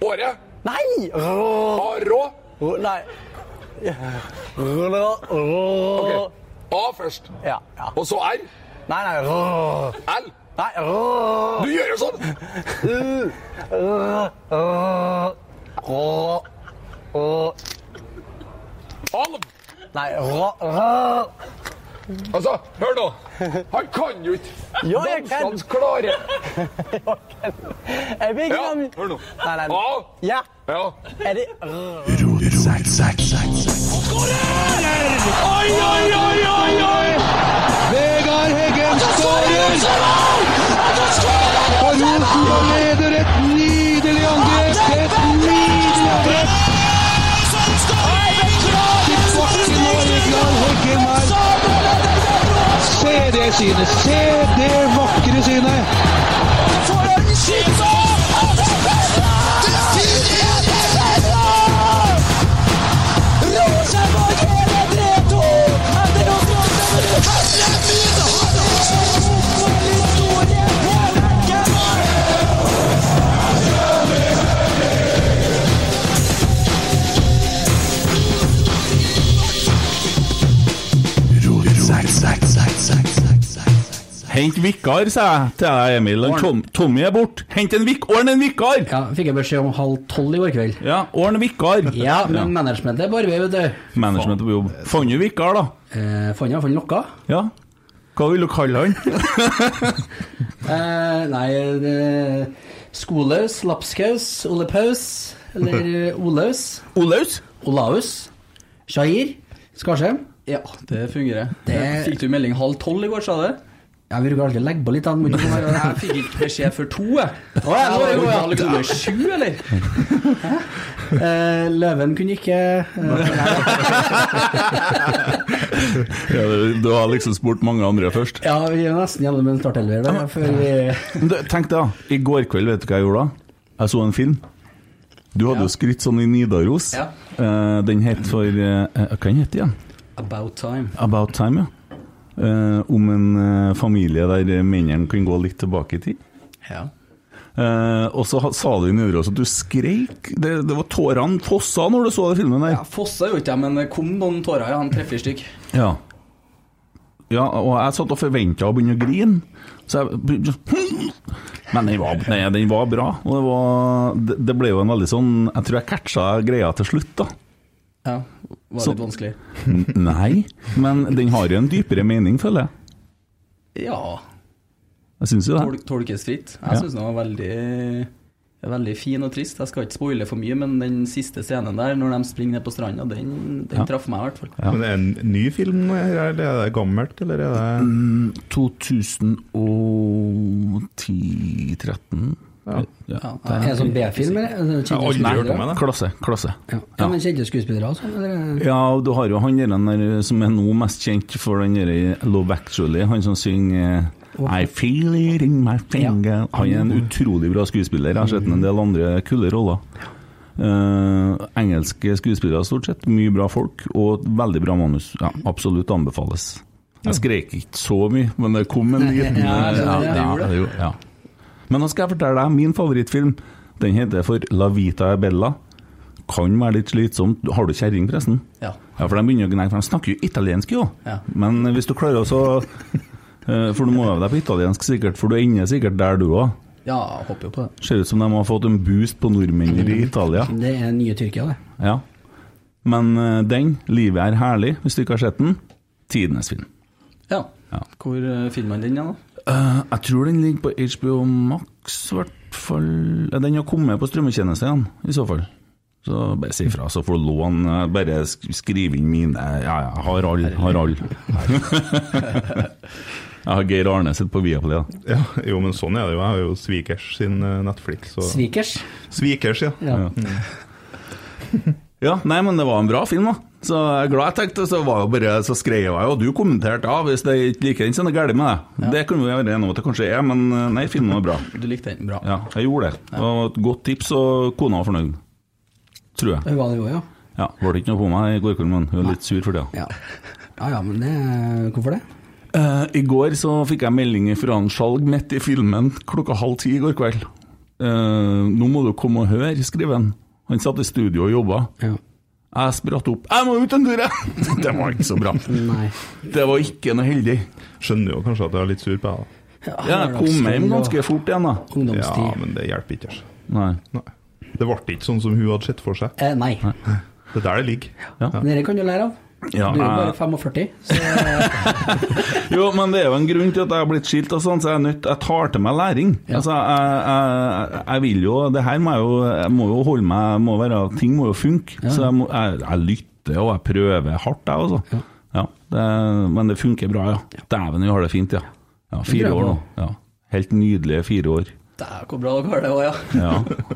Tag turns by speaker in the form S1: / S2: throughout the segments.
S1: Kåre.
S2: Nei! Rå,
S1: A. Rå.
S2: rå, nei. Rå, rå,
S1: Ok.
S2: rå.
S1: A først.
S2: Ja, ja.
S1: Og så R.
S2: Nei, nei. Rå.
S1: L.
S2: Nei, rå.
S1: Du gjør jo sånn!
S2: U. Rå, rå, rå, rå.
S1: Alv!
S2: Nei, rå, rå.
S1: Altså, hør nå. Han kan jo ikke
S2: Jo, jeg kan.
S1: dansenes klare
S2: Jeg vil
S1: Ja,
S2: ikke ha-
S1: hør nå.
S2: Nei, nei.
S1: A.
S2: Ja,
S1: Ja.
S2: er det rå?
S3: Oi, oi, oi, oi, oi!
S4: Vegard Heggen skårer! Og Rosenborg leder et nydelig angrep! Et nydelig angrep! Til bakken og Vegard Heggen her. Se det synet! Se det vakre synet!
S5: Hent vikar, sa jeg til deg, Emil. Han Tom, Tommy er borte. Hent en vik... Ordn en vikar!
S6: Ja, fikk jeg beskjed om halv tolv i går kveld.
S5: Ja, ordn vikar.
S6: Ja, men managementet er på arbeid, vet du.
S5: Management på jobb. Fant du vikar, da?
S6: Eh, Fant jeg iallfall noe.
S5: Ja. Hva vil du kalle han?
S6: Eh, nei, det, Skolaus, Lapskaus, Olepaus, eller Olaus,
S5: Olaus?
S6: Olaus, Shahir, Skarsheim.
S7: Ja, det fungerer.
S6: Det-
S7: Fikk du melding halv tolv i går, sa du?
S6: Ja, vi bruker alltid å legge på litt, han må ikke komme her.
S7: Jeg fikk ikke beskjed før to, jeg.
S6: Å, ja, nå er det
S7: Jeg
S6: god, ja.
S7: var jo halv sju, eller?
S6: Eh, Løven kunne ikke eh,
S5: Ja, du, du har liksom spurt mange andre først.
S6: Ja, vi er nesten gjennom en startelver. da, før vi-
S5: Men du, tenk deg, da. I går kveld, vet du hva jeg gjorde da? Jeg så en film. Du hadde jo skrytt sånn i Nidaros.
S7: Ja.
S5: Eh, den het for eh, Hva den het den igjen?
S7: About time.
S5: About Time, ja. Eh, om en eh, familie der mennene kan gå litt tilbake i tid.
S7: Ja.
S5: Eh, og så ha- sa du i Nidaros at du skreik. Det, det var tårene fossa når du så den filmen der.
S7: Jeg fossa jo ikke, jeg, men det kom noen tårer. ja, Han treffer stykk.
S5: Ja. ja og jeg satt og forventa å begynne å grine. Så jeg begynte sånn, Men den var, nei, den var bra. Og det, var, det, det ble jo en veldig sånn Jeg tror jeg catcha greia til slutt, da.
S7: Ja, var
S5: Så-
S7: litt vanskelig.
S5: N- Nei, men den har jo en dypere mening, føler jeg.
S7: Ja,
S5: Jeg syns jo det.
S7: tol tolkes fritt.
S5: Ja.
S7: Jeg syns den var veldig Veldig fin og trist. Jeg skal ikke spoile for mye, men den siste scenen der, når de springer ned på stranda, den, den
S5: Ja.
S7: traff meg i hvert fall.
S8: Men er det en ny film, her, eller er det gammelt, eller er det
S5: 2010-13 ja.
S7: Ja,
S6: Er det en sånn B-film, eller?
S8: Jeg har aldri hørt om
S6: det.
S8: den. jeg.
S5: Klasse. Klasse.
S6: Ja. ja, men kjente skuespillere også, eller? eh,
S5: Ja, og du har jo han der, den der som er nå mest kjent for den der i Love Actually, han som synger eh, I feel it in my finger. Han er en utrolig bra skuespiller. Jeg har sett ham en del andre kule roller. Eh, engelske skuespillere stort sett. Mye bra folk og et veldig bra manus. Ja, absolutt anbefales. Jeg skrek ikke så mye, men det kom en liten
S6: Ja, det gjorde det.
S5: det gjorde- ja. Men nå skal jeg fortelle deg min favorittfilm. Den heter for La Vita e Bella. Kan være litt slitsomt. Har du kjerring, forresten?
S7: Ja.
S5: Ja, for de begynner å gnage, for de snakker jo italiensk, jo.
S7: Ja.
S5: Men hvis du klarer å så eh, For du må øve deg på italiensk, sikkert, for du ender sikkert der, du òg.
S7: ja, jeg håper jo på det.
S5: Ser ut som de har fått en boost på nordmenn i Italia.
S6: Det er nye Tyrkia, det.
S5: Ja. Men eh, den, 'Livet er herlig', hvis du ikke har sett den, tidenes film.
S7: Ja.
S5: Ja.
S7: Hvor eh, finner man den, ja, da?
S5: Eh, jeg tror den ligger på HBO Max, i hvert fall. Ja, Den har kommet på strømmetjenestene, i så fall. Så bare si ifra, så får du låne. eh, Bare sk- skriv inn mine Ja, ja, har alle, har alle. Jeg har Geir Arne sitt på Viaplay, da.
S8: Ja, jo, men sånn er det jo. Jeg har jo Svikers sin eh, Netflix. Så.
S6: Svikers.
S8: Svikers, ja.
S6: Ja.
S5: Ja, nei, men det var en bra film, da. Så jeg er glad jeg tenkte, så var det bare, så skrev jeg jo, og du kommenterte ja, hvis det ikke liker den, så er det galt med deg. Det kunne vi være enige om at det kanskje er, men eh, nei, filmen var bra.
S7: Du likte den? Bra.
S5: Ja, jeg gjorde det. Det var et godt tips, og kona var fornøyd. Tror jeg.
S6: Det var det jo, ja.
S5: Ja, Var det ikke noe på meg i går kveld, men hun er litt sur for det.
S6: Ja ja, ja men det Hvorfor det?
S5: Eh, I går så fikk jeg melding fra en Skjalg midt i filmen klokka halv ti i går kveld. Eh, nå må du komme og høre, skriver han. Han satt i studio og jobba.
S6: Ja.
S5: Jeg spratt opp. Jeg må ut en tur, jeg! Det var ikke så bra.
S6: Nei.
S5: Det var ikke noe heldig.
S8: Skjønner jo kanskje at jeg er litt sur på deg. da.
S6: Ah,
S5: Ja, jeg kom hjem ganske fort igjen, da.
S8: Ja,
S6: Ungdomstid.
S8: men det hjelper ikke. altså.
S5: Nei.
S8: Nei. Det ble ikke sånn som hun hadde sett for seg.
S6: Eh, nei.
S8: Det er der det ligger.
S6: Men Dere kan du lære av.
S5: Ja,
S6: Du er jo
S5: jeg-
S6: bare 45, så
S5: Jo, men det er jo en grunn til at jeg har blitt skilt og sånn, så jeg er nødt Jeg tar til meg læring. Altså, jeg, jeg, jeg vil jo Det her må jeg jo Jeg må jo holde meg jeg må være, Ting må jo funke. Så jeg, må, jeg, jeg lytter og jeg prøver hardt, jeg, altså. Ja. det, men det funker bra, ja. Dæven, vi har det fint, ja. ja fire år nå. Ja. Helt nydelige fire år.
S7: Dæven, hvor bra dere har det òg, ja.
S5: Ja.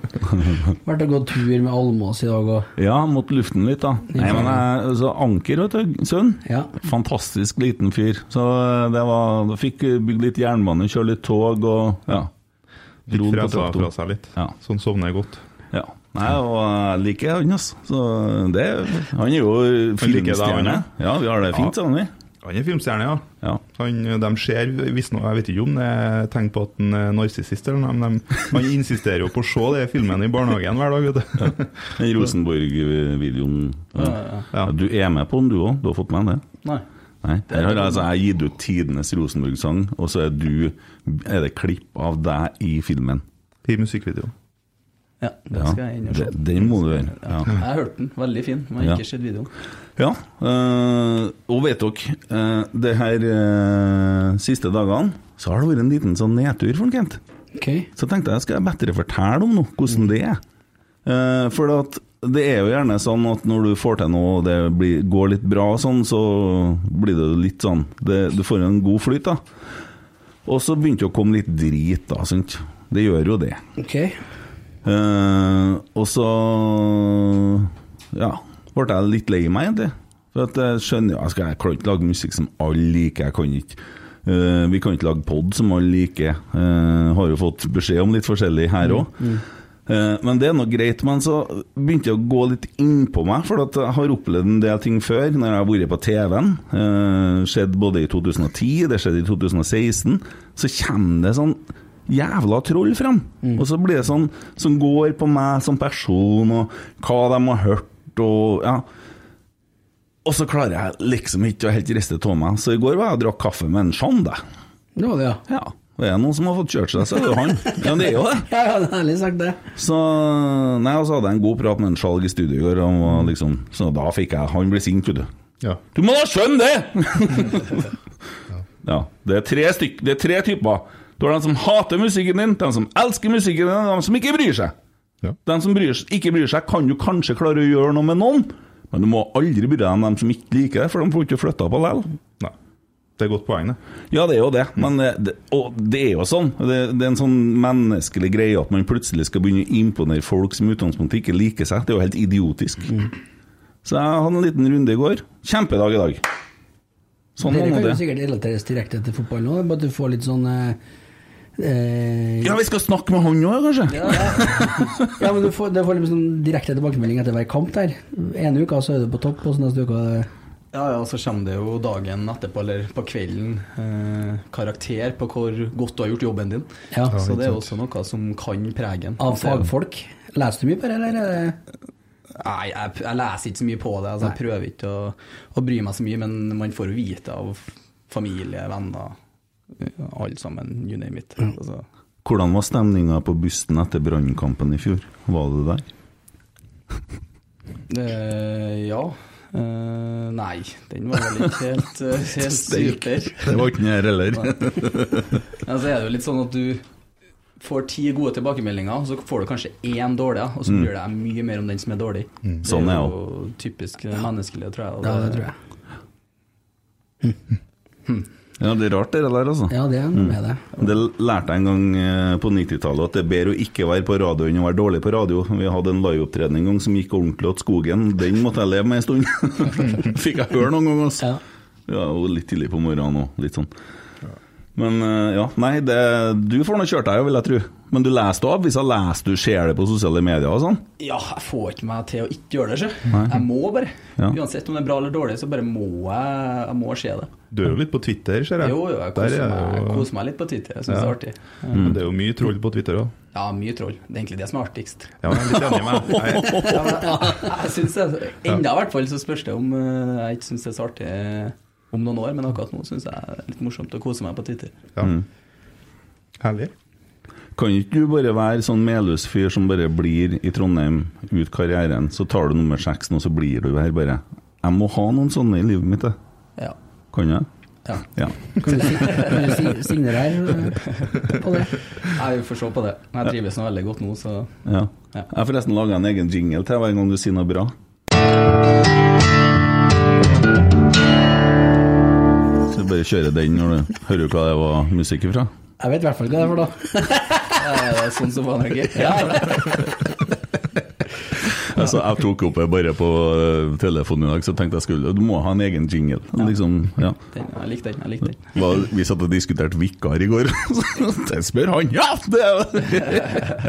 S6: vært og gått tur med Almås i dag og
S5: ja, måtte luften litt, da. Nei, men jeg, så Anker, vet du, sønn.
S6: Ja.
S5: Fantastisk liten fyr. Så eh, det var Da fikk bygd litt jernbane, kjøre litt tog og ja. Dro
S8: Litt
S5: den på
S8: fresa
S5: traktor.
S8: fra seg litt.
S5: Ja.
S8: Sånn sovner jeg godt.
S5: Ja. Nei, og jeg liker han, altså. Så det Han er jo
S8: liker deg, han,
S5: filmstjerne.
S8: ja.
S5: Ja, vi har det fint sammen, vi.
S8: Han er filmstjerne, ja.
S5: Ja.
S8: Han, eh, de ser visstnok Jeg vet ikke om det er tegn på at han er narsissist, eller noe, men de, han insisterer jo på å se de filmene i barnehagen hver dag, vet du.
S5: Den Rosenborg-videoen. Ja.
S8: Ja.
S5: Du er med på den, du òg? Du har fått med deg det?
S7: Nei.
S5: Nei. Der har jeg, altså, jeg har gitt ut tidenes Rosenborg-sang, og så er du Er det klipp av deg i filmen?
S8: I musikkvideoen.
S7: Ja, det
S5: Ja.
S7: skal jeg inn og se.
S5: Det- Den må du gjøre. Ja.
S7: Jeg hørte den, veldig fin, men jeg har
S5: Ja.
S7: ikke sett videoen.
S5: Ja, øh, og vet dere, øh, det her øh, siste dagene så har det vært en liten sånn nedtur for Kent.
S6: OK.
S5: Så tenkte jeg, skal jeg bedre fortelle om noe, hvordan det er? Eh, for at det er jo gjerne sånn at når du får til noe og det blir, går litt bra og sånn, så blir det jo litt sånn, det, du får en god flyt da. Og så begynte det å komme litt drit da, sant? Det gjør jo det.
S6: ok
S5: Eh, og så ja, ble jeg litt lei meg, egentlig. For at jeg skjønner jo, jeg, skal, jeg kan ikke lage musikk som alle liker. Jeg kan ikke Eh, Vi kan ikke lage pod som alle liker. Eh, har jo fått beskjed om litt forskjellig her òg. men det er nå greit. Men så begynte jeg å gå litt innpå meg, for at jeg har opplevd en del ting før når jeg har vært på TV-en. Eh, skjedd både i 2010, det skjedde i 2016. Så kommer det sånn jævla troll fram. Og så blir det sånn som går på meg som person, og hva de har hørt, og ja. Og så klarer jeg liksom ikke å helt riste av meg. Så i går var jeg og drakk kaffe med en Sjande.
S6: Det var det, ja.
S5: Ja. Og er det noen som har fått kjørt seg, så er det jo han. Ja, det er jo det.
S6: Ja, ja, det er ærlig sagt, det.
S5: Så nei, og så hadde jeg en god prat med en Skjalg i studio i går, han var liksom, så da fikk jeg Han ble sint, vet du.
S8: Ja.
S5: Du må da skjønne det! ja. Det er tre, stykk, det er tre typer. Du har de som hater musikken din, de som elsker musikken din, og de som ikke bryr seg.
S8: Ja.
S5: De som bryr, ikke bryr seg, kan jo kanskje klare å gjøre noe med noen, men du må aldri bry deg om dem som ikke liker det, for de får ikke flytta på lell.
S8: Nei. Det er et godt poeng, det.
S5: Ja, det er jo det, men eh, det, og det er jo sånn. Det, det er en sånn menneskelig greie at man plutselig skal begynne å imponere folk som i utgangspunktet ikke liker seg. Det er jo helt idiotisk.
S6: Mm.
S5: Så jeg hadde en liten runde i går. Kjempedag i dag. Sånn
S6: Dere
S5: var nå
S6: kan jo
S5: det.
S6: sikkert relateres direkte til fotball nå, bare at du får litt sånn eh, eh,
S5: Ja, vi skal snakke med han òg, kanskje?
S6: Ja, men du får, du får litt sånn direkte tilbakemelding etter hver kamp der. En uke så er du på topp, og så neste uke eh,
S7: Ja, ja, så kommer det jo dagen etterpå, eller på kvelden, eh, karakter på hvor godt du har gjort jobben din.
S6: Ja.
S7: Så det er også noe som kan prege en.
S6: av
S7: Så jeg-
S6: fagfolk. Leser du mye på det, eller? er det-
S7: Nei, jeg, jeg leser ikke så mye på det. Altså, jeg prøver ikke å, å bry meg så mye, men man får jo vite av familie, venner, ja, alle sammen, you name it. Altså,
S5: Hvordan var stemninga på bussen etter brannkampen i fjor? Var det der?
S7: eh, ja. Eh, nei, den var vel ikke helt, eh, helt super.
S5: Det var ikke den her heller.
S7: Altså er det jo litt sånn at du får ti gode tilbakemeldinger, og så får du kanskje én dårlig, og så bryr du deg mye mer om den som er dårlig.
S5: Sånn er
S7: det
S5: jeg
S7: er jo typisk menneskelig, tror jeg. og
S6: Ja, det tror jeg.
S5: Ja, det er rart det der, altså.
S6: Ja, det er noe med det.
S5: Det lærte jeg en gang eh, på 90-tallet, at det er bedre å ikke være på radio enn å være dårlig på radio. Vi hadde en liveopptreden en gang som gikk ordentlig åt skogen. Den måtte jeg leve med en stund. Fikk jeg høre noen ganger, altså.
S6: Ja.
S5: Ja, og litt tidlig på morgenen òg, litt sånn. Men eh, ja, nei, det, du får nå kjørt deg, vil jeg tro. Men du leser det av? Hvis jeg leser du ser det på sosiale medier og sånn?
S7: Ja, jeg får ikke meg til å ikke gjøre det, sjø. Jeg må bare.
S5: Ja.
S7: Uansett om det er bra eller dårlig, så bare må jeg, jeg må se det.
S8: Du er jo litt på Twitter, ser jeg.
S7: Jo, jo, jeg
S8: Der
S7: koser,
S8: er
S7: meg, jeg
S8: det jo-
S7: koser meg litt på Twitter. Jeg syns det er artig.
S8: Mm. Det er jo mye troll på Twitter òg.
S7: Ja, mye troll. Det er egentlig det som er artigst.
S8: Ja, jeg er litt enig med deg. Jeg-
S7: Ja, men jeg jeg synes det, Enda i hvert fall så spørs det om eh, jeg ikke syns det er så artig om noen år, men akkurat nå syns jeg det er litt morsomt å kose meg på Twitter.
S8: Ja.
S2: Mm.
S8: Herlig.
S5: Kan ikke du bare være sånn Melhus-fyr som bare blir i Trondheim ut karrieren, så tar du nummer seks nå, så blir du her bare? Jeg må ha noen sånne i livet mitt, jeg.
S7: Ja.
S5: Kan jeg?
S7: ja.
S5: Ja.
S2: Kan du si- kan du si- signere her eh, på det?
S7: Jeg får se på det. Jeg trives nå veldig godt nå, så
S5: ja.
S7: Ja.
S5: Jeg har forresten laga en egen jingle til hver gang du sier noe bra. Så bare kjøre den når du hører hva det var musikk ifra.
S2: Jeg vet i hvert fall hva det er for da.
S7: eh, det er sånn som var Norge. Ja,
S5: Altså, jeg tok opp det bare på eh, telefonen i dag, så tenkte jeg skulle Du må ha en egen jingle. Liksom, ja.
S7: den, jeg likte den. jeg likte den.
S5: Var, vi satt og diskuterte vikar i går, det spør han! Ja! Det er jo
S8: Det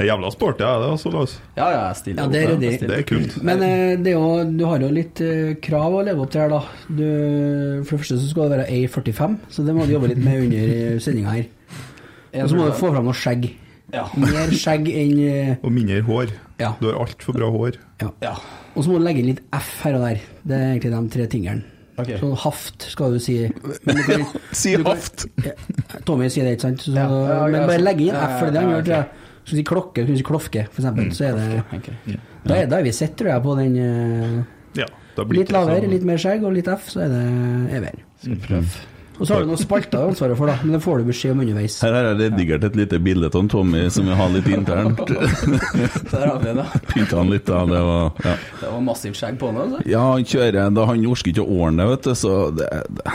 S8: er jævla sporty, ja, det. Altså, la oss.
S7: Ja, ja, jeg stiller
S2: Ja, det er
S7: opp.
S2: det.
S7: jeg
S8: Det
S7: stiller
S8: er
S7: opp.
S8: kult.
S2: Men eh, det er jo, du har jo litt eh, krav å leve opp til her, da. Du, for det første så skal det være A45, så det må du jobbe litt med under sendinga her. Og så må du få fram noe skjegg.
S7: Ja.
S2: Mer skjegg enn eh,
S8: Og mindre hår.
S2: Ja.
S8: Du har altfor bra hår.
S2: Ja.
S7: Ja.
S2: Og så må du legge inn litt F her og der. Det er egentlig de tre tingene.
S7: Ok.
S2: Sånn haft skal du si. Men du kan,
S5: Si haft!
S2: ja, Tommy sier det, ikke sant? Så,
S7: Ja, ja, ja,
S2: men bare legge inn
S7: ja,
S2: F, for det er det
S7: ja,
S2: han
S7: ja,
S2: gjør, tror jeg. Skal du si klokke, skal du si klofke, for eksempel, så er det
S7: Ok.
S2: Da er, da er vi sett, tror jeg, på den eh,
S8: Ja, da blir
S2: Litt
S8: det sånn- ikke
S2: lavere,
S8: så-
S2: litt mer skjegg og litt F, så er det EVR. Og så har du noen spalter du har ansvaret for, da, men det får du beskjed om underveis.
S5: Her har jeg redigert et lite bilde av Tommy som vi har litt internt.
S7: Der har vi det. da.
S5: Pynta han litt, da. Det var ja.
S7: Det var massivt skjegg på den. altså.
S5: Ja, han kjører da Han orker ikke å ordne det, vet du, så det, det.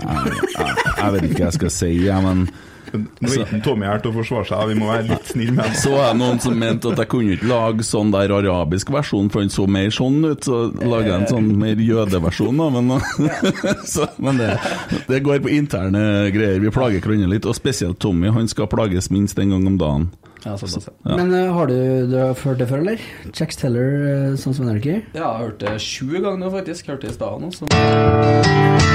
S5: Jeg, jeg, jeg vet ikke hva jeg skal si, jeg, men
S8: Nå er
S2: Altså-
S8: ikke Tommy her til å forsvare seg, vi må være litt snill med ham.
S5: så var det noen som mente at jeg kunne ikke lage sånn der arabisk versjon, for han så mer sånn ut, så laga jeg en sånn mer jødeversjon, da, men, så, men det, det går på interne greier. Vi plager hverandre litt, og spesielt Tommy. Han skal plages minst en gang om dagen.
S7: Ja, såpass, ja.
S2: Men eh, har du, du har hørt det før, eller? Jax Teller, eh, sånn som Anarchy?
S7: Ja, jeg har hørt det sju ganger nå, faktisk. Hørte det i stad nå. Så.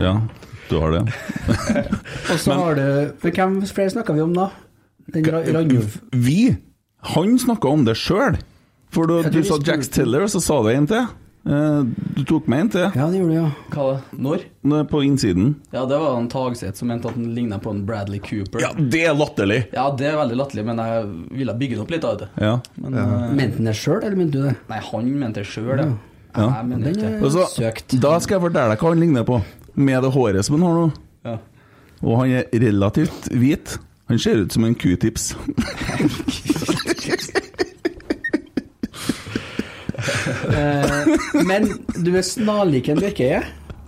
S5: Ja, du har det.
S2: Og så har du men Hvem flere snakka vi om da? Den Ra- Ranulf
S5: Vi! Han snakka om det sjøl! For du,
S2: Ja,
S5: du
S2: det
S5: sa
S2: visste
S5: Jax
S2: du.
S5: Tiller, og så sa du en til. Eh, Du tok med en til.
S2: Ja, det gjorde du, ja.
S7: Hva det? Når?
S5: Nå er jeg På innsiden.
S7: Ja, det var en Tagseth som mente at den ligna på en Bradley Cooper. Ja.
S5: det er latterlig!
S7: det er veldig latterlig, men jeg ville bygge det opp litt. av det.
S5: Ja.
S7: Men eh,
S2: Mente han det sjøl, eller mente du det?
S7: Nei, han mente det sjøl, det.
S5: Ja.
S7: Jeg mener
S2: Den
S7: ikke
S2: er-
S7: det.
S5: Og så,
S2: Søkt.
S5: Altså, da skal jeg fortelle deg hva han ligner på. Med det håret som han har nå.
S7: Ja.
S5: Og han er relativt hvit. Han ser ut som en q-tips.
S2: Eh, men du er snarlik en Bjørkeie.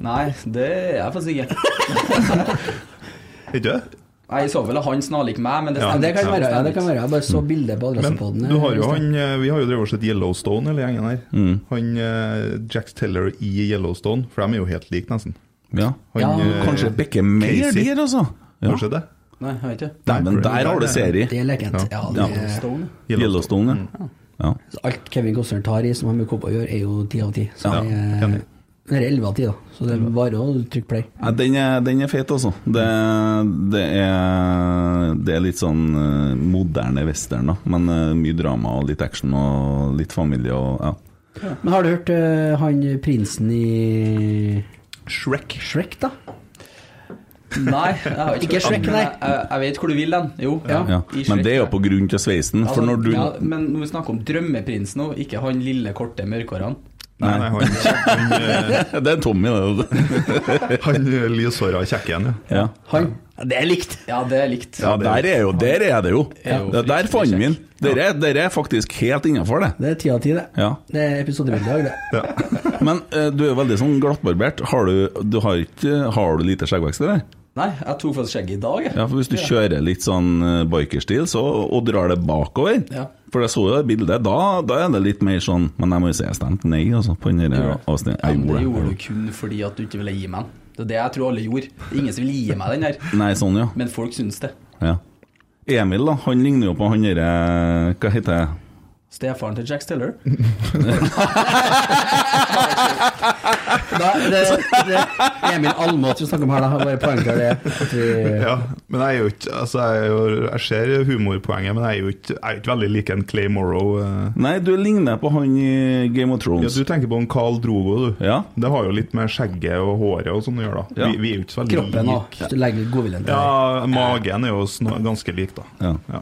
S7: Nei, det er jeg faktisk ikke.
S8: Ikke det?
S7: Nei, I så fall er han snarlik meg, men det
S8: Ja,
S2: Ja, det kan
S7: ikke.
S2: være. ja, det kan være. Jeg bare så bildet på
S8: Men
S2: adressepoden.
S8: du har jo han, eh, vi har jo drevet og sett Yellowstone, hele gjengen her.
S2: Mm.
S8: Han eh, Jax Teller i Yellowstone, for de er jo helt like, nesten.
S5: Ja.
S8: Han,
S2: Ja,
S8: eh,
S5: Kanskje Bekke Meyer
S8: Casey.
S5: der, altså. Ja.
S8: Kanskje det?
S7: Nei, jeg vet ikke.
S5: Nei, men der har du serie.
S2: Det er lekent. Ja, det
S5: Ja.
S2: er
S7: Stone.
S5: Yellowstone, ja. ja.
S2: Alt Kevin Costner tar i som har med kopper å gjøre, er jo ti av ti. Så
S5: Ja,
S2: det er-
S8: enig.
S2: det er elleve av ti, da. Så det varer å trykke play.
S5: Ja, den, er, den er fet, altså. Det, det, er, det er litt sånn eh, moderne western, da. Men eh, mye drama og litt action og litt familie og ja.
S2: Men har du hørt eh, han prinsen i
S8: Shrek.
S2: Shrek, da?
S7: Nei, jeg har ikke
S2: Ikke Shrek,
S7: Men
S2: nei.
S7: Jeg, jeg- jeg vet hvor du vil den. Jo,
S5: ja.
S7: i Shrek.
S5: Men det er jo på grunn til sveisen. For
S7: Altså,
S5: når du
S7: ja, men når vi snakker om drømmeprinsen nå, ikke han lille, korte mørkhårene.
S8: Nei, nei, han, han, eh,
S5: Det er Tommy, det.
S8: han eh, lyshåra kjekken, ja.
S5: Ja.
S2: Han? Det er likt!
S7: Ja, det er likt.
S5: Ja, der er jo Der er det jo.
S7: Er jo
S5: Ja, Der fant vi den. Dere, dere er faktisk helt innafor, det.
S2: Det er ti av ti, det.
S5: Ja.
S2: Det er episodebildet i dag, det.
S5: Men eh, du er veldig sånn glattbarbert. Har du, du har ikke Har du lite skjeggvekst, eller?
S7: Nei, jeg tok faktisk skjegget i dag, jeg.
S5: Ja, for hvis du kjører litt sånn eh, bikerstil så, og drar det bakover
S7: Ja.
S5: For jeg så jo det bildet, da, da er det litt mer sånn Men jeg må jo si jeg stemte nei, altså, på den der
S7: Ja,
S5: avsnittet.
S7: men
S5: Jeg
S7: det
S5: gjorde
S7: gjorde du
S5: det.
S7: kun fordi at du ikke ville gi meg den. Det er det jeg tror alle gjorde. Ingen som vil gi meg den her.
S5: Nei, sånn, ja.
S7: Men folk syns det.
S5: ja. Emil, da. Han ligner jo på han derre Hva heter det?
S7: Stefaren til Jack Stiller.
S6: Da, det, det, Emil Almås vi snakker om her, da. Bare poengter det. At vi,
S5: Eh,
S8: Ja, men jeg er jo ikke Altså, jeg, er jo, jeg ser humorpoenget, men jeg er jo ikke, jeg er jo ikke veldig lik en Clay Morrow. eh.
S5: Nei, du ligner på han i Game of
S8: Ja,
S5: Thrones.
S8: du tenker på en Carl Drogo, du.
S5: Ja.
S8: Det har jo litt med skjegget og håret og sånn å gjøre, da.
S5: Ja.
S8: Vi, vi er jo ikke så veldig
S6: kroppen
S8: lik.
S6: og legger godviljen til.
S8: Ja, magen er jo sn- ganske lik, da.
S5: Ja.
S8: Ja.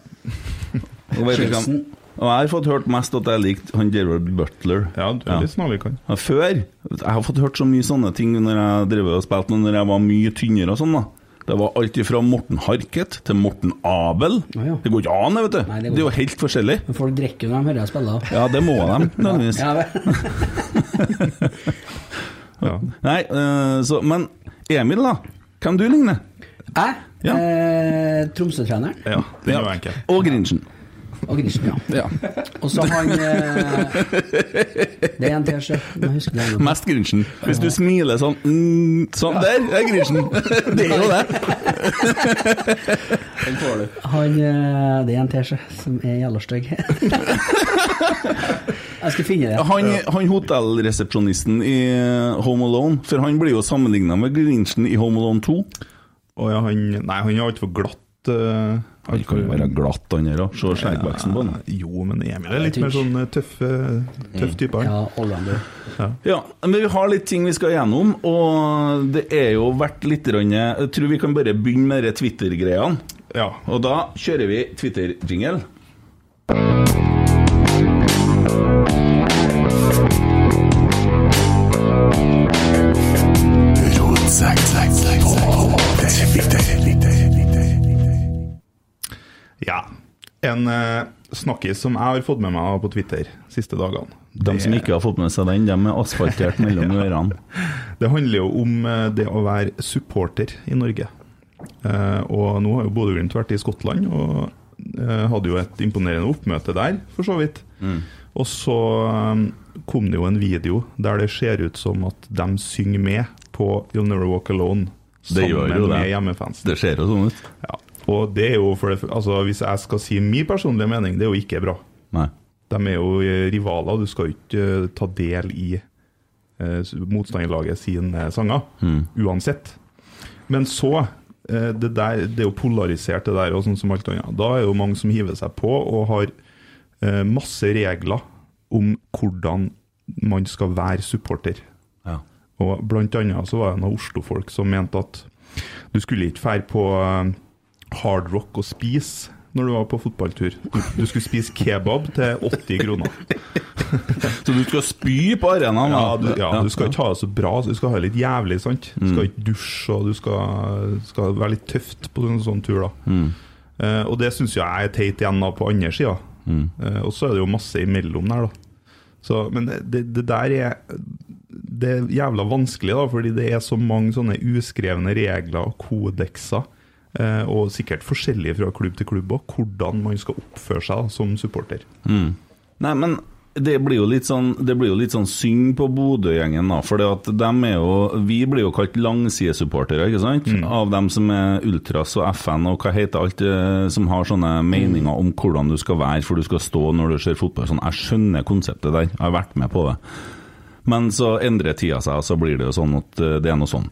S5: Og, vet du hvem, og jeg har fått hørt mest at jeg likte han Gerard Butler.
S8: Ja, du er litt snarlig, kan.
S5: Ja, Før Jeg har fått hørt så mye sånne ting når jeg drev og spilte når jeg var mye tynnere og sånn, da. Det var alt ifra Morten Harket til Morten Abel.
S6: Ja, ja.
S5: Det går ikke an, det, vet du.
S6: Nei, det
S5: det,
S6: går
S5: er jo helt forskjellig.
S6: Men Folk drikker når de hører jeg spille. da.
S5: Ja, det må de, nødvendigvis.
S6: Ja, vel.
S8: Ja.
S5: Nei, eh, så Men Emil, da. Hvem du ligner?
S6: Jeg,
S5: Ja.
S6: eh, Tromsø-treneren
S8: ja den er jo enkel.
S5: Og Grinchen.
S6: og Gnisten, ja.
S5: Ja.
S6: Og så han eh, Det er en til, sjef. men Jeg husker det ennå.
S5: Mest Grinchen. Hvis du smiler sånn mm, Sånn, der er Grinchen! Det er jo det.
S7: Den får du.
S6: Han, eh, det er en til, sjef, som er jævla stygg. Jeg skal finne det.
S5: Han, han hotellresepsjonisten i eh, Home Alone, for han blir jo sammenligna med Grinchen i Home Alone 2.
S8: Og ja, han Nei, han er altfor glatt. eh,
S5: Han kan jo være glatt, han her òg. Se skjeggveksten på han.
S8: Jo, men Emil er litt mer sånn eh, tøff, eh, tøff type. han.
S6: Ja, Ollander.
S5: Ja, men vi har litt ting vi skal gjennom, og det er jo vært litt grann- Jeg tror vi kan bare begynne med de Twitter-greiene.
S8: Ja.
S5: Og da kjører vi Twitter-jingle.
S8: ja. En eh, snakkis som jeg har fått med meg på Twitter siste dagene.
S5: De
S8: det-
S5: som ikke har fått med seg den, de er asfaltert mellom ørene.
S8: Det handler jo om eh, det å være supporter i Norge. Eh, og nå har jo Bodø-Glimt vært i Skottland og eh, hadde jo et imponerende oppmøte der, for så vidt.
S5: Mm.
S8: Og så eh, kom det jo en video der det ser ut som at de synger med på You'll Never Walk Alone.
S5: Det gjør jo det.
S8: med hjemmefansen.
S5: Det ser jo sånn ut.
S8: Ja. Og det er jo for det, altså, Hvis jeg skal si min personlige mening, det er jo ikke bra.
S5: Nei.
S8: De er jo eh, rivaler, du skal jo ikke eh, ta del i eh, s- motstanderlaget sine eh, sanger, uansett. Men så eh, det, der, det er jo polarisert, det der, og sånn som alt annet. Da er jo mange som hiver seg på og har eh, masse regler om hvordan man skal være supporter.
S5: Ja.
S8: Og blant annet så var det noen Oslo-folk som mente at du skulle ikke fære på eh, hard rock og spise når du var på fotballtur. Du, du skulle spise kebab til 80 kroner.
S5: Så du skal spy på arenaen? da?
S8: Ja, du, ja, Mm. du skal ikke ha det så bra, så du skal ha det litt jævlig, sant? Du skal ikke dusje, og du skal, skal være litt tøft på en sånn tur, da. Eh, og det syns jeg er teit igjen da på andre sida. Eh, og så er det jo masse imellom der, da. Så, men det, det der er Det er jævla vanskelig, da, fordi det er så mange sånne uskrevne regler og kodekser. eh, Og sikkert forskjellige fra klubb til klubb òg, hvordan man skal oppføre seg da, som supporter.
S5: Nei, men det blir jo litt sånn, det blir jo litt sånn synd på Bodø-gjengen, da. For er jo, vi blir jo kalt langsidesupportere, ikke sant?
S8: Mm.
S5: Av dem som er ultras og FN og hva heter alt det som har sånne meninger om hvordan du skal være, for du skal stå når du ser fotball. Sånn, jeg skjønner konseptet der, jeg har vært med på det. Men så endrer tida seg, og så blir det jo sånn at eh, det er noe sånn.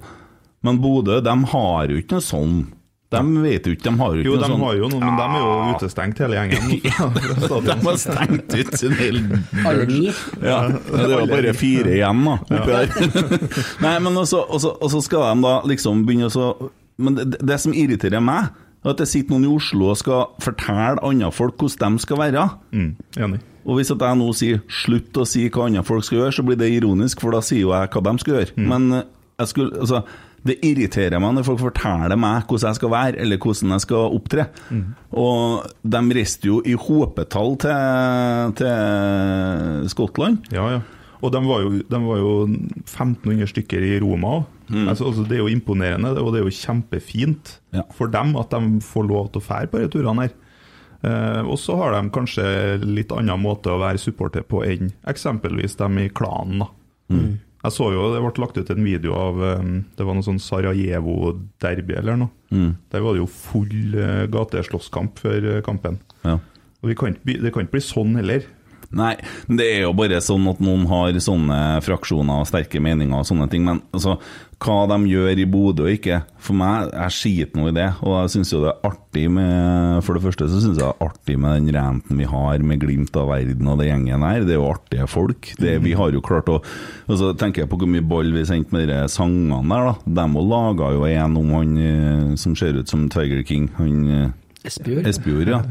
S5: Men Bodø, de har jo ikke noe sånn. De vet jo ikke, de har jo ikke
S8: Jo,
S5: noe
S8: de
S5: sånn.
S8: har jo noe, men de er jo utestengt hele gjengen. Fra
S5: De
S8: stadion.
S5: har stengt ut sin hel
S6: Alle ni.
S5: Ja, det var bare fire igjen da oppi der. Nei, men også, også, også skal de da liksom begynne å så- Men det, det som irriterer meg, er at det sitter noen i Oslo og skal fortelle andre folk hvordan de skal være.
S8: Mm, enig.
S5: Og hvis at jeg nå sier 'slutt å si hva andre folk skal gjøre', så blir det ironisk, for da sier jo jeg hva de skal gjøre. Men eh, jeg skulle, altså, det irriterer meg når folk forteller meg hvordan jeg skal være, eller hvordan jeg skal opptre. Og de reiste jo i hopetall til, til Skottland.
S8: Ja, ja. Og de var, jo, de var jo 1500 stykker i Roma òg. Altså, altså, det er jo imponerende, og det er jo kjempefint
S5: Ja.
S8: for dem at de får lov til å fære på disse turene her. Eh, og så har de kanskje litt annen måte å være supporter på enn eksempelvis dem i klanen. da. Jeg så jo det ble lagt ut en video av eh, Det var noe sånn Sarajevo-derby eller noe. Der var det jo full eh, gateslåsskamp før eh, kampen.
S5: Ja.
S8: Og vi kan, ikke bli- det kan ikke bli sånn heller.
S5: Nei, men det er jo bare sånn at noen har sånne fraksjoner og sterke meninger og sånne ting, men altså, hva de gjør i Bodø og ikke For meg, jeg skiter nå i det, og jeg syns jo det er artig med For det første så syns jeg det er artig med den ranten vi har med Glimt av verden og det gjengen her, det er jo artige folk. Det, vi har jo klart å Og så tenker jeg på hvor mye ball vi sendte med de sangene der, da. De òg laga jo en om han eh, som ser ut som Tiger King, han eh,
S6: Espejord.
S5: Espejord, ja.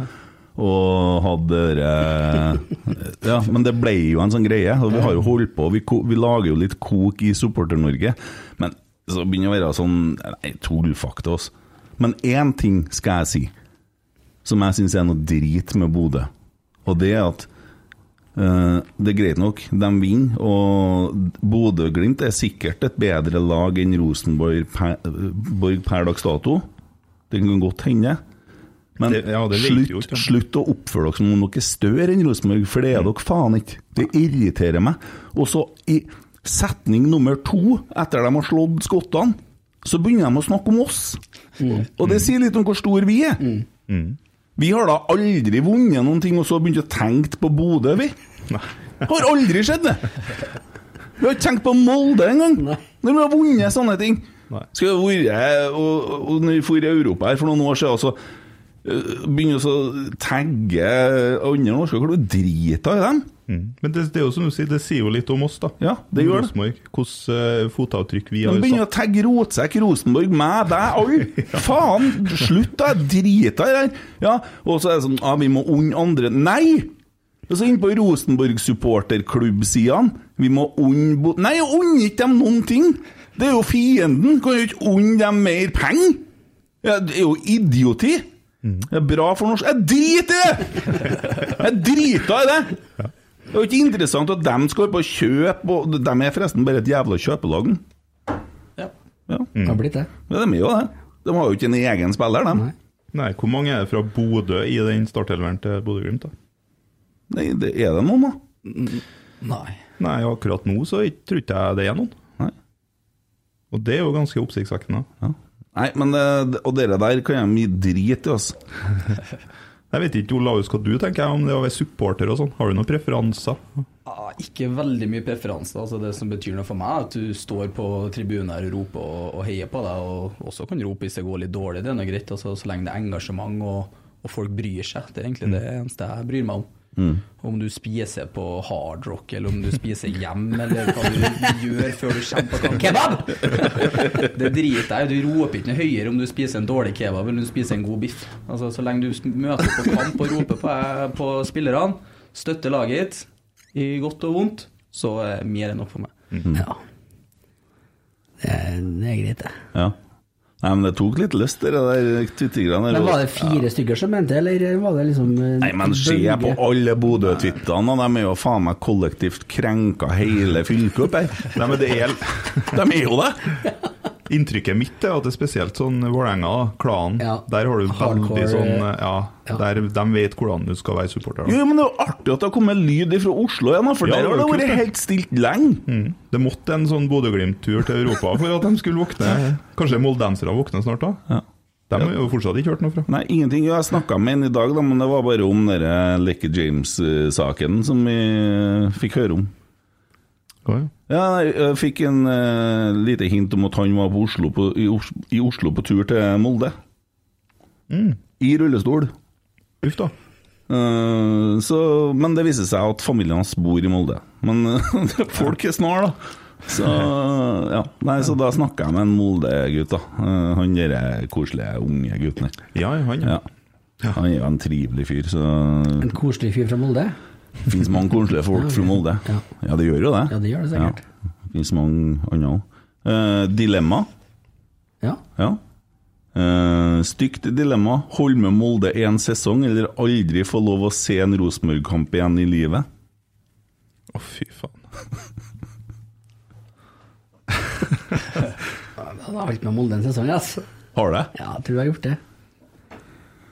S5: Og hadde eh, Ja, men det ble jo en sånn greie. Og vi har jo holdt på, vi, ko- vi lager jo litt kok i Supporter-Norge. Men så begynner det å være sånn Nei, tullfuck til oss. Men én ting skal jeg si, som jeg syns er noe drit med Bodø. Og det er at eh, det er greit nok, de vinner, og Bodø-Glimt er sikkert et bedre lag enn Rosenborg per, Borg per dags dato. Det kan godt hende. Men
S8: Det- ja, det vet vi jo
S5: slutt,
S8: ikke.
S5: slutt å oppføre dere som om dere er større enn Rosenborg, for
S8: Mm.
S5: det er dere faen ikke. Det irriterer meg. Og så, i setning nummer to, etter de har slått skottene, så begynner de å snakke om oss.
S8: Mm.
S5: Og det sier litt om hvor store vi er. Vi har da aldri vunnet noen ting, og så begynt å tenke på Bodø, vi. Har aldri skjedd, det. Vi har ikke tenkt på Molde engang, når vi har vunnet sånne ting.
S8: Nei.
S5: Skulle jeg vært eh, og, og når vi for i Europa her for noen år siden, så øh, begynner vi å tagge andre norske klubber. Drita i dem.
S8: Men det, det er jo som du sier, det sier jo litt om oss, da.
S5: Mm. Ja, det gjør det.
S8: Rosenborg. Hvordan eh, fotavtrykk vi
S5: De
S8: har
S5: begynner å tagge Rotsekk, Rosenborg, meg, deg, alle. Faen! Slutt, da! jeg Driter i det her. Ja, og så er det sånn Ja, vi må unne andre Nei! Og så innpå Rosenborg-supporterklubb-sidene. Vi må unne bo... Nei, unne ikke dem noen ting! Det er jo fienden. Kan jo ikke unne dem mer penger! Ja, det er jo idioti! Det er bra for norsk Jeg driter i det! Jeg driter i det! Det er jo ikke interessant at de skal på kjøp, og de er forresten bare et jævla kjøpelag. Ja.
S6: Har blitt det.
S5: Men de er jo det. De har jo ikke en egen spiller, de. Nei,
S8: Nei, hvor mange er det fra Bodø i den startelveren til Bodø-Glimt, da?
S5: det er det noen, da.
S7: Nei.
S8: Nei, akkurat nå så ikke- tror ikke jeg det er noen.
S5: Nei.
S8: Og det er jo ganske oppsiktsvekkende.
S5: Nei, men eh, Og dere der kan jeg mye drit i, altså.
S8: Jeg vet ikke, Olaus, hva du tenker om det å være supporter og sånn. Har du noen preferanser?
S7: Ah, ikke veldig mye preferanser. Altså det som betyr noe for meg, er at du står på tribunen her og roper og, og heier på deg, og også kan rope hvis det går litt dårlig. Det er noe greit. Altså, så lenge det er engasjement og, og folk bryr seg. Det er egentlig det eneste jeg bryr meg om. Om du spiser på hardrock, eller om du spiser hjem, eller hva du gjør før du kommer på kamp. Kebab! Det driter jeg i. Du roper ikke noe høyere om du spiser en dårlig kebab eller om du spiser en god biff. Altså, så lenge du møter opp på kamp og roper på, på spillerne, støtter laget ditt i godt og vondt, så er mer enn nok for meg.
S6: Ja. Det er, det er greit, det.
S5: Ja. Nei, men det tok litt lyst, det der twittergreiene
S6: Men
S5: der.
S6: Var det fire stykker som mente, eller var det liksom eh,
S5: Nei, men se
S6: bølge?
S5: på alle Bodø-twittene, og de er jo faen meg kollektivt krenka hele fylket opp her.
S8: Nei, men det er
S5: De er jo det!
S8: Inntrykket mitt er at det er spesielt sånn Vålerenga, da, klanen.
S6: Ja.
S8: Der har du
S6: Hardcore,
S8: veldig
S6: eh,
S8: sånn Ja,
S6: ja.
S8: der de vet hvordan du skal være supporter. da.
S5: Jo, men det er jo artig at det har kommet lyd fra Oslo igjen, da, for
S8: Ja,
S5: der har
S8: det
S5: det
S8: er kult,
S5: vært
S8: det.
S5: helt stilt lenge.
S8: Mm. Det måtte en sånn Bodø-Glimt-tur til Europa for at de skulle våkne. Kanskje moldensere våkner snart, da? De har jo fortsatt ikke hørt noe fra.
S5: Nei, ingenting. Jo, Jeg snakka med en i dag, da, men det var bare om den Lekke James-saken som vi eh, fikk høre om.
S8: Ja, ja.
S5: Ja, jeg fikk en eh, lite hint om at han var på Oslo på, i, Os i Oslo på tur til Molde. I rullestol.
S8: Uff da.
S5: Eh, så, men det viser seg at familien hans bor i Molde. Men eh, folk er snar, da. Så, ja. Nei, så da snakka jeg med en Molde-gutt, da. Eh, han der koselige unge gutten der.
S8: Ja, ja, han, ja.
S5: Ja. Han er jo en trivelig fyr, så
S6: En koselig fyr fra Molde?
S5: det finnes mange koselige folk fra Molde.
S6: Ja.
S5: Ja, det gjør jo det.
S6: Ja, det gjør det sikkert.
S5: Ja. Det finnes mange andre òg. Eh, dilemma.
S6: Ja.
S5: Ja. Eh, stygt dilemma. Holme Molde én sesong, eller aldri få lov å se en Rosenborg-kamp igjen i livet?
S8: Å, fy faen.
S6: Jeg har holdt med Molde en sesong, altså.
S5: Har det?
S6: Ja, jeg tror jeg har gjort det.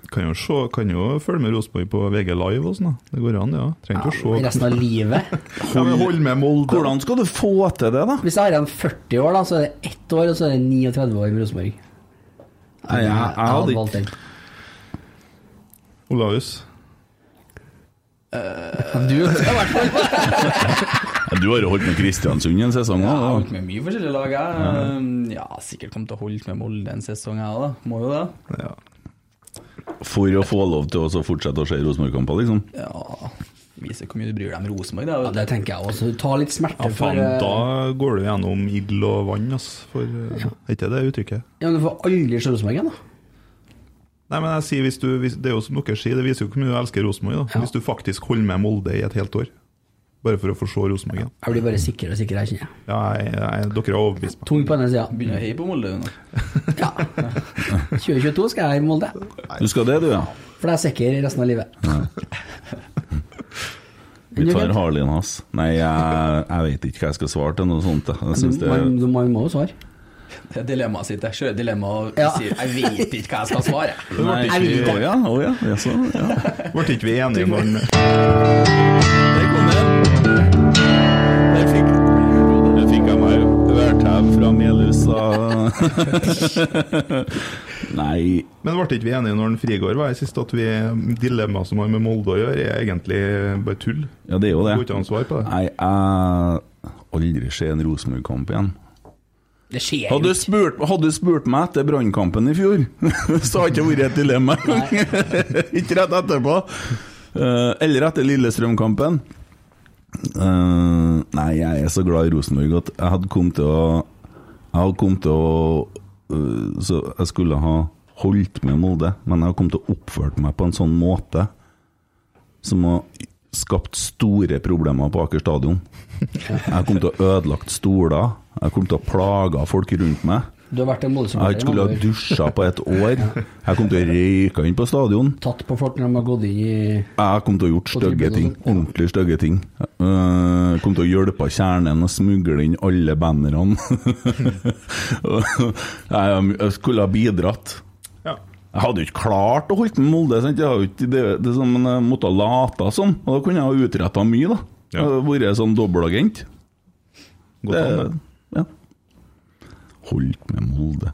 S8: Kan jo, se, kan jo følge med Rosenborg på VG Live og sånn. da. Det går an, ja. Trenger ikke å se.
S6: Resten av livet.
S8: Ja, men hold med Molde.
S5: Hvordan skal du få til det, da?
S6: Hvis jeg har igjen 40 år, da, så er det ett år, og så er det 39 år med Rosenborg.
S5: Nei, jeg, jeg hadde
S6: valgt
S5: ikke
S6: den.
S8: Olaus.
S5: Du har jo holdt med Kristiansund en sesong
S7: Jeg har
S5: òg.
S7: holdt med mye forskjellige lag, jeg. Um, Ja, sikkert kommet til å holde med Molde en sesong, jeg òg, da. Må jo det.
S8: Ja.
S5: For å få lov til å så fortsette å se Rosenborg-kamper, liksom.
S7: Ja, Vise hvor mye du bryr deg om Rosenborg, da.
S6: Ja, det tenker jeg også. Ta litt smerte
S8: Ja, faen,
S6: for eh,
S8: da går du gjennom ild og vann, ass. For, eh, Er ikke det uttrykket?
S6: Ja, men du får aldri se Rosenborg igjen, da.
S8: Nei, men jeg sier, hvis du, hvis, Det er jo som dere sier, det viser jo hvor mye du elsker Rosenborg. da.
S6: Ja.
S8: Hvis du faktisk holder med Molde i et helt år. Bare for å få se Rosenborg igjen.
S6: Jeg blir bare sikrere og sikrere, jeg kjenner jeg.
S8: Ja, jeg, jeg, dere har overbevist meg.
S6: Tung på denne sida.
S7: Begynner å heie på Molde nå.
S6: 2022 skal jeg i Molde,
S5: Du skal det, du, ja?
S6: for det er sikker resten av livet.
S5: Vi
S6: Men du
S5: tar
S6: vet-
S5: Harlien hans. Nei, jeg, jeg vet ikke hva jeg skal svare til noe sånt. jeg. Jeg
S6: Du,
S5: synes det
S6: man, du, man må jo svare.
S7: Det er dilemmaet sitt. Jeg kjører dilemma og
S6: Ja.
S7: sier 'jeg vet ikke hva jeg skal svare'.
S5: Nei,
S6: Jeg vil ikke.
S5: å ja, å ja, ja, så, ja.
S8: Ble ikke vi enige om den?
S5: Der kom den. Der fikk, der fikk jeg meg værtau fra Melhus og Nei,
S8: Men ble ikke vi enige når den Frigård var her sist, at vi dilemmaet som har med Molde å gjøre, er egentlig bare tull?
S5: ja, det er jo det.
S8: Går ikke an å svare på det?
S5: Nei, jeg aldri ser en Rosenborg-kamp igjen.
S6: Det skjer jo
S5: Hadde du
S6: ikke.
S5: spurt, hadde du spurt meg etter Brannkampen i fjor, så hadde det ikke vært et dilemma engang. ikke rett etterpå. Eh, eller etter Lillestrøm-kampen. Eh, nei, jeg er så glad i Rosenborg at jeg hadde kommet til å Jeg hadde kommet til å eh, Så jeg skulle ha holdt med Molde, men jeg hadde kommet til å oppført meg på en sånn måte som har skapt store problemer på Aker stadion. Jeg kom til å ha ødelagt stoler. Jeg kom til å ha plaga folk rundt meg.
S6: Du har vært en
S5: Jeg har ikke skulle ha
S6: Molde-supporter. Du...
S5: dusja på et år. Jeg kom til å røyke inn på stadion.
S6: Tatt på folk når de har gått inn i
S5: Jeg kom til å gjort
S6: På
S5: stygge
S6: tribunen
S5: ting.
S6: også.
S5: Ordentlig stygge ting. Jeg kom til å hjelpe kjernen og smugle inn alle bannerne. Jeg jeg skulle ha bidratt.
S8: Ja.
S5: Jeg hadde jo ikke klart å holde med Molde, sant? Jeg hadde jo ikke det, det som en eh, måtte ha lata som. Og da kunne jeg ha utretta mye, da.
S8: Ja.
S5: Jeg hadde Vært sånn dobbeltagent.
S8: Godt an, det.
S5: Ja. Holdt med Molde.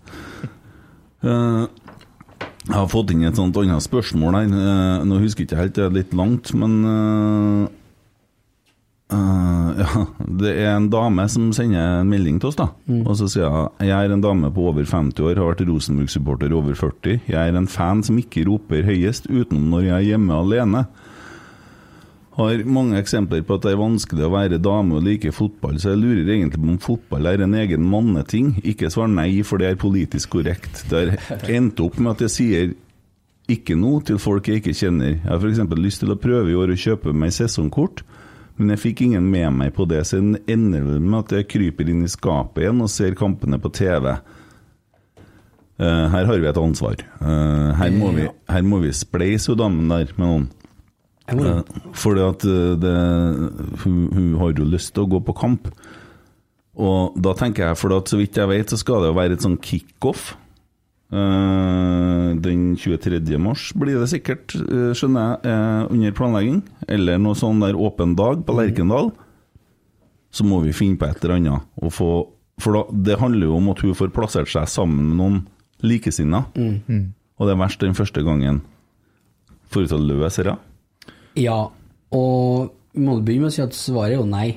S5: Eh, jeg har fått inn et sånt annet spørsmål her. Eh, nå husker jeg ikke helt, det er litt langt, men eh, eh, ja, Det er en dame som sender en melding til oss, da. Og så sier hun jeg er en dame på over 50 år, har vært Rosenborg-supporter over 40. Jeg er en fan som ikke roper høyest utenom når jeg er hjemme alene. Har mange eksempler på at det er vanskelig å være dame og like fotball, så jeg lurer egentlig på om fotball er en egen manneting. Ikke svar nei, for det er politisk korrekt. Det har endt opp med at jeg sier ikke noe til folk jeg ikke kjenner. Jeg har f.eks. lyst til å prøve i år å kjøpe meg sesongkort, men jeg fikk ingen med meg på det, så det ender vel med at jeg kryper inn i skapet igjen og ser kampene på TV. Eh, her har vi et ansvar. Eh, her, må vi, her må vi spleise hun damen der med noen. Eh, Fordi at eh, det, hun, hun har jo lyst til å gå på kamp. Og da tenker jeg, for at så vidt jeg vet, så skal det jo være et sånn kickoff. Eh, den 23. mars blir det sikkert, eh, skjønner jeg, eh, under planlegging. Eller noe sånn der åpen dag på Lerkendal. Så må vi finne på et eller annet. Og få, for da, det handler jo om at hun får plassert seg sammen med noen likesinnede. Og det er verst den første gangen. Forut til å løse det.
S6: Ja, og vi må begynne med å si at svaret er jo nei.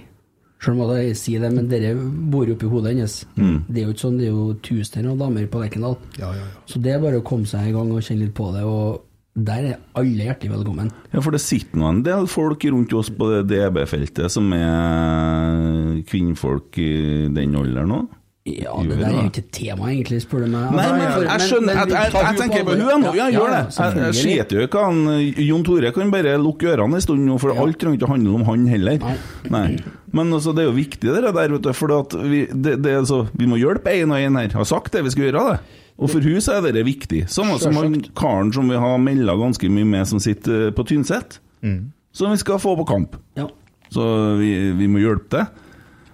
S6: Selv om at jeg sier det, men dere bor jo oppi hodet hennes.
S5: Mm.
S6: Det er jo ikke sånn, det er jo tusener av damer på Lerkendal.
S8: Ja, ja, ja.
S6: Så det er bare å komme seg i gang og kjenne litt på det, og der er alle hjertelig velkommen.
S5: Ja, for det sitter nå en del folk rundt oss på det DB-feltet som er kvinnfolk i den alderen òg.
S6: Ja,
S5: Gjør
S6: det
S5: vi
S6: der er
S5: det?
S6: jo ikke et tema, egentlig, spør du meg.
S5: Nei, men
S6: for-
S5: jeg skjønner Jeg,
S6: men
S5: jeg,
S6: tar
S5: jeg
S6: jo
S5: tenker på
S6: alvor.
S5: henne nå. Ja, gjør det.
S6: ja,
S5: Jeg, jeg
S6: selvfølgelig.
S5: sliter jo ikke han Jon Tore kan bare lukke ørene en stund nå, for alt trenger ikke å handle om han heller.
S6: Nei.
S5: Nei. Men altså, det er jo viktig, det der, vet du. For at vi, det, det er altså, vi må hjelpe en og en her. Jeg har sagt det, vi skal gjøre det. Og for hun så er dette viktig. Samme som han karen som vi har melda ganske mye med, som sitter eh, på Tynset. Som vi skal få på kamp.
S6: Ja.
S5: Så vi, vi må hjelpe til.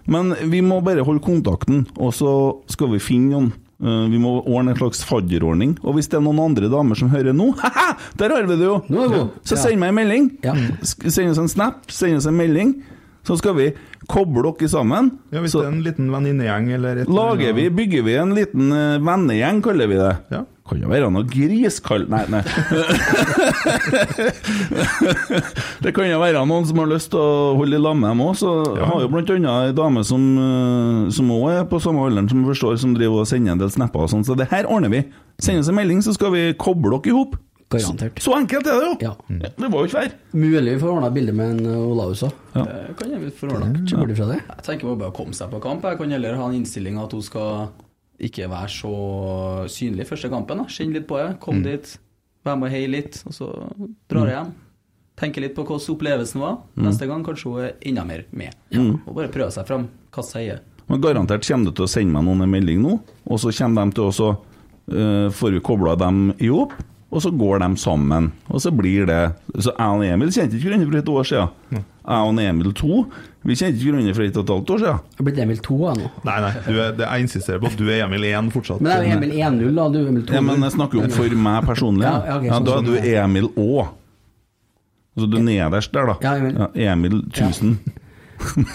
S5: Men vi må bare holde kontakten, og så skal vi finne noen. Eh, Eh, Vi må ordne en slags fadderordning. Og hvis det er noen andre damer som hører nå, haha, der har vi det jo!
S6: Nå er det god.
S5: Så
S6: Ja.
S5: send meg en melding.
S6: Ja.
S5: Sk- Send oss en snap, send oss en melding. Så skal vi koble dere sammen.
S8: Ja, hvis
S5: så
S8: det er en liten venninnegjeng eller et
S5: lager vi, bygger vi en liten eh, vennegjeng, kaller vi det.
S8: Ja.
S5: Kan jo være noe griskall... Nei, nei. det kan jo være noen som har lyst til å holde i lag med dem òg. Så jeg har jo blant annet ei dame som, eh, som òg er på samme alderen som forstår, som driver og sender en del snapper og sånn. Så det her ordner vi. Send oss en melding, så skal vi koble dere i hop.
S6: Garantert.
S5: Så enkelt er det jo!
S6: Ja.
S5: Det var jo ikke verre.
S6: Mulig vi får ordna bilde med en eh, Olaus òg.
S7: Det kan jeg vel forordne.
S6: Ikke bort ifra det.
S7: Jeg tenker på bare å komme seg på kamp. Jeg kan heller ha en innstilling at hun skal ikke være så synlig første kampen. da. Kjenne litt på det. Kom dit, være med og heie litt, og så drar jeg hjem. Tenke litt på hvordan opplevelsen var. Neste gang kanskje hun er enda mer med. Og bare prøve seg fram. Kaste seg i det.
S5: Men garantert kommer du til å sende meg noen en melding nå, og så kommer de til å så eh, får vi kobla dem i hop, og så går de sammen. Og så blir det Så jeg og Emil kjente ikke hverandre for et år siden. Jeg og Emil to, vi kjente ikke hverandre for et og et halvt år siden.
S6: Jeg er blitt Emil 2 jeg nå.
S8: Nei, nei, du er, det, jeg insisterer på at du er Emil 1 fortsatt.
S6: Men det er jo Emil 1-0, da. Du er Emil 2.
S5: Ja, men jeg snakker jo om for meg personlig.
S6: Ja, ja, ok, sånn
S5: da
S6: som
S5: er du
S6: det er.
S5: Emil Å. Så du er nederst der, da.
S6: Ja, Emil.
S5: Emil 1000.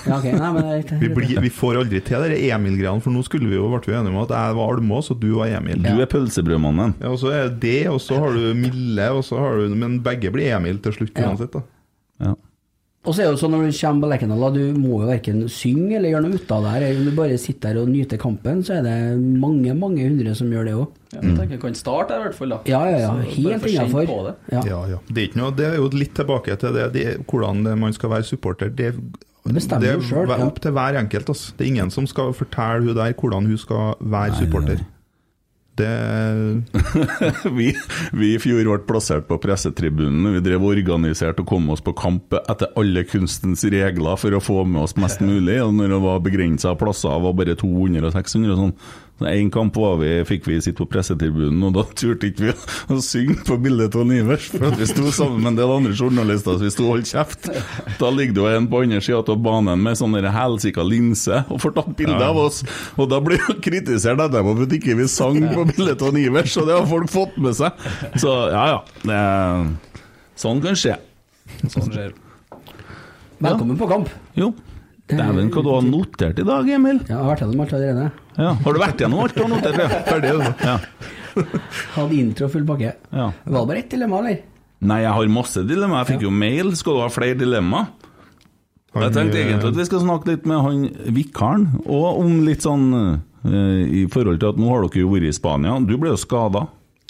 S6: Ja, ok. Nei, men det er
S8: vi,
S6: riktig.
S8: blir, vi får aldri til det Emil-greiene, for nå skulle vi jo, ble vi enige om at jeg var Almås og du var Emil.
S5: Du er pølsebrødmannen.
S8: Ja, og så er det det, og så har du Mille, og så har du Men begge blir Emil til slutt
S6: Ja.
S8: uansett, da.
S5: Ja.
S6: Og så er det jo sånn når du kommer på Lerkendal, da, du må jo verken synge eller gjøre noe ut av det her. Om du bare sitter her og nyter kampen, så er det mange, mange hundre som gjør det òg.
S7: Ja, jeg tenker jeg kan starte der i hvert fall, da.
S6: Ja, ja, ja.
S7: Så bare
S6: Helt
S7: få kjenne på
S6: innafor.
S7: det.
S6: Ja.
S8: Det, er ikke noe, det er jo litt tilbake til det, det hvordan det, man skal være supporter. Det,
S6: Bestemmer
S8: det
S6: jo selv,
S8: er
S6: ja.
S8: opp til hver enkelt. Altså. Det er ingen som skal fortelle hun der hvordan hun skal være supporter. Det
S5: vi, vi i fjor ble plassert på pressetribunen. Vi drev organisert og kom oss på kamp etter alle kunstens regler for å få med oss mest mulig. Og når det var begrensa plasser, var bare 200 og 600 og sånn. Så en kamp var vi, fikk vi sitte på pressetribunen, og da turte ikke vi å- å synge på bildet av Ivers. For at vi sto sammen med en del andre journalister, så vi sto og holdt kjeft. Da ligger det jo en på andre sida av banen med sånn der helsika linse og får tatt bilde av oss. Og da blir jo kritisert etterpå for at ikke vi sang på bildet av Ivers, og det har folk fått med seg. Så ja, ja. Det, sånn kan skje.
S7: Sånn skjer.
S6: Velkommen på kamp.
S5: Jo. Dæven, hva du har notert i dag, Emil?
S6: Ja, jeg har vært gjennom alt allerede.
S5: Ja. Har du vært gjennom alt du har notert? Ja. Ferdig, du. Ja.
S6: Hadde intro og full pakke.
S5: Ja.
S6: Var det bare ett dilemma, eller?
S5: Nei, jeg har masse dilemma. Jeg fikk jo mail. Skal du ha flere dilemma? Jeg tenkte
S8: eh,
S5: egentlig at vi skal snakke litt med han vikaren, og om litt sånn eh, i forhold til at nå har dere jo vært i Spania. Du ble jo skada.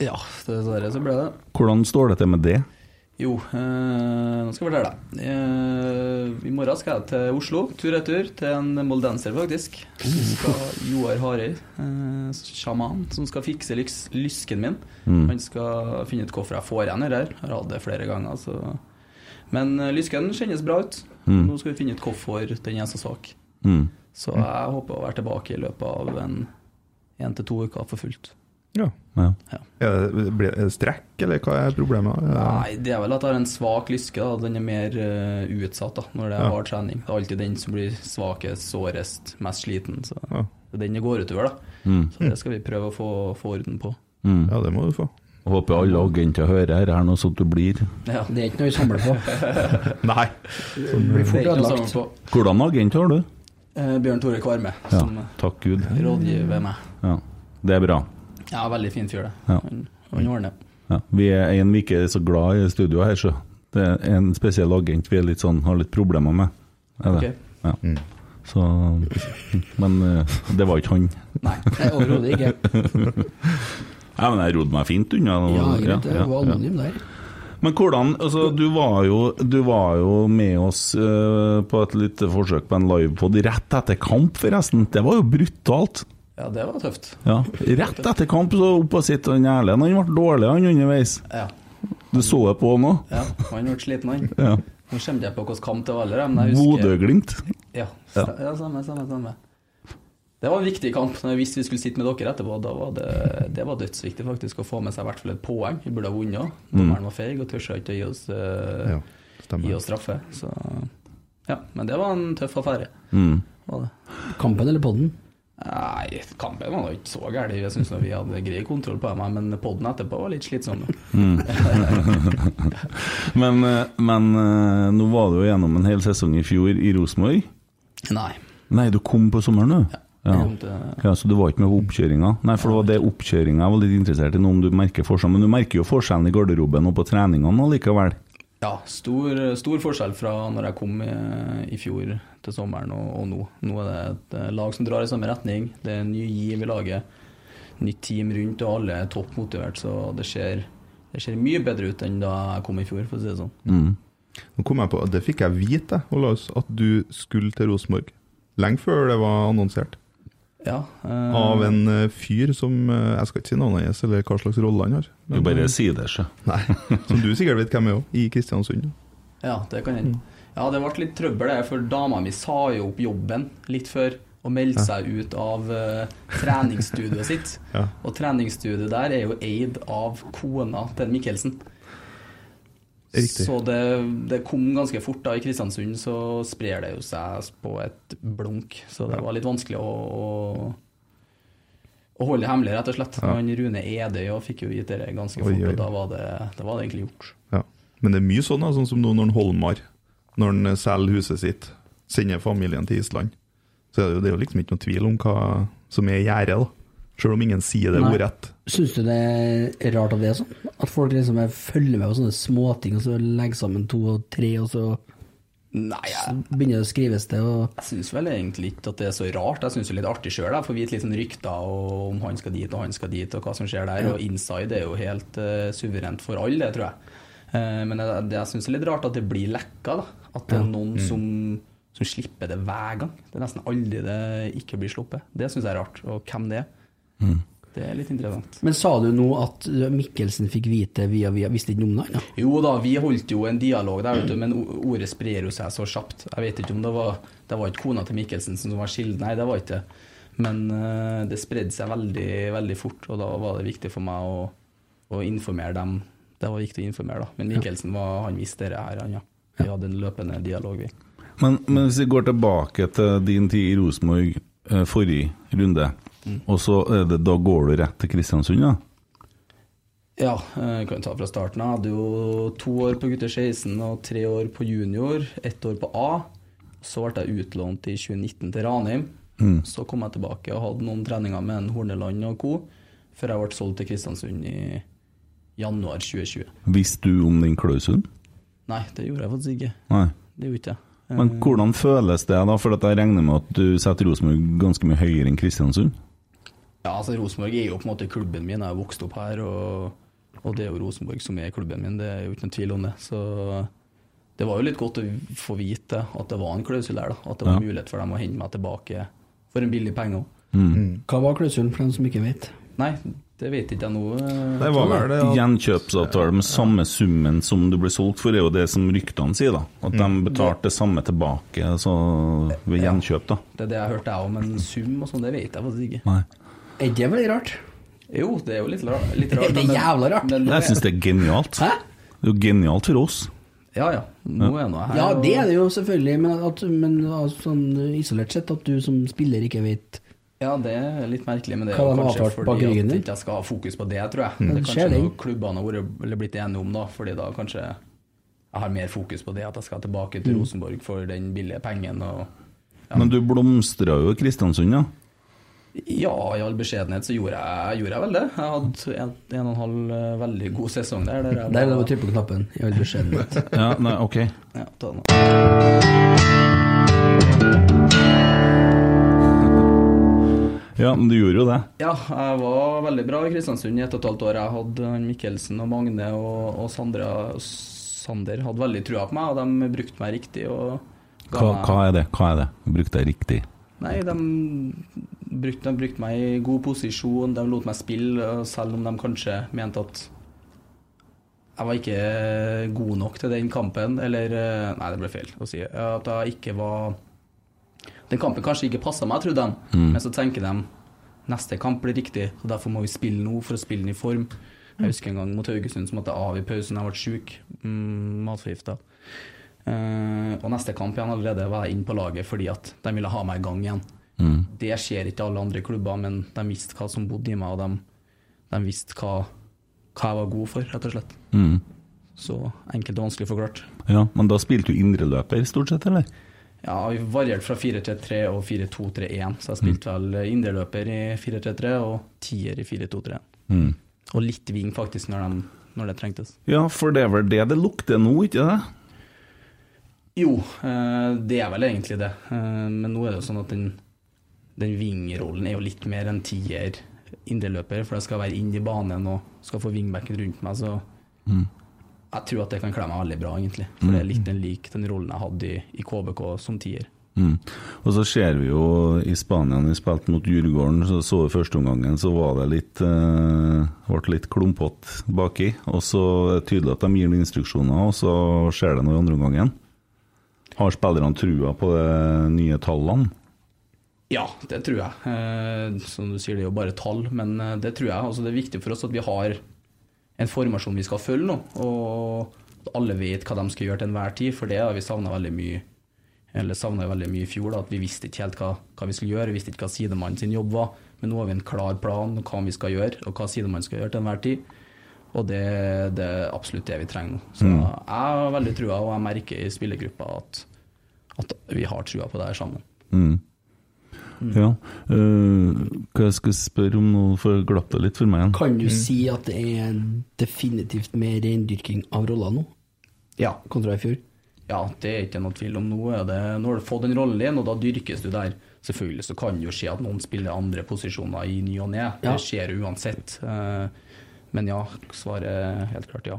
S7: Ja, dessverre så ble det.
S5: Hvordan står det til med det?
S7: Jo, eh, nå skal jeg fortelle deg. Eh, I morgen skal jeg til Oslo, tur-retur, til en moldenser, faktisk. Så Skal Joar Harøy, eh, sjaman, som skal fikse lyks, lysken min. Han skal finne ut hvorfor jeg får igjen det her. Jeg Har hatt det flere ganger. Så. Men eh, lysken kjennes bra ut. Nå skal vi finne ut hvorfor den er så svak.
S5: Mm.
S7: Så jeg håper å være tilbake i løpet av en én til to uker for fullt.
S8: ja.
S5: Ja.
S8: er, det, blir- er det strekk, eller hva er problemet? Ja.
S7: Nei, det er vel at jeg har en svak lyske. da Den er mer eh, utsatt da når det er
S8: Ja.
S7: hard trening. Det er alltid den som blir svakest, sårest, mest sliten. Så
S8: Ja.
S7: det er den det går utover, da.
S6: Mm.
S7: Så det skal vi prøve å få, få orden på.
S8: ja, det må du få.
S5: Håper alle agenter hører her, her nå, så du blir
S7: Ja,
S6: Det er ikke noe vi samler på.
S8: Nei.
S6: Det blir
S7: det
S6: fort
S7: er ikke noe sammen
S6: ødelagt.
S7: på.
S5: Hvordan agent har du?
S7: Eh, Bjørn Tore Kvarme,
S5: Ja.
S7: som
S5: Takk Gud.
S7: rådgiver meg.
S5: Ja. Det er bra.
S7: Ja, veldig fin fyr, det.
S5: Ja.
S7: Han, han ordner.
S5: Ja. Vi er en vi ikke er så glad i studio her, så det er en spesiell agent vi er litt sånn, har litt problemer med. Er det?
S7: Ok.
S5: Ja. Så Men eh, det var ikke han.
S7: Nei.
S6: Nei, Overhodet ikke.
S5: Ja, men jeg rodde meg fint unna.
S6: Ja,
S5: og-
S6: greit, det
S5: ja,
S6: var
S5: ja.
S6: anonym der.
S5: Men hvordan, altså du var jo, du var jo med oss eh, på et lite forsøk på en livepod rett etter kamp, forresten. Det var jo brutalt.
S7: Ja, det var tøft.
S5: Ja. Rett etter kamp så opp og sitte han Erlend. Han ble dårlig han underveis.
S7: Ja.
S5: Du så det på nå?
S7: ja. Han ble sliten, han.
S5: Ja.
S7: Nå kommer jeg på hvilken kamp det var, eller, men jeg husker
S5: Bodø-Glimt.
S7: Ja, ja. ja samme, samme, samme. Det var en viktig kamp. Når jeg visste vi skulle sitte med dere etterpå, da var det, det var dødsviktig faktisk å få med seg i hvert fall et poeng. Vi burde ha vunnet. også. Dommeren var feig og tørsa ikke å gi oss, eh,
S8: Ja,
S7: gi
S8: stemmer.
S7: oss straffe. Så ja, men det var en tøff affære.
S5: Mm.
S7: Var det.
S6: Kampen eller podden?
S7: Nei, kampen var nå ikke så gæren. Jeg syns vi hadde grei kontroll på dem, men poden etterpå var litt slitsom.
S5: Men, eh, men eh, nå var du jo gjennom en hel sesong i fjor i Rosenborg.
S7: Nei.
S5: Nei, du kom på sommeren, du?
S7: jeg
S5: Ja.
S7: kom til-
S5: ja, Så du var ikke med på oppkjøringa? Nei, for det var det oppkjøringa jeg var litt interessert i, nå om du merker forskjellen. Men du merker jo forskjellen i garderoben og på treningene allikevel.
S7: Ja, stor, stor forskjell fra når jeg kom i, i fjor til sommeren og, og nå. Nå er det et eh, lag som drar i samme retning. Det er en ny giv i laget. Nytt team rundt, og alle er topp motivert. Så det ser, det ser mye bedre ut enn da jeg kom i fjor, for å si det sånn.
S8: Nå kom jeg på, Det fikk jeg vite, Olaus, at du skulle til Rosenborg. Lenge før det var annonsert.
S7: Ja, eh,
S8: Av en eh, fyr som eh, Jeg skal ikke si navnet hans, eller hva slags rolle han har.
S5: Du bare sier det, sjø.
S8: Nei, Som du sikkert vet hvem er òg, i Kristiansund.
S7: Ja, det kan
S8: Mm.
S7: hende. Ja, det ble litt trøbbel, det, for dama mi sa jo opp jobben litt før og meldte seg ut av eh, treningsstudioet sitt.
S8: Ja.
S7: Og treningsstudioet der er jo eid av kona til Mikkelsen.
S8: Riktig.
S7: Så det, det kom ganske fort. da I Kristiansund så sprer det jo seg på et blunk. Så det var litt vanskelig å, å, å holde det hemmelig, rett og slett. Men Rune Edøy og fikk jo gitt det ganske
S8: Oi,
S7: fort,
S8: oi.
S7: og da var det, da var det egentlig gjort.
S8: Ja. Men det er mye sånn, da, sånn som nå når en Holmar Når han eh, selger huset sitt, sender familien til Island. Så er det jo, det er jo liksom ikke noe tvil om hva som er i gjerdet, da. Selv om ingen sier det
S6: Nei.
S8: ordrett.
S6: Syns du det er rart at det er sånn? At folk liksom er- følger med på sånne småting, og så legger sammen to og tre, og så
S7: Nei, jeg,
S6: begynner det å skrives det, og
S7: Jeg syns vel egentlig ikke at det er så rart. Jeg syns det er litt artig sjøl. Jeg får vite litt sånn rykter og om han skal dit og han skal dit, og hva som skjer der. Og inside er jo helt eh, suverent for alle, det tror jeg. Eh, men jeg, det, jeg syns det er litt rart at det blir lekka. da. At det er noen som, som slipper det hver gang. Det er nesten aldri det ikke blir sluppet. Det syns jeg er rart. Og hvem det er. Det er litt interessant.
S6: Men sa du nå at Mikkelsen fikk vite via via, visste ikke noe om det? Ja.
S7: Jo da, vi holdt jo en dialog der, vet du, men o- ordet sprer jo seg så kjapt. Jeg vet ikke om det var Det var ikke kona til Mikkelsen som var kilden, nei, det var ikke det. Men eh, det spredde seg veldig, veldig fort, og da var det viktig for meg å, å informere dem. Det var viktig å informere, da. Men Mikkelsen var, han visste det her, han, ja. Vi hadde en løpende dialog, vi.
S5: Men, men hvis vi går tilbake til din tid i Rosenborg eh, forrige runde, og så er det, da går du rett til Kristiansund, da?
S7: Ja, eh, kan ta fra starten. av. Jeg hadde jo to år på gutter 16 og tre år på junior. Ett år på A. Så ble jeg utlånt i 2019 til Ranheim. Så kom jeg tilbake og hadde noen treninger med en Horneland og co. Før jeg ble solgt til Kristiansund i januar 2020.
S5: Visste du om den klausulen?
S7: Nei, det gjorde jeg faktisk ikke.
S5: Nei.
S7: Det gjorde ikke jeg. Eh,
S5: Men hvordan føles det, da? For at jeg regner med at du setter Rosenborg ganske mye høyere enn Kristiansund?
S7: Ja, altså Rosenborg er jo på en måte klubben min. Jeg har vokst opp her, og, og det er jo Rosenborg som er klubben min. Det er jo ikke noen tvil om det. Så det var jo litt godt å få vite at det var en klausul der, da. At det var mulighet for dem å hente meg tilbake for en billig penge òg.
S6: Mm. Hva var klausulen for dem som ikke vet?
S7: Nei, det vet ikke jeg nå.
S8: Det var vel det. at-
S5: Gjenkjøpsavtale med samme summen som du ble solgt for, er jo det som ryktene sier, da. At de betalte det samme tilbake altså, ved gjenkjøp, da.
S7: Det er det jeg hørte, jeg òg, men sum og sånn, det vet jeg faktisk ikke.
S5: Nei.
S6: Er det veldig rart?
S7: Jo, det er jo litt rart. Litt rart
S6: Det er
S7: men-
S6: jævla rart.
S7: men nå er-
S5: Jeg syns det er genialt.
S6: Hæ?
S5: Det er jo genialt for oss.
S7: Ja ja, nå er jeg nå her.
S6: Ja, det er
S7: og-
S6: det jo selvfølgelig, men, at, men altså, sånn isolert sett at du som spiller ikke vet
S7: Ja, det er litt merkelig, men det er
S6: Hva
S7: jo
S6: de har
S7: kanskje
S6: avtalt
S7: fordi
S6: bak
S7: at
S6: ryggen
S7: jeg
S6: din?
S7: ikke skal ha fokus på det, tror jeg. Det er
S6: skjer
S7: kanskje
S6: det.
S7: noe klubbene har vært- eller blitt enige om, da, fordi da kanskje jeg har mer fokus på det, at jeg skal tilbake
S6: Mm.
S7: til Rosenborg for den billige pengen. og
S5: Men du blomstra jo i Kristiansund, ja.
S7: ja, i all beskjedenhet så gjorde jeg, gjorde jeg vel det. Jeg hadde en, en og en halv eh, veldig god sesong der. der jeg
S6: Der er det
S7: var-
S6: å trykke på knappen, i all beskjedenhet.
S5: ja nei, ok.
S7: ja, ta den.
S5: Ja, men du gjorde jo det.
S7: Ja, jeg var veldig bra i Kristiansund i ett og et halvt år. Jeg hadde han Mikkelsen og Magne og, og Sandra, Sander hadde veldig trua på meg, og de brukte meg riktig. Og ga
S5: Hva,
S7: meg-
S5: hva er det? Hva er det? Bruk det riktig.
S7: Nei, de brukte, de brukte meg i god posisjon, de lot meg spille, og selv om de kanskje mente at jeg var ikke god nok til den kampen, eller eh, Nei, det ble feil å si. At jeg ikke var Den kampen kanskje ikke passa meg, trodde de, men så tenker de neste kamp blir riktig, så derfor må vi spille nå for å spille den i form. Jeg husker en gang mot Haugesund som måtte jeg av i pausen, jeg ble sjuk. Mm, Matforgifta. Eh, og neste kamp igjen allerede var jeg inne på laget fordi at de ville ha meg i gang igjen. Det skjer ikke i alle andre klubber, men de visste hva som bodde i meg, og de, de visste hva, hva jeg var god for, rett og slett. Så enkelt og vanskelig forklart.
S5: Ja, Men da spilte du indreløper stort sett, eller?
S7: Ja, vi varierte fra 4-3-3 og 4-2-3-1, så jeg spilte vel indreløper i 4-3-3 og tier i 4-2-3-1. Og litt wing, faktisk, når, de, når det trengtes.
S5: Ja, for det er vel det det lukter nå, ikke det?
S7: Jo, eh, det er vel egentlig det. Eh, Men nå er det jo sånn at den, den vingrollen er jo litt mer enn tier indreløper, for jeg skal være inn i banen og skal få vingbacken rundt meg, så jeg tror at det kan kle meg veldig bra, egentlig. For det er litt den lik den rollen jeg hadde i, i KBK som tier.
S5: Mm. Og så ser vi jo i Spania, når vi spilte mot Djurgården, så så vi første omgangen, så var det litt eh, ble litt klumpete baki. Og så er det tydelig at de gir noen instruksjoner, og så skjer det noe i andre omgangen. Har spillerne trua på de nye tallene?
S7: Ja, det tror jeg. Eh, som du sier, det er jo bare tall, men eh, det tror jeg. Altså, det er viktig for oss at vi har en formasjon vi skal følge nå, og at alle vet hva de skal gjøre til enhver tid, for det har vi savna veldig mye. Eller savna veldig mye i fjor, da, at vi visste ikke helt hva, hva vi skulle gjøre, vi visste ikke hva sidemannen sin jobb var, men nå har vi en klar plan om hva vi skal gjøre, og hva sidemannen skal gjøre til enhver tid. Og det, det er absolutt det vi trenger nå. Så jeg har veldig trua, og jeg merker i spillergruppa at, at vi har trua på det her sammen.
S5: Ja. Eh, hva jeg skal spørre om nå, for glapp det litt for meg igjen.
S6: Kan du si at det er definitivt mer reindyrking av roller nå,
S7: Ja,
S6: kontra i fjor?
S7: Ja, det er ikke noe tvil om. Nå, er det, nå har du fått den rollen din, og da dyrkes du der. Selvfølgelig så kan det jo skje at noen spiller andre posisjoner i ny og ne.
S6: Ja.
S7: Det skjer uansett. Eh, Men ja, svaret er helt klart ja.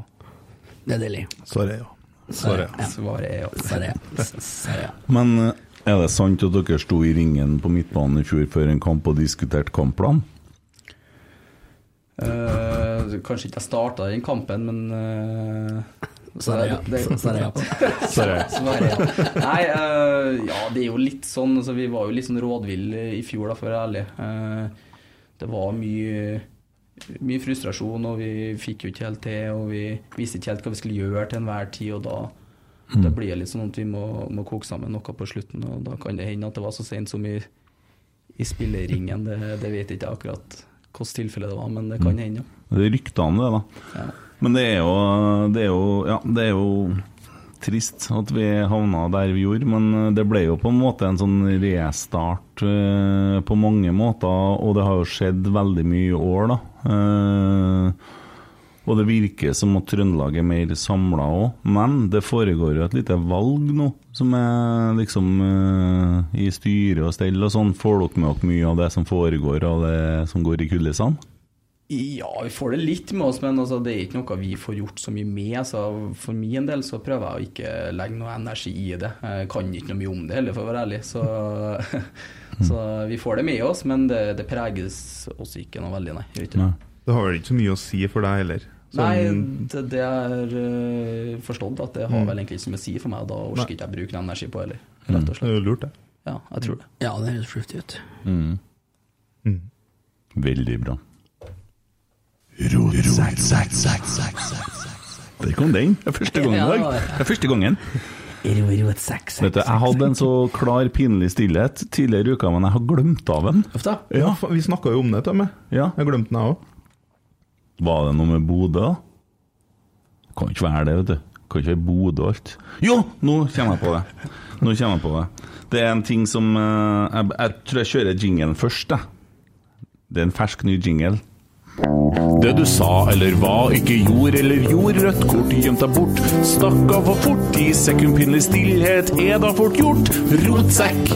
S6: Det er deilig.
S8: Svaret er ja. Svaret er ja.
S7: Svaret er ja.
S6: Ser jeg. Ser jeg.
S5: Men eh, er det sant at dere sto i ringen på midtbanen i fjor før en kamp og diskuterte kampplan?
S7: Eh, Kanskje ikke jeg starta den kampen, men eh,
S6: Ser jeg.
S7: det- det-
S6: Ser jeg.
S7: Svaret er ja. Nei, eh, ja, det er jo litt sånn altså, Vi var jo litt sånn rådville i fjor, da, for å være ærlig. Eh, det var mye, mye frustrasjon, og vi fikk jo ikke helt til. Og vi visste ikke helt hva vi skulle gjøre til enhver tid, og da, da blir det litt sånn at vi må, må koke sammen noe på slutten. Og da kan det hende at det var så sent som i, i spilleringen. Det, det vet jeg ikke akkurat hvilket tilfelle det var, men det kan hende. ja.
S5: Det er rykter om det, da.
S7: Ja.
S5: Men det er jo, det er jo Ja, det er jo trist at vi havna der vi gjorde, men eh, det ble jo på en måte en sånn restart eh, på mange måter, og det har jo skjedd veldig mye i år, da. Eh, og det virker som at Trøndelag er mer samla òg, men det foregår jo et lite valg nå, som er liksom eh, i styre og stell og sånn. Får dere med dere mye av det som foregår, og det som går i kulissene?
S7: Ja, vi får det litt med oss, men altså, det er ikke noe vi får gjort så mye med. Så for min del så prøver jeg å ikke legge noe energi i det. Jeg kan ikke noe mye om det heller, for å være ærlig. Så, så vi får det med oss, men det, det preges oss ikke noe veldig, nei. Gjør ikke det.
S5: Nei.
S8: Det har vel ikke så mye å si for deg heller. Sånn-
S7: Nei, det, det er øh, forstått at det har vel egentlig ikke så mye å si for meg. og Da orker ikke jeg bruke noe energi på heller, rett og
S8: Det er
S7: slett.
S8: jo lurt, det.
S7: Ja, jeg tror det.
S6: Ja, det høres fornuftig ut.
S5: Veldig bra. Der kom den. Det er første gangen i dag. Det er første gangen.
S6: Ero, ero, et seks,
S5: Vet du,
S6: seks.
S5: jeg hadde en så klar, pinlig stillhet tidligere i uka, men jeg har glemt av den.
S6: Uff da.
S5: Ja.
S8: Faen, Vi snakka jo om det, Tømme.
S5: Ja.
S8: Jeg glemte den, jeg òg.
S5: Var det noe med Bodø? Kan ikke være det, vet du. Kan ikke være Bodø og alt. Jo, nå kommer jeg på det. Nå kommer jeg på det. Det er en ting som eh, Jeg, jeg tror jeg kjører jingelen først, jeg. Det er en fersk ny jingle.
S9: Det du sa eller hva, ikke gjorde eller gjorde, rødt kort gjemt deg bort. Stakk av for fort, i sekundpinnelig stillhet er da fort gjort. Rotsekk.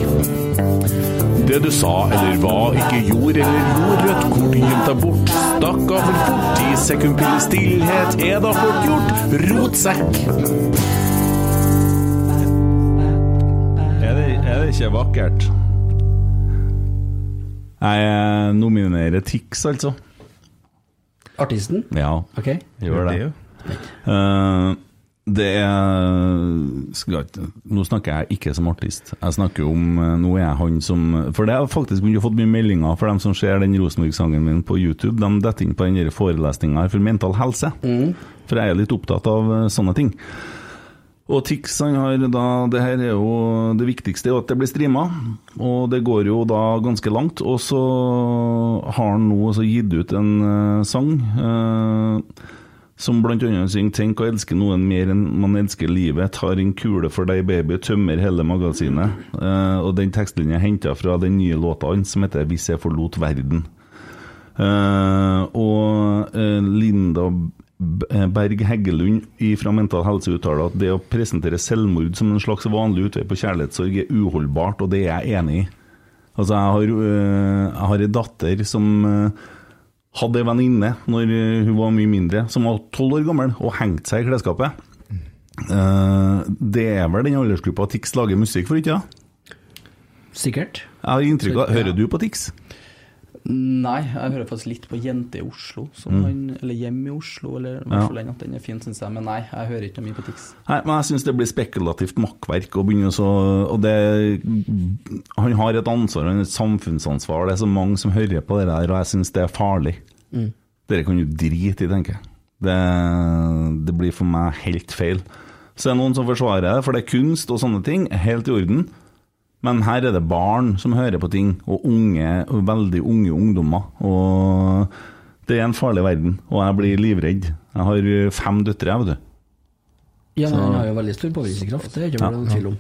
S9: Det du sa eller hva, ikke gjorde eller gjorde, rødt kort gjemt deg bort. Stakk av for fort, i sekundpinnelig stillhet er da fort gjort. Rotsekk.
S5: Er det, er det ikke vakkert? Jeg eh, nominerer Tix, altså.
S6: Artisten?
S5: Ja,
S6: Ok.
S5: gjør det.
S8: jo.
S5: Eh, det er skal ikke, Nå snakker jeg ikke som artist. Jeg snakker om eh, Nå er jeg han som For det har jeg faktisk begynt å fått mye meldinger for dem som ser den Rosenborg-sangen min på YouTube. De detter inn på den der forelesninga her for mental helse. For jeg er litt opptatt av eh, sånne ting. Og Tix han har da Det her er jo det viktigste, er jo at det blir streama. Og det går jo da ganske langt. Og så har han nå altså gitt ut en eh, sang eh, som blant annet synger 'Tenk å elske noen mer enn man elsker livet', 'Tar en kule for deg, baby', 'Tømmer hele magasinet'. Eh, og den tekstlinja er henta fra den nye låta hans som heter 'Hvis jeg forlot verden'. Eh, og eh, Linda B- eh, Berg Heggelund i- fra Mental Helse uttaler at det å presentere selvmord som en slags vanlig utvei på kjærlighetssorg er uholdbart, og det er jeg enig i. Altså, jeg har, eh, jeg har en datter som eh, hadde en venninne når eh, hun var mye mindre, som var tolv år gammel og hengte seg i klesskapet. Eh, det er vel den aldersgruppa Tix lager musikk for, ikke sant?
S6: Sikkert.
S5: Jeg har inntrykk av Hører du på Tix?
S7: Nei, jeg hører faktisk litt på Jente i Oslo,
S8: Mm.
S7: som han, eller Hjem i Oslo, eller i hvert fall den at den er fin, syns jeg. Men nei, jeg hører ikke noe mye på Tix.
S5: Nei, men jeg syns det blir spekulativt makkverk. Og begynner så, og det, han har et ansvar, han har et samfunnsansvar. Det er så mange som hører på det der, og jeg syns det er farlig. Dere kan jo drite i, tenker jeg. Det, det blir for meg helt feil. Så er det noen som forsvarer det, for det er kunst og sånne ting. Helt i orden. Men her er det barn som hører på ting, og unge, og veldig unge ungdommer. Og det er en farlig verden, og jeg blir livredd. Jeg har fem døtre, jeg, vet du.
S6: Ja, men han har jo veldig stor påvirkningskraft, det er ikke vel noen tvil om.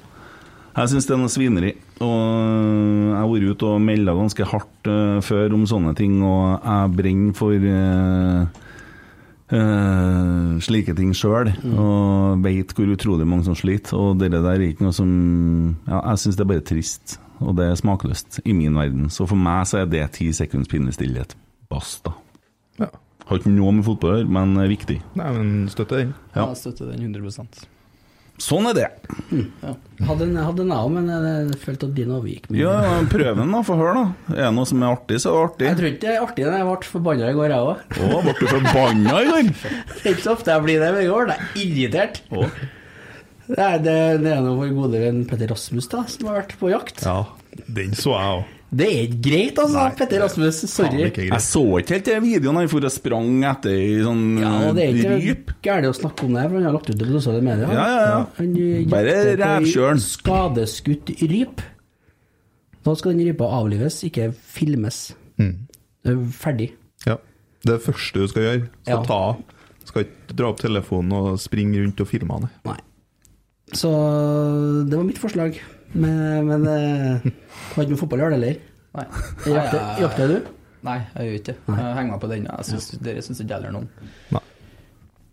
S5: Jeg syns det er noe svineri. Og eh, jeg har vært ute og melda ganske hardt eh, før om sånne ting, og jeg brenner for eh, eh, slike ting sjøl, og veit hvor utrolig mange som sliter. Og det der er ikke noe som ja, Jeg syns det er bare trist, og det er smakløst i min verden. Så for meg så er det ti sekunds pinnestillhet. Basta.
S8: Ja.
S5: Har ikke noe med fotball å gjøre, men er viktig.
S8: Nei, men støtter den.
S5: Ja.
S7: Jeg støtter den 100
S5: Sånn er det.
S6: Hadde en hadde en av, men jeg følte at din overgikk. mye.
S5: Ja, prøv den, da. Få høre, da. Er det noe som er artig, så er det artig.
S6: Jeg tror ikke det er artig, men jeg ble forbanna i går, jeg òg.
S5: Å, ble du forbanna i går?
S6: Det er ikke så ofte jeg blir det, men i går ble jeg irritert. Nei, det, det er nå vår gode venn Petter Rasmus da, som har vært på jakt.
S8: Ja, den så jeg òg.
S6: Det er ikke greit, altså. Petter Rasmus, sorry.
S8: Ikke
S5: Jeg
S8: greit.
S5: så ikke helt den videoen han for og sprang etter ei sånn
S6: Ja, og det er
S5: ryp.
S6: ikke gærent å snakke om det, for han har lagt ut det på sosiale medier.
S5: Ja, ja, ja.
S6: Han eh, jakter
S5: Bare
S6: på ei
S5: rævkjøren.
S6: Skadeskutt ryp. Da skal den rypa avlives, ikke filmes. Det er Ferdig.
S8: Ja. Det er det første du skal gjøre. Skal
S6: Ja.
S8: ta av. Skal ikke dra opp telefonen og springe rundt og filme han.
S6: Nei. Så det var mitt forslag. Men, men eh, har ikke med fotball å gjøre, det heller.
S7: Nei.
S6: Jakter,
S7: Jeg-
S6: jakter du?
S7: Nei, jeg gjør ikke det. Jeg henger meg på den. Jeg synes, Dere syns ikke det gjelder noen.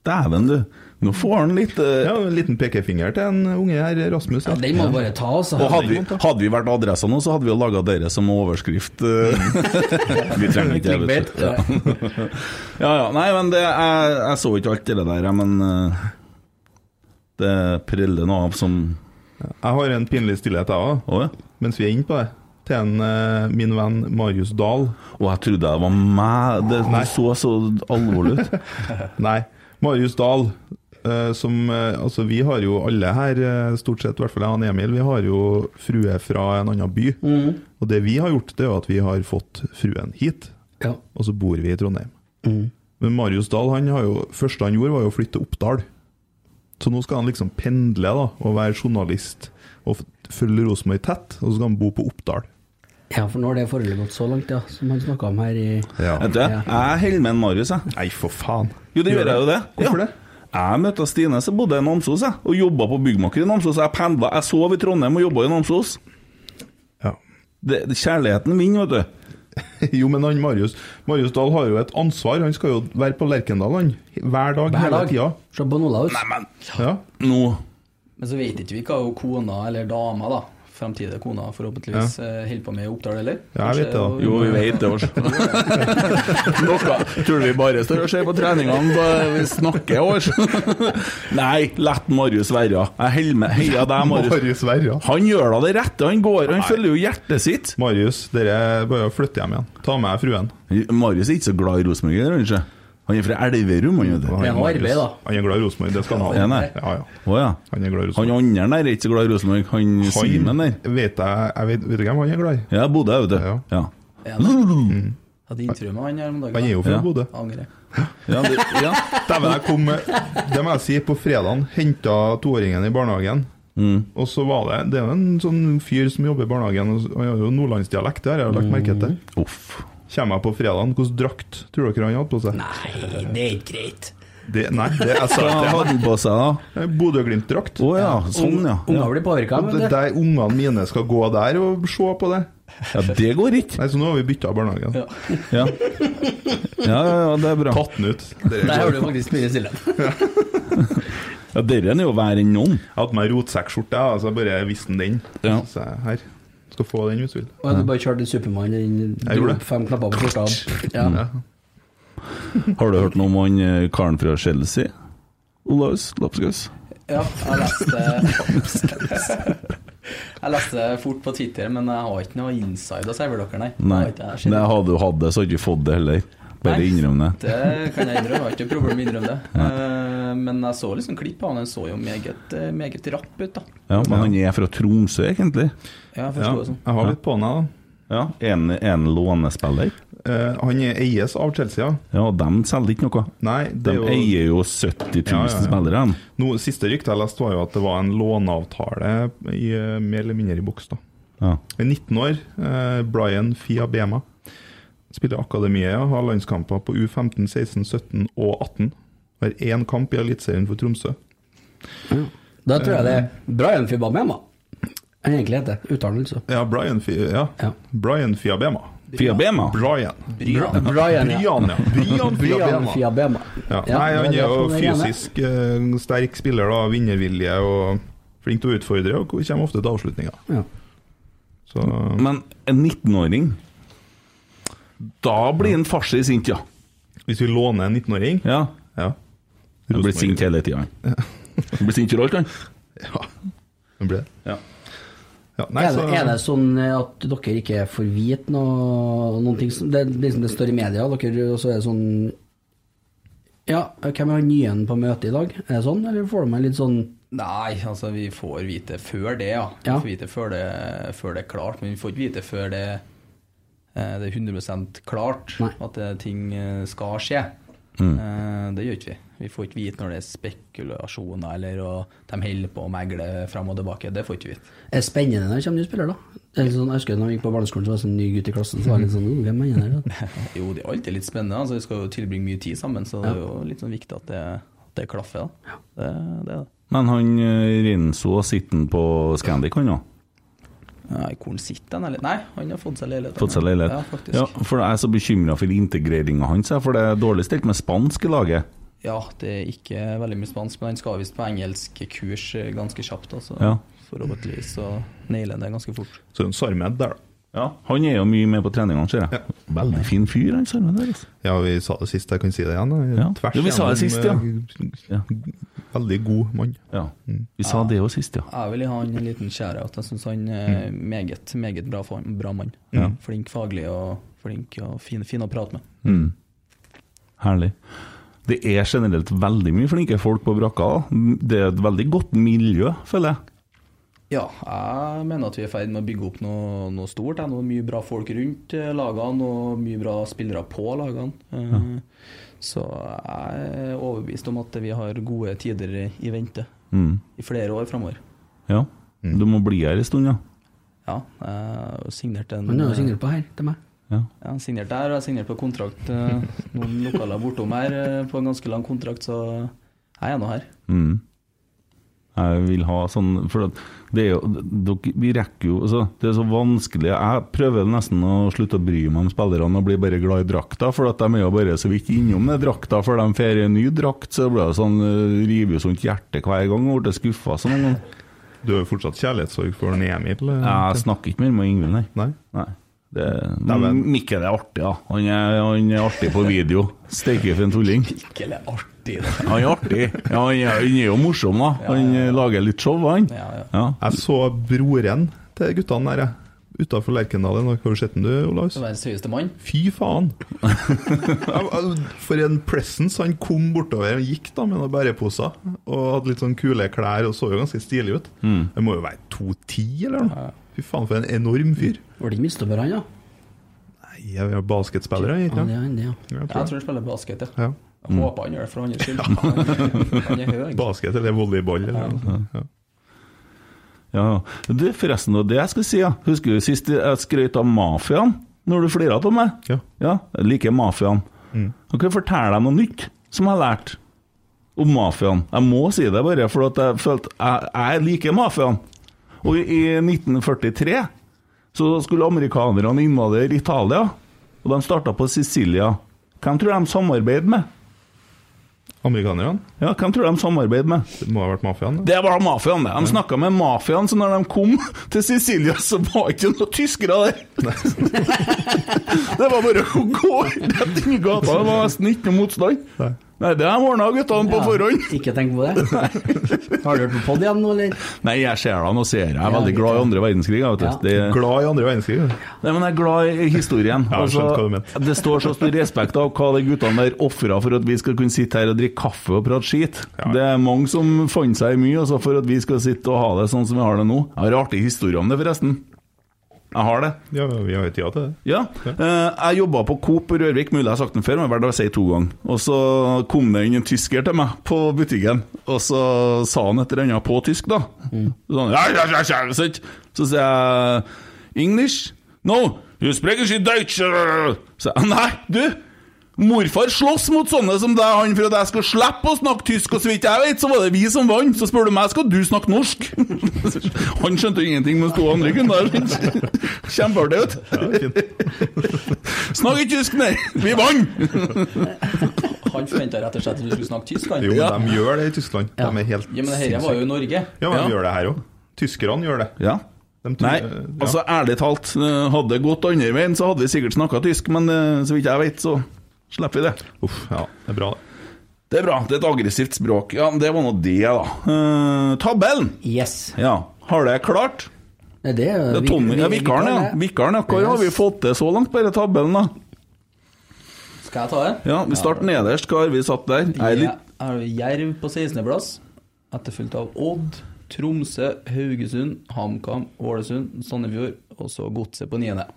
S5: Dæven, du. Nå får han litt eh,
S8: Ja, en liten pekefinger til en unge her, Rasmus.
S6: Ja,
S8: Ja.
S6: den må du bare ta, altså.
S5: Og hadde vi, hadde vi vært adressa nå, så hadde vi jo laga dere som overskrift. eh.
S8: Mm.
S5: vi trenger ikke det. vet du. Ja. ja ja. Nei, men det, jeg, jeg så ikke alt det der, jeg, men eh, det preller noe av som
S8: Jeg har en pinlig stillhet, jeg òg,
S5: Å ja.
S8: mens vi er inne på det. Til en, eh, min venn Marius Dahl.
S5: Og jeg trodde det var meg. Det det så så alvorlig ut.
S8: Nei. Marius Dahl, eh, som eh, Altså, vi har jo alle her, eh, stort sett, i hvert fall jeg og Emil, vi har jo frue fra en annen by. Og det vi har gjort, det er jo at vi har fått fruen hit,
S6: Ja.
S8: og så bor vi i Trondheim. Men Marius Dahl, han har jo Første han gjorde, var jo å flytte til Oppdal. Så nå skal han liksom pendle da, og være journalist og f- følge Rosenborg tett, og så skal han bo på Oppdal.
S6: ja, for nå har det forholdet gått så langt, ja, som han snakka om her i
S5: Vet du, jeg holder med en Marius, jeg.
S8: Nei, for faen.
S5: Jo, det gjør jeg jo det.
S8: Hvorfor
S5: Ja.
S8: det?
S5: Jeg møtte Stine, som bodde i Namsos, jeg, og jobba på byggmaker i Namsos. Jeg pendla, jeg sov i Trondheim og jobba i Namsos.
S8: Ja.
S5: Det, det, kjærligheten vinner, vet du.
S8: Jo, men han Marius Marius Dahl har jo et ansvar. Han skal jo være på Lerkendal, han. Hver dag,
S6: Hver
S8: hele
S6: dag.
S8: tida.
S6: Se på Nola ut.
S8: Ja.
S5: Nå
S7: Men så vet ikke vi hva jo kona eller dama, da, fremtidige kona forhåpentligvis, eh, holder på med i Oppdal, eller?
S8: Ja, jeg vet det, da.
S7: Kanskje-
S5: Jo, vi vet det, altså. Noe Tror du vi bare står og ser på treningene på- Vi snakker, altså? Nei, la Marius være. Jeg holder med. Heia deg, Marius.
S8: Marius Verra.
S5: Han gjør da det rette. Han går, han følger jo hjertet sitt.
S8: Marius, dere bare flytter hjem igjen. Ta med fruen.
S5: Marius er ikke så glad i Rosenborg, er han ikke? Han er fra Elverum, han, vet du.
S8: Han
S6: Det er noe
S8: Marius.
S6: arbeid, da.
S8: Han er glad i Rosenborg, det skal han ha.
S5: Ja, nei.
S8: Ja, ja.
S5: Å ja.
S8: Han er glad i
S5: Han
S8: Rosenborg.
S5: andre der er ikke så glad i Rosenborg. Han Simen der.
S8: vet jeg, jeg vet, vet du hvem han er glad i?
S5: Ja, Mm. Bodø, vet du.
S8: Ja.
S5: Ja.
S7: Hadde intervju med han her om dagen.
S8: Han er jo
S5: Ja.
S8: fra Bodø.
S7: Angrer.
S5: Ja, det, ja.
S8: Dæven, jeg kom med Det må jeg si, på fredagen henta toåringen i barnehagen. Og så var det Det er jo en sånn fyr som jobber i barnehagen, og han har jo nordlandsdialekt der, jeg har lagt merke til.
S5: Mm. Uff.
S8: Kommer jeg på fredagen, hvilken drakt tror dere han hadde på seg?
S7: Nei, det er ikke greit.
S8: Det, nei, det jeg sa
S5: Hva hadde
S8: ikke
S5: han på seg, da?
S8: det. Bodø-Glimt-drakt.
S5: Å ja, sånn, ja.
S6: Unger blir påvirka,
S8: Og det
S6: vet
S8: er
S6: du.
S8: der ungene mine skal gå der og se på det.
S5: ja. Det går ikke.
S8: Nei, Så nå har vi bytta barnehagen.
S5: Ja. Ja, ja, ja, det er bra.
S8: Tatt den ut. Dere-
S7: Der har du faktisk mye stille.
S5: Ja, Dere er jo verre enn noen.
S8: Jeg hadde på meg rotsekkskjorte, jeg, så jeg bare visste den.
S5: Ja.
S8: Så jeg, her. Skal få den hvis du vil.
S6: Og du bare kjørte en Supermann inn,
S8: Jeg
S6: dro
S8: gjorde
S6: opp
S8: det.
S6: fem knapper på skjorta. Ja.
S5: Har du hørt noe om han eh, karen fra Chelsea? Olaus Lapskaus?
S7: Ja, jeg leste Jeg leste fort på Twitter, men jeg har ikke noe inside å serve dere, nei.
S5: Nei.
S7: Jeg har ikke
S5: Nei,
S7: det.
S5: hadde du hatt det, så hadde du ikke fått det heller. Bare
S7: Nei.
S5: innrøm det.
S7: Det kan jeg innrømme, jeg har ikke noe problem med å innrømme det. Eh, Men jeg så liksom klipp av han, han så jo meget, eh, meget rapp ut, da.
S5: Ja, Men han er fra Tromsø, egentlig.
S7: Ja, jeg
S8: Ja,
S7: forstår det sånn.
S8: jeg har litt på den, jeg, da.
S5: Ja, En, en lånespiller.
S8: Eh, han er eies av Chelsea. ja.
S5: Ja, og dem selger ikke noe.
S8: Nei, det
S5: De
S8: er jo
S5: eier jo 70 000
S8: Ja, ja, ja.
S5: spillere. de.
S8: Nå, Siste rykte jeg leste, var jo at det var en låneavtale i, eh, mer eller mindre i boks. da.
S5: Ja.
S8: Jeg er 19 år, eh, Brian Fiabema. Spiller i akademiet, ja. har landskamper på U15, 16, 17 og 18. Har én kamp i Eliteserien for Tromsø.
S6: Da tror jeg det er Brian Fibamema. Han egentlig heter uttalen, altså.
S8: Ja, Brian, Fi ja.
S6: Ja.
S8: Brian Fiabema.
S5: Fiabema.
S8: Brian.
S6: Bra- Brian, ja.
S8: Brian, ja. Brian
S6: Brian
S8: Fiabema.
S6: Fiabema.
S8: Ja.
S6: Ja,
S8: Nei, han
S6: det
S8: er jo
S6: derfor han er
S8: fysisk eh, sterk spiller, da, vinnervilje og flink til å utfordre, og kommer ofte til avslutninger.
S6: Ja.
S8: Så eh,
S5: Men en 19-åring Da blir en farsi sint, ja.
S8: hvis vi låner en 19-åring
S5: ja.
S8: Ja.
S5: Han blir sint hele tida. Han blir sint for alt, han.
S8: Ja, den ble det.
S5: Ja.
S8: Ja, nei,
S6: er, det,
S8: så,
S6: er det sånn at dere ikke får vite noe, noen ting som det, er liksom det står i media, dere, og så er det sånn Ja, hvem er han nye på møtet i dag? Er det sånn, eller får du meg litt sånn
S7: Nei, altså vi får vite før det, ja. Vi
S6: Ja.
S7: får vite før det, før det er klart, men vi får ikke vite før det, eh, det er 100 klart
S6: Nei.
S7: at det, ting eh, skal skje.
S5: Mm.
S7: Eh, Det gjør ikke vi. Vi får ikke vite når det er spekulasjoner eller og de holder på å megle fram og tilbake. Det får ikke vi vite.
S6: Er det spennende når det kommer nye spillere, da? Det er litt sånn, jeg husker da jeg gikk på barneskolen, så var det en ny gutt i klassen, så var det litt sånn «Åh, Hvem er han her, da?
S7: Jo, det er alltid litt spennende. Altså, vi skal jo tilbringe mye tid sammen, så det er jo litt sånn viktig at det, at det klaffer. Da. Det, det er det.
S5: Men han eh, Rinso sitter han på Scandic, han òg?
S7: Nei, hvor sitter han? Eller? Nei, han har fått seg leilighet.
S5: Fått seg leilighet?
S7: Ja, faktisk.
S5: Ja, for jeg er så bekymra for integreringa hans, jeg, for det er dårlig stelt med spansk i laget.
S7: Ja, det er ikke veldig mye spansk, men han skal visst på engelskkurs eh, ganske kjapt. Altså.
S5: Ja.
S7: Forhåpentligvis så nailer han det ganske fort.
S8: så en Sarmed der, da.
S5: Ja, Han er jo mye med på treningene, ser jeg. Veldig fin fyr, han Sarmen der. Altså.
S8: Ja, vi sa det sist, jeg kan si det igjen. da.
S5: Ja.
S8: Tvers
S5: Ja, vi sa det sist, ja.
S8: eh,
S5: Ja.
S8: Veldig god mann.
S5: Ja. Vi sa det jo sist, ja.
S7: Jeg vil gi han en liten kjære at jeg syns han er meget, meget bra, form- bra mann. Flink faglig og flink og fin, fin å prate med.
S5: Herlig. Det er generelt veldig mye flinke folk på brakka. da. Det er et veldig godt miljø, føler jeg.
S7: Ja, jeg mener at vi er i ferd med å bygge opp noe, noe stort. Det er noe mye bra folk rundt eh, lagene og mye bra spillere på lagene. Eh, Så jeg er overbevist om at vi har gode tider i- i vente i flere år framover.
S5: Ja. Du må bli her en stund, ja.
S7: Ja, jeg har signert en eh,
S6: Han har jo signert på her, til meg.
S5: ja.
S7: Jeg har signert der, og jeg har signert på kontrakt eh, noen lokaler bortom her eh, på en ganske lang kontrakt, så jeg er nå her.
S5: Mm. Jeg vil ha sånn For at det er jo dere- Vi rekker jo altså, Det er så vanskelig. Jeg prøver nesten å slutte å bry meg om spillerne og bli bare glad i drakta, for at de er jo bare så vidt innom den drakta før de får en ny drakt. Så det blir det sånn eh, river jo sånt hjerte hver gang og blir skuffa sånn. en gang.
S8: Du har jo fortsatt kjærlighetssorg for Emil? eller?
S5: Jeg snakker ikke mer med Ingvild, nei.
S8: Nei?
S5: Nei. Det,
S8: Nei, men-
S5: Mikkel er artig, da. Han er, han er artig på video. Steike for en tulling.
S7: Ikke det artig,
S5: Han er artig. Ja, han, er, han er jo morsom, da. Han eh, lager litt show, han.
S7: Ja, ja.
S5: Ja.
S8: Jeg så broren til guttene der, jeg. Utafor Lerkendal i dag. Har du sett den, du, Olaus?
S7: Verdens høyeste mann.
S8: Fy faen! Jeg- jeg- For en presence! Han kom bortover og gikk da med noen bæreposer. Og hadde litt sånn kule klær og så jo ganske stilig ut. Det må jo være 2,10 eller noe? Fy faen, for en enorm fyr.
S6: Var det ikke mistover han, da?
S8: Nei, Ja, vi er basketspillere,
S6: Ja,
S8: ikke
S6: det
S8: sant?
S6: er han, det, ja.
S8: Ja, jeg
S7: Jeg
S8: tror det.
S7: tror han spiller basket, ja.
S8: Ja.
S7: Jeg håper han gjør det for hans skyld. Han er- Han er høy.
S8: Basket eller volleyball eller noe. Ja.
S5: Ja, du, forresten, det var det jeg skulle si, ja. Husker du sist jeg skrøt av mafiaen? Når du flira av meg?
S8: Ja.
S5: jeg liker mafiaen. Jeg kan fortelle deg noe nytt som jeg har lært om mafiaen. Jeg må si det bare, for at jeg følte jeg, jeg liker mafiaen. Og i 1943 så skulle amerikanerne invadere Italia, og de starta på Sicilia. Hvem tror de samarbeider med?
S8: Amerikanerne?
S5: Ja, hvem tror de samarbeider med?
S8: Det må ha vært mafiaen? da.
S5: Det var mafiaen, det. De snakka med mafiaen, så når de kom til Sicilia, så var ikke noen tyskere der. det var bare å gå rett inn i gata. Det var nesten ikke noe motstand.
S8: Nei.
S5: Nei, det har de ordna guttene på
S6: Ja,
S5: forhånd.
S6: Ikke tenk på det. Har du hørt på pod igjen nå, eller?
S5: Nei, jeg ser dem og ser. Jeg er veldig glad i andre verdenskrig. Jeg, vet
S6: Ja.
S5: du. Det,
S8: Glad i andre verdenskrig. du.
S5: Nei, men jeg er glad i historien. Altså,
S8: Ja, jeg skjønte hva du mente.
S5: det står så stor respekt av hva de guttene der ofra for at vi skal kunne sitte her og drikke kaffe og prate skit. Det er mange som fant seg i mye altså, for at vi skal sitte og ha det sånn som vi har det nå. Jeg har en artig historie om det, forresten. Jeg har det.
S8: Ja, vi har jo tida til det.
S5: Ja. Eh, Jeg jobba på Coop på Rørvik, mulig jeg har sagt den før, men verdt å si to ganger. Og så kom det inn en tysker til meg på butikken, og så sa han et eller annet på tysk, da. Sånn, ja, ja, ja, ja, sant? Så sier jeg English? No, you speak in Deutsch. Så jeg nei, du! Morfar slåss mot sånne som deg, han, for at jeg skal slippe å snakke tysk, og så vidt jeg vet, så var det vi som vant. Så spør du meg, skal du snakke norsk? han skjønte jo ingenting, mens to andre kunne det. Kjempeartig, vet du. Snakk ikke tysk, nei! Vi vant!
S7: Han forventa rett og slett at du skulle snakke tysk, han.
S8: Jo,
S7: Ja,
S8: de gjør det i Tyskland. De er helt
S7: men det her var jo i Norge.
S8: Ja, men de
S5: Ja.
S8: gjør det her òg. Tyskerne gjør det.
S5: Ja.
S8: De tror-
S5: Nei,
S8: ja.
S5: altså ærlig talt, eh, hadde det gått andre veien, så hadde vi sikkert snakka tysk, men eh, så vidt jeg vet, så slipper vi det.
S8: Uff, ja, det er bra, det.
S5: Det er bra. Det er et aggressivt språk. Ja, men det var nå det, da. Eh, tabellen!
S6: Yes.
S5: Ja, har det klart?
S6: Nei, det er
S5: Det er Tommy, ja, Vikaren, ja. Vikaren, ja. Hva har vi fått til så langt på denne tabellen, da?
S7: Skal jeg ta det?
S5: Ja, Vi starter nederst. Hva har vi satt der? Jeg er
S7: Jeg
S5: litt
S7: har Jerv på 16.-plass, etterfulgt av Odd, Tromsø, Haugesund, HamKam, Ålesund, Sandefjord, og så Godset på niende.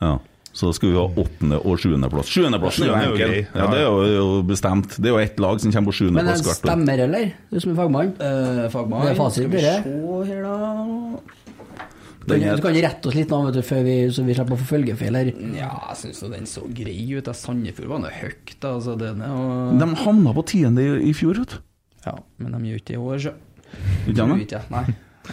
S5: Ja. Så skal vi ha åttende- og sjuendeplass. Sjuendeplassen er jo
S8: Sjuende er jo
S5: enkel.
S8: grei.
S5: Ja, det er jo- jo bestemt. Det er jo ett lag som kommer på
S6: Men den
S5: sjuendeplass hvert år.
S6: stemmer, eller? Du som er fagmann.
S7: Eh, fagmann
S6: Det er fasit,
S7: skal vi
S6: blir det.
S7: se her, da.
S6: Du kan du kan rette oss litt nå, vet du, før vi, så vi slipper å få følgefeil her.
S7: Ja, jeg syns den så grei ut. da. Sandefjord var nå høyt, da. Altså, den er, jo-
S5: De havna på tiende i, i fjor, vet du.
S7: ja, men de gjør ikke det i år, så.
S5: Ikke
S7: Tror
S5: sant?
S7: ikke jeg. Nei.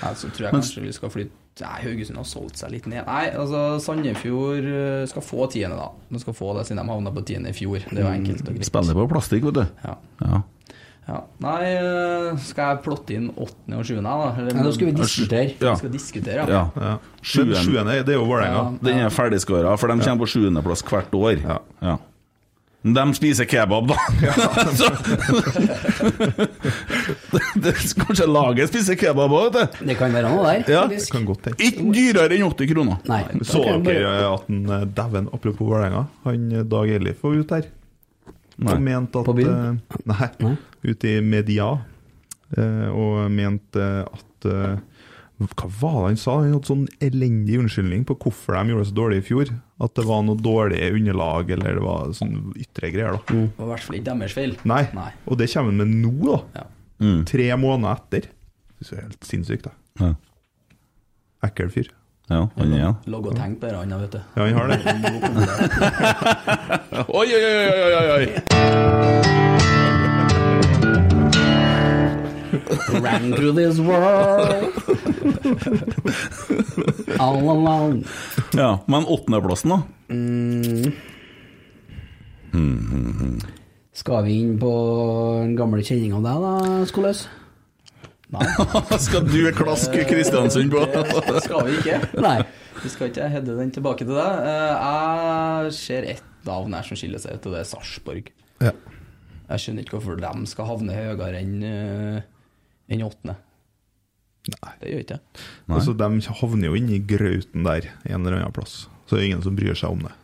S7: Nei, så tror jeg kanskje vi skal flytte Nei, Haugesund har solgt seg litt ned. Nei, altså Sandefjord eh, skal få tiende, da. De skal få det siden de havna på tiende i fjor. Det er jo enkelt og greit.
S5: Spiller på plastikk, vet du.
S7: Ja.
S5: Ja.
S7: ja. Nei, eh, skal jeg plotte inn åttende og sjuende, da? Eller,
S6: Nei, nå skal vi diskutere.
S5: Ja.
S7: Vi skal diskutere,
S5: ja.
S8: Ja.
S5: Sjuende.
S8: Men Sjuende, det er jo Vålerenga.
S5: Den er ferdigskåra, for de kommer på sjuendeplass hvert år. Ja. Men De spiser kebab, da! Så- det, det, kanskje laget spiser kebab òg, vet du.
S6: Det kan være noe der.
S5: Ja.
S8: Det kan godt hende.
S5: Ikke dyrere enn 80 kroner.
S6: Nei.
S8: Så
S6: da kan jeg
S8: dere
S6: bare-
S8: eh, at en, eh, Dæven, apropos Vålerenga, han eh, Dag Ellif var ute her.
S5: Nei.
S8: Han mente at
S6: På byen?
S8: eh, Nei, ute i media. eh, Og mente eh, at eh, Hva var det han sa? Han hadde sånn elendig unnskyldning på hvorfor de gjorde det så dårlig i fjor. At det var noe dårlig underlag, eller det var sånn ytre greier, da.
S7: Det var i hvert fall ikke deres feil.
S8: Nei.
S7: Nei.
S8: Og det kommer han med nå, da.
S7: Ja.
S8: Tre måneder etter. Det er helt sinnssykt, da.
S5: Ja.
S8: Ekkel fyr.
S5: Ja, han er ja.
S7: Logg og tenk på det, Anna, vet du.
S8: Ja, han har det.
S5: Oi, oi, oi, oi, oi, oi, oi!
S6: Ran through this world All along.
S5: Ja, Men åttendeplassen, da?
S6: Skal vi inn på den gamle kjenninga av deg, da, Skoløs?
S5: Skal du klaske Kristiansund på?
S7: Det skal vi ikke.
S6: Nei.
S7: Vi skal ikke hedde den tilbake til deg. Eh, Jeg ser ett navn her som skiller seg ut, og det er Sarpsborg.
S8: Ja.
S7: Jeg skjønner ikke hvorfor de skal havne høyere enn eh, enn åttende. Nei. Det gjør ikke jeg.
S8: Altså, de havner jo inni grauten der en eller annen plass. Så det er ingen som bryr seg om det.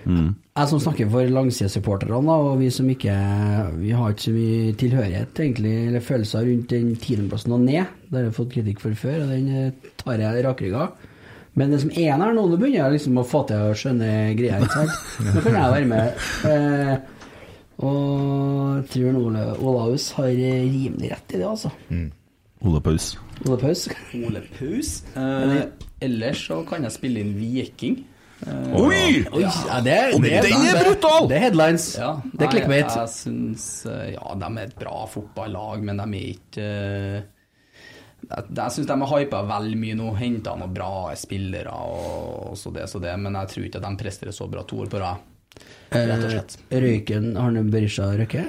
S6: Jeg som snakker for langsidesupporterne, da, og vi som ikke Eh, Vi har ikke så mye tilhørighet, egentlig, eller følelser rundt den tiendeplassen og ned. Det har jeg fått kritikk for før, og den eh, tar jeg rakrygga. Men det som er her nå, nå begynner jeg liksom å fatte og skjønne greia. ikke sant? Nå kan jeg være med. Eh, og jeg tror nå Ole Olaus har eh, rimelig rett i det, altså.
S5: Ole Paus.
S6: Ole Paus.
S7: Ole Paus. Eh, ellers så kan jeg spille inn Viking.
S5: Oi!
S6: Oi, ja, det, det,
S5: Den er brutal!
S2: Det er headlines.
S7: Ja,
S2: det er
S7: nei,
S2: clickbait.
S7: Jeg syns eh, Ja, de er et bra fotballag, men de er ikke eh, Jeg, jeg syns de er hypa vel mye nå. Henta noen bra spillere og, og så det, så det, men jeg tror ikke at de presterer så bra to år på rad. Rett og slett.
S6: Eh, Røyken Arne Berisha Røkke?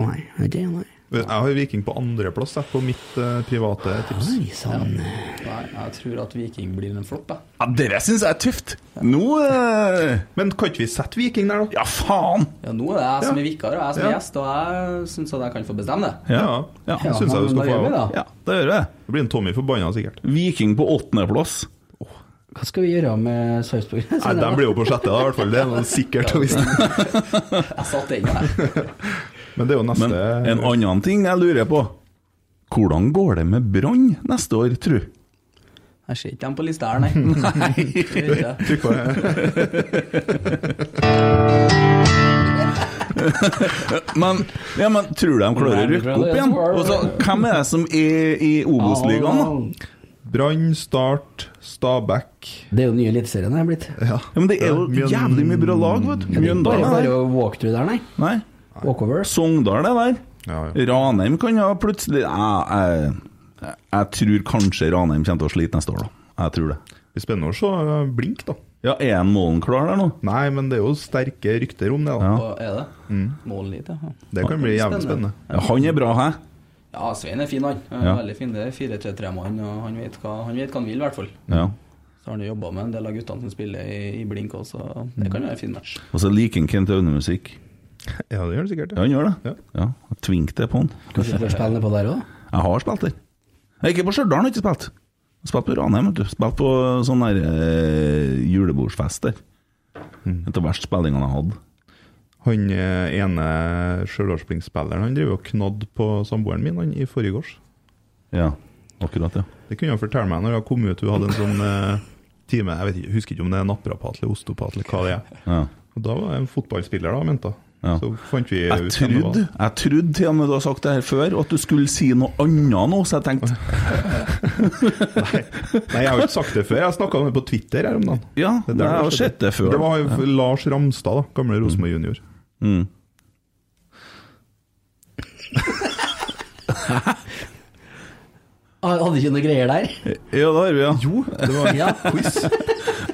S6: Nei. ikke nei.
S8: Jeg har Viking på andreplass jeg, på mitt eh, private tips.
S6: Oi sann.
S7: Nei, jeg tror at Viking blir en flopp, jeg.
S5: Ja, Dere syns jeg er tøft. Nå eh,
S8: Men kan ikke vi sette Viking der, da?
S5: Ja, faen!
S7: Ja, nå er det jeg som
S8: Ja.
S7: er vikar og jeg som
S8: Ja.
S7: er gjest, og jeg syns at jeg kan få bestemme det.
S8: Ja, ja,
S6: Ja,
S8: syns jeg du
S6: men da
S8: skal få.
S6: gjør vi det.
S8: Det
S5: Ja, det gjør jeg.
S8: blir en Tommy forbanna, sikkert.
S5: Viking på åttendeplass.
S6: Hva skal vi gjøre med Sarpsborg?
S8: Nei, De blir jo på sjette, da, i hvert fall. Det er noe sikkert og visst.
S7: Jeg satt den der.
S8: Men det er jo neste
S5: Men en annen ting jeg lurer på. Hvordan går det med Brann neste år, tru?
S7: Jeg ser ikke dem på lista her, nei. nei. Ikke.
S8: Trykk på det.
S5: Men, ja, men tror du de klarer å rykke opp igjen? Og så, hvem er det som er i Obos-ligaen, da?
S8: Brann, Start, Stabæk
S6: Det er jo den nye eliteserien jeg er blitt.
S8: Ja,
S5: Ja, men det er jo
S8: Mjøn-
S5: jævlig mye bra lag, vet du.
S6: Bare,
S5: Mjøndalen er
S6: bare
S5: der.
S6: å walkthrough der, nei.
S5: Nei.
S6: Walkover.
S5: Sogndal er der.
S8: Ja, ja.
S5: Ranheim kan ja plutselig jeg, jeg, jeg tror kanskje Ranheim kommer til å slite neste år, da. Jeg tror det.
S8: Det blir spennende å se eh, Blink, da.
S5: Ja, er en målen klar der nå?
S8: Nei, men det er jo sterke rykter om det.
S5: Ja.
S8: da.
S7: Og er det? Målen dit, ja.
S8: Det kan bli jævlig spennende.
S5: Ja, han er bra, hæ?
S7: Ja, Svein er fin, han. han er
S5: Ja.
S7: Veldig fin. Det er 4-3-3-mann, og han vet, hva, han vet hva han vil, i hvert fall.
S5: Ja.
S7: Så har han jo jobba med en del av guttene som spiller i, i blink også, så det kan være en fin match.
S5: Og så liker han Kent Aune-musikk.
S8: Ja, det gjør det sikkert.
S5: Ja, han gjør
S8: Ja.
S5: det. Ja, Tving det på han.
S6: Kanskje vi får spille nedpå der òg?
S5: Jeg har spilt der. Jeg er ikke på Stjørdal, har jeg ikke spilt. Jeg Spilt på Ranheim, vet du. Spilt på sånn der eh, julebordsfest der. Det er de verste spillingene jeg hadde.
S8: Han eh, ene Stjørdalsblink-spilleren Han driver og knadd på samboeren min han, i forrige års.
S5: Ja, akkurat, ja.
S8: Det kunne han fortelle meg når jeg kom ut. Hun hadde en sånn eh, time Jeg vet ikke, jeg husker ikke om det er naprapat eller osteopat eller hva det er.
S5: ja.
S8: Og Da var jeg en fotballspiller, da, mente jeg.
S5: Ja.
S8: Så fant vi
S5: Jeg
S8: ut hvem det var.
S5: trodde, jeg trodde til og med du har sagt det her før, og at du skulle si noe annet nå, så jeg tenkte
S8: Nei, jeg har jo ikke sagt det før. Jeg snakka om det på Twitter her om dagen.
S5: Ja,
S8: Det er der
S5: jeg har
S8: skjedde.
S5: sett det før. Mm.
S8: Det var jo Lars Ramstad, da, gamle Rosenborg junior.
S6: Hadde ikke noe greier der?
S5: Ja, det har vi, ja.
S8: Jo, det var en
S6: Ja.
S8: quiz.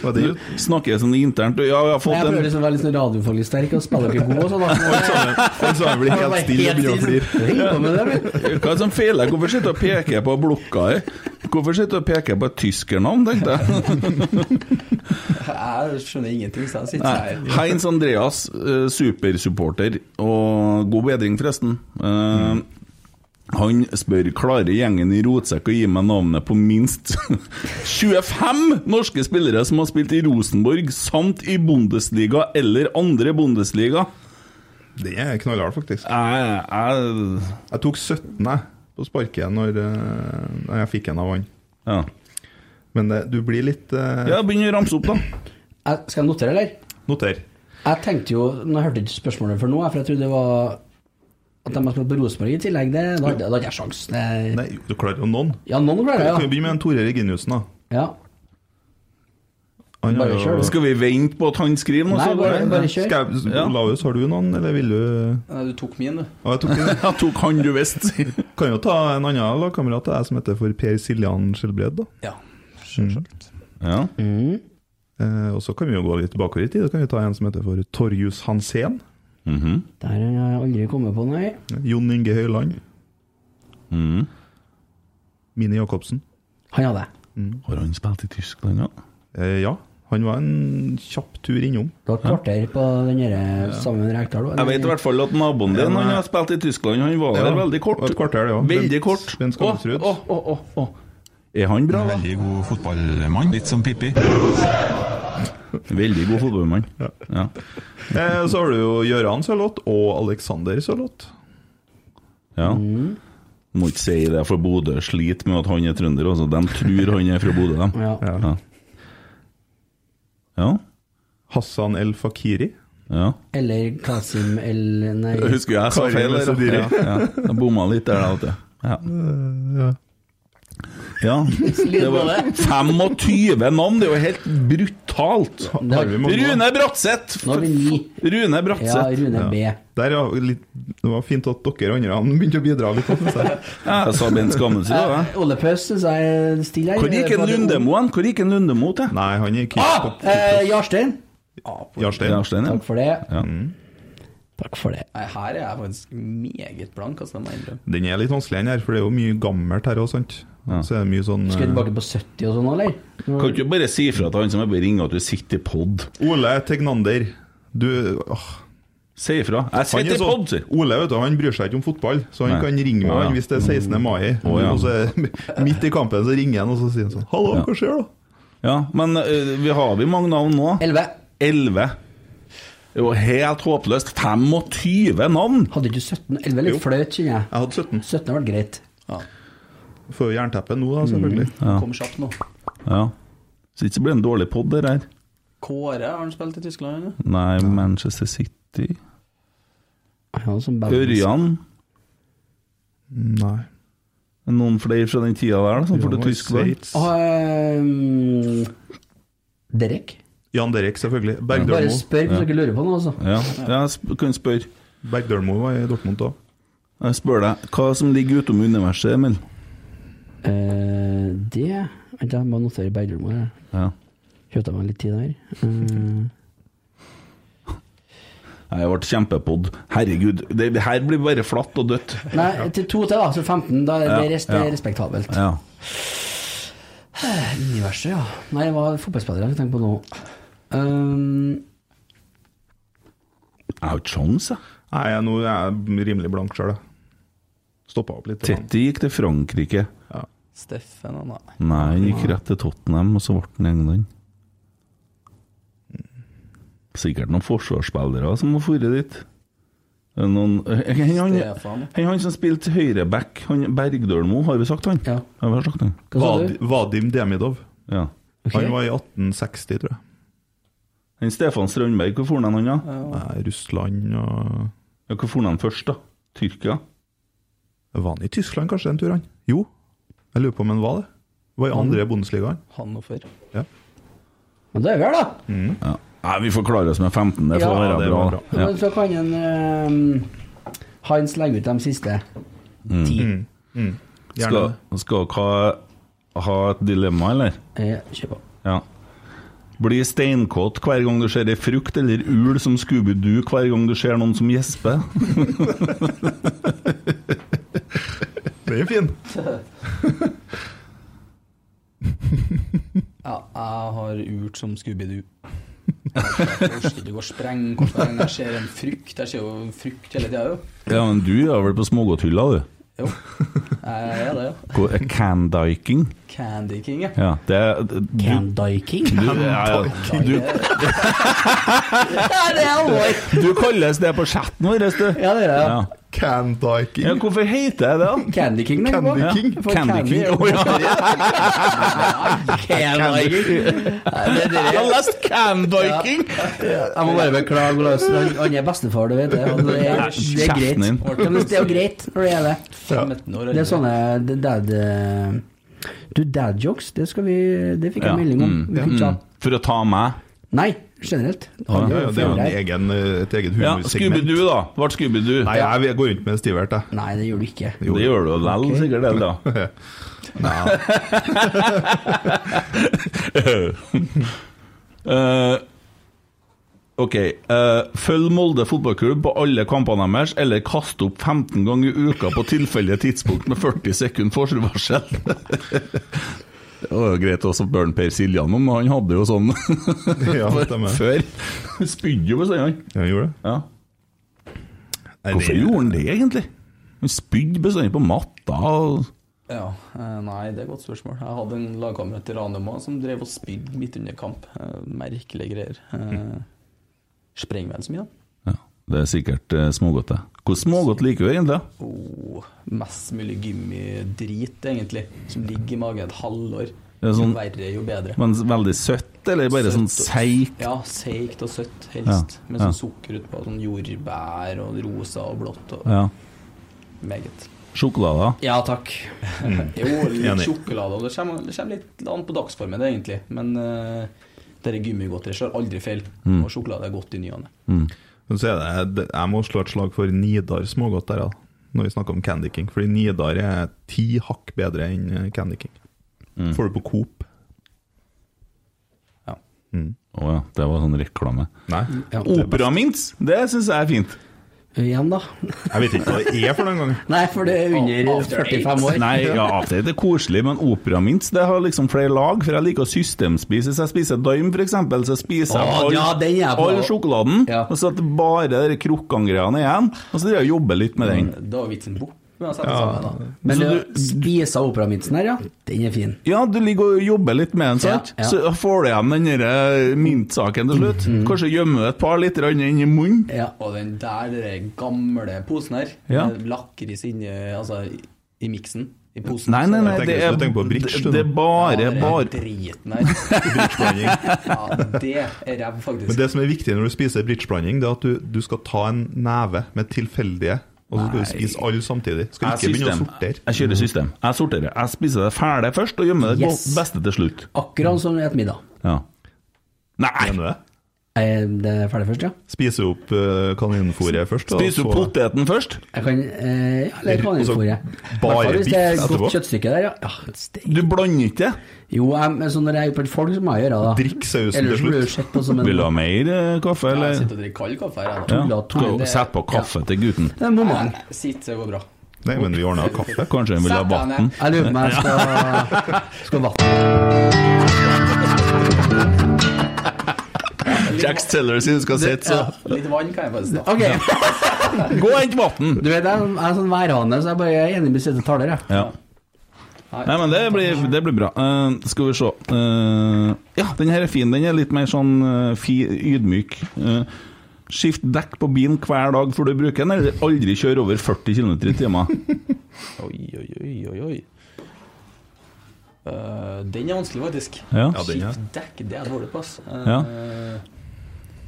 S8: Var det jo
S5: Snakker jeg sånn internt og Ja, vi har
S6: Jeg
S5: fått
S6: prøver
S5: en
S6: liksom å være litt sånn radiofaglig sterk og spille dere gode og sånn.
S8: Alle
S6: da.
S8: sammen- alle sammen blir helt stille og begynner å flire.
S6: Heng på med det, men.
S5: Hva er det som feiler? Hvorfor sitter du og peker på blokka her? Hvorfor sitter du og peker på et tyskernavn, tenkte jeg.
S7: Jeg skjønner ingenting, så jeg
S5: Nei.
S7: sitter her.
S5: Heinz Andreas, eh, supersupporter, og god bedring, forresten. Eh, Han spør klarer gjengen i Rotsekk å gi meg navnet på minst 25 norske spillere som har spilt i Rosenborg samt i Bundesliga eller andre Bundesliga.
S8: Det er knallhardt, faktisk.
S5: Jeg, jeg
S8: Jeg tok 17 jeg, på sparket når, eh, når jeg fikk en av han.
S5: ja.
S8: Men det, du blir litt eh,
S5: ja, begynn å ramse opp, da.
S6: Jeg- Skal jeg notere, eller?
S8: Noter.
S6: Jeg tenkte jo Nå hørte jeg ikke spørsmålet for nå, for jeg trodde det var at de har spilt på Rosenborg i tillegg. Det, da hadde da hadde jeg sjans. Det-
S8: Nei, jo, du klarer jo noen.
S6: Ja, noen
S8: Vi kan
S6: klarer
S8: jo
S6: det,
S8: begynne med en Tore Reginiussen, da.
S6: ja.
S8: Han har
S6: Bare
S8: jo-
S6: kjør, du.
S5: Skal vi vente på at han skriver noe?
S6: Nei,
S5: så går
S6: bare-
S5: jeg-
S6: bare kjør.
S8: Skal jeg,
S5: Ja.
S8: Olaus, har du noen, eller vil du
S7: Nei, Du tok min, du.
S8: Å, jeg tok den.
S5: Jeg tok han du visste.
S8: Kan jo ta en annen lagkamerat av deg som heter for Per Siljan Skjelbred, da. Mm.
S7: Ja, sjølsagt.
S5: Ja.
S8: Eh, og så kan vi jo gå litt bakover i tid. Da kan vi ta en som heter for Torjus Hansen.
S6: Der har jeg aldri kommet på, nei.
S8: Jon Inge Høyland.
S5: Mm.
S8: Mini Jacobsen.
S6: Han hadde jeg.
S5: Har han spilt i Tyskland, ja?
S8: Eh, ja, han var en kjapp tur innom.
S6: Det var et kvarter på den der sammen med Rekdal.
S5: Jeg vet i hvert fall at naboen din han har spilt i Tyskland. Han var der
S8: Ja,
S5: veldig kort.
S8: et kvarter, det, ja.
S5: Veldig
S8: Bent-
S5: kort.
S8: Bent Skarsrud.
S5: Å, å, å, å, å. Er han bra, da?
S10: Veldig god fotballmann, litt som Pippi.
S5: Veldig god fotballmann. Ja.
S8: Eh, så har du jo Gøran Sørloth og Alexander Sørloth.
S5: ja. Må ikke si det, for Bodø sliter med at han er trønder. Altså. De tror han er fra Bodø, de.
S6: Ja.
S5: Ja. Ja.
S8: Hassan El Fakiri.
S5: ja.
S6: Eller Kasim El Nei.
S5: Jeg husker jeg sa
S8: Karim
S5: feil. der,
S8: Sadiri.
S5: Ja, ja. Jeg bomma litt der, da. vet du. Ja. ja. Det var 25 navn, det er jo helt brutalt!
S8: Har vi mange
S5: Rune Bratseth!
S6: Nå har vi ni.
S5: Rune
S6: Ja,
S5: Bratseth.
S6: Rune B.
S8: Der, ja, litt, det var fint at dere andre han begynte å bidra litt. synes jeg.
S5: Ja, jeg sa Bent Skammelsrud, da. jeg.
S6: Eh, Ole Paus syns jeg er stille her.
S5: Hvor gikk en
S6: Var det-
S5: Lundemo hen? Hvor gikk en Lundemo til?
S8: Nei, han er ikke
S6: Ah! Eh, Jarstein.
S8: Jarstein.
S5: Jarstein, ja.
S6: Takk for det.
S5: Ja.
S6: Takk for det.
S7: Nei, her er jeg faktisk meget blank, altså, det må jeg innrømme.
S8: Den er litt vanskelig, den her, for det er jo mye gammelt her òg, sant. Så er det mye sånn
S6: Skal vi tilbake på 70 og sånn, eller?
S5: Kan du ikke bare si ifra til han som er på ringe at du sitter i pod?
S8: eh, Ole Tegnander. Du åh,
S5: Si ifra. Jeg
S8: han
S5: sitter
S8: er
S5: i
S8: sånn,
S5: pod, sier
S8: Ole vet du, han bryr seg ikke om fotball, så han
S5: Nei.
S8: kan ringe
S5: Å,
S8: meg
S5: ja. Mm.
S8: han hvis det er 16. mai.
S5: Å, ja.
S8: Og så er- midt i kampen så ringer han og så sier han sånn Hallo, hva skjer, da?
S5: Ja, men eh, vi har vi mange navn nå?
S6: 11.
S5: 11. Det var helt håpløst. 25 navn!
S6: Hadde ikke du 17? 11 er litt flaut, kjenner jeg.
S8: Jeg hadde 17.
S6: 17 har vært greit.
S8: Får jo jernteppe nå,
S5: Mm.
S8: da, selvfølgelig.
S7: Kom kjapt nå.
S5: Ja. Så ikke blir det en dårlig pod, det her.
S7: Kåre, har han spilt i Tyskland? Eller?
S5: Nei, Manchester City
S6: Ja, som band.
S5: Ørjan.
S8: Nei.
S5: Noen flere fra den tida der, da, som for til
S8: Jan var i
S5: Tyskland?
S8: Sveits.
S6: Og, ehm, Derek?
S8: Jan Derek, selvfølgelig.
S6: Bare
S8: Bergdølmo.
S6: spør hvis dere lurer på noe, altså.
S5: Ja, ja jeg sp kan spørre.
S8: Bergdølmo var i Dortmund da.
S5: Jeg spør deg, hva som ligger utom universet, Emil?
S6: Eh, det Vent, jeg må notere Bergdølmo her.
S5: Ja.
S6: Kjøpte meg litt tid der. Eh,
S5: Nei, Jeg ble kjempepod. Herregud, det det her blir bare flatt og dødt.
S6: nei, til to til, da. Så 15. Da er det, rest, det
S5: ja.
S6: er respektabelt.
S5: Ja.
S6: Universet, ja. Nei, det var fotballspillere jeg tenkte på nå. Ehm,
S5: Jeg har ikke sjans, jeg.
S8: Nei, jeg, nå er jeg rimelig blank sjøl, jeg. Stoppa opp litt.
S5: Tetty gikk til Frankrike.
S7: Steffen, han nei.
S5: Nei, han gikk rett til Tottenham, og så ble han i England. Sikkert noen forsvarsspillere som har dratt dit. Er det Noen, Eh, han, han,
S7: Stefan.
S5: han, han som spilte høyreback, han Bergdølmo, har vi sagt han?
S6: Ja.
S5: Har vi sagt han?
S6: hva sa
S8: Vad,
S6: du?
S8: Vadim Demidov.
S5: Ja.
S6: Ok.
S8: Han var i 1860, tror jeg.
S5: Han Stefan Strandberg, hvor for han han, da?
S8: Nei, Russland og
S5: Ja, hvor for han først, da? Tyrkia?
S8: Var han i Tyskland kanskje den turen? han? Jo, jeg lurer på om han var det. Var i andre Bundesligaen.
S7: Hannover.
S8: Ja.
S6: Men da er vi her, da.
S5: Nei, vi får klare oss med 15, det får
S6: Ja,
S5: være
S8: det
S5: bra.
S8: var bra.
S5: Ja.
S6: Men så kan en ehm, Hans legge ut de siste ti.
S8: Gjerne
S5: Skal,
S8: det.
S5: skal dere ha et dilemma, eller?
S6: Eh, kjør på.
S5: Ja. Bli steinkåt hver gang du ser ei frukt eller ul som Scooby-Doo hver gang du ser noen som gjesper.
S8: Den er fin.
S7: Ja, jeg har urt som Scooby-Doo. Jeg orker ikke å sprenge hver gang jeg ser en frukt. Jeg ser jo frukt hele tida, jo.
S5: Ja, men du er vel på smågodthylla, du?
S7: Jo. Jeg er det, jo.
S5: Hvor- eh, Candiking?
S7: Candy King, jeg.
S5: Ja, det er du,
S6: Candyking?
S5: du, ja, ja. du,
S6: Ja, det er alvor!
S5: du kalles det på chatten vår, du.
S6: Ja, det er det.
S5: Ja. ja,
S8: Candyking.
S5: hvorfor heter jeg det, da?
S6: Candy King, tenker jeg på.
S5: Ja,
S8: King.
S6: For
S5: Candy King.
S6: er jo-
S5: Å, ja.
S6: Candy King. Nei, det er
S5: Jeg
S6: dere.
S5: har lest Candiking!
S6: Jeg må bare beklage, Lars. Han- Han er bestefar, du vet det. Han- Det er, det er
S5: Kjeften din.
S6: greit. Ja, men det er jo greit når det gjelder.
S7: 15 år.
S6: Det er sånne det- dad eh, Du, dad jokes, det skal vi Det fikk jeg
S5: Ja,
S6: melding om.
S5: mm,
S6: Vi fikk ikke ha-
S5: For å ta meg.
S6: Nei, generelt.
S5: Ja,
S8: Ja, ja, det er jo en
S6: Nei,
S8: egen, et eget
S5: Ja,
S8: humorsegment.
S5: Scooby-Doo, da. Ble Scooby-Doo.
S8: Nei, jeg, jeg går rundt med en stivert, jeg.
S6: Nei, det gjør du ikke.
S5: Det gjør du vel, sikkert det, da. Eh, ok. eh, følg Molde fotballklubb på alle kampene deres, eller kast opp 15 ganger i uka på tilfeldige tidspunkt med 40 sekunder forsvarsel. Det var jo greit også Børn Per Siljan, men han hadde jo sånn
S8: Ja, stemmer.
S5: før. Spydde jo på seg, han.
S8: Ja, jeg gjorde det.
S5: Ja.
S8: Nei,
S5: Hvorfor
S8: det-
S5: gjorde han det, egentlig? Han spydde bestandig på matta. og-
S7: Ja, eh, nei, det er et godt spørsmål. Jeg hadde en lagkamerat i Ranum også som drev og spydde midt under kamp. Eh, Merkelige greier. Eh, Sprenger vel så mye, da.
S5: Ja, det er sikkert eh, smågodt, det. Hvor smågodt liker du egentlig? da?
S7: Oh, mest mulig gummidrit, egentlig, som ligger i magen et halvår.
S5: Det er
S7: Jo
S5: sånn,
S7: verre, jo bedre.
S5: men veldig søtt, eller bare sånn
S7: Søtt og-
S5: seigt?
S7: Ja, seigt og søtt, helst.
S5: Ja,
S7: Med
S5: ja.
S7: sånn sukker utpå. Sånn jordbær og rosa og blått og
S5: Ja.
S7: meget.
S5: Sjokolader?
S7: Ja takk.
S5: Mm.
S7: jo, litt
S8: Enig.
S7: sjokolade. og Det kommer, det kommer litt an på dagsformen, det, egentlig. Men uh, dette gummigodteriet slår aldri feil.
S5: Mm.
S7: Og sjokolade er godt i ny og ne.
S8: Men så er det, jeg må slå et slag for Nidar smågodt der, da, når vi snakker om Candy King. Fordi Nidar er ti hakk bedre enn eh, Candy King.
S5: Mm.
S8: Får du på Coop.
S7: Ja.
S5: Å ja, det var sånn reklame.
S8: Nei.
S6: Ja.
S5: Operamints! Det syns jeg er fint.
S6: Igjen, da.
S8: Jeg vet ikke hva det er for noen gang.
S6: Nei, for det er under 45 år.
S5: Nei, ja, det er koselig, men operamints det har liksom flere lag, for jeg liker å systemspise. Hvis jeg spiser Daim, for eksempel, så spiser jeg
S6: Å,
S5: all,
S6: ja, den er jeg på.
S5: all sjokoladen,
S6: Ja.
S5: og så at det bare er de krukkangreiene igjen, og så driver jeg og jobber litt med den.
S7: Da er vitsen bort. Uansett, ja. da. eh,
S5: Så
S6: Men du
S5: du-
S6: spiser operaminsen her, ja. Den er fin.
S5: Ja, du ligger og jobber litt med den, sant?
S6: Ja, ja.
S5: Så får du igjen den derre eh, mintsaken til slutt.
S6: Mm-hmm.
S5: Kanskje gjemmer du et par litt grann inn i munnen.
S6: Ja.
S7: Og den der den gamle posen her,
S5: Ja.
S7: med lakris inni Altså, i- i miksen. I posen.
S5: Nei, nei, nei,
S8: Jeg tenker-
S5: det
S8: så
S5: er,
S8: du tenker på
S5: det,
S8: bridge, du nå?
S5: det er bare,
S7: Ja, det er
S5: bare
S7: driten her. Ja, det er ræv, faktisk.
S8: Men det som er viktig når du spiser bridgeblanding, det er at du, du skal ta en neve med tilfeldige, og så skal du spise alle samtidig. Skal
S5: Jeg
S8: ikke begynne å
S5: system.
S8: sortere.
S5: Jeg kjører system. Jeg sorterer. Jeg spiser det fæle først, og gjemmer det
S6: Yes.
S5: beste til slutt.
S6: Akkurat som et middag.
S5: Ja. Nei!
S8: Mener du det?
S6: Er det ferdig først, ja?
S8: Spise opp eh, kaninfôret først. og
S5: Spiser du
S8: så-
S5: poteten først?
S6: Jeg kan eh, Ja, eller
S8: Og så
S6: kaninfôret.
S8: Altså, bare
S6: Hvertfall Hvis det er
S8: biff etterpå.
S6: godt kjøttstykke der, ja. ja steak.
S5: Du blander ikke det?
S6: jo, jeg, men så når jeg er ute på et folk, så må jeg gjøre det. da.
S8: Drikk sausen til
S6: Ellers blir
S8: slutt.
S6: du sett på som en
S5: Vil du ha mer eh, kaffe,
S7: Ja, jeg
S5: eller?
S7: sitter og drikker kald kaffe her, jeg, da.
S5: Ja.
S6: tulla, tulla.
S5: Skal Sett på kaffe til gutten.
S6: Det er en moment.
S7: Sitt, det går bra.
S8: Nei, men vi ordna kaffe.
S5: Kanskje han vil ha
S7: Sett deg
S5: vann?
S7: ned.
S6: Jeg lurer på om jeg skal, skal vattne.
S5: Jack Steller sin skal sitte, så
S7: Ja, litt vann kan jeg faktisk ta.
S6: Ok,
S5: Gå og hent vann!
S6: du vet, jeg er sånn- jeg er sånn værhane, så jeg bare er enig med siste taler, jeg.
S5: Ja. Nei, men det blir, det blir bra. Eh, skal vi se Eh, Ja, den her er fin. Den er litt mer sånn eh, fi, ydmyk. Eh, skift dekk på bilen hver dag før du bruker den, eller aldri kjør over 40 km i timen.
S7: Oi, oi, oi, oi, oi. Eh, den er vanskelig, faktisk.
S5: Ja.
S8: Ja, den er.
S7: Skift dekk, det er dårlig på, ass. Eh,
S5: Ja.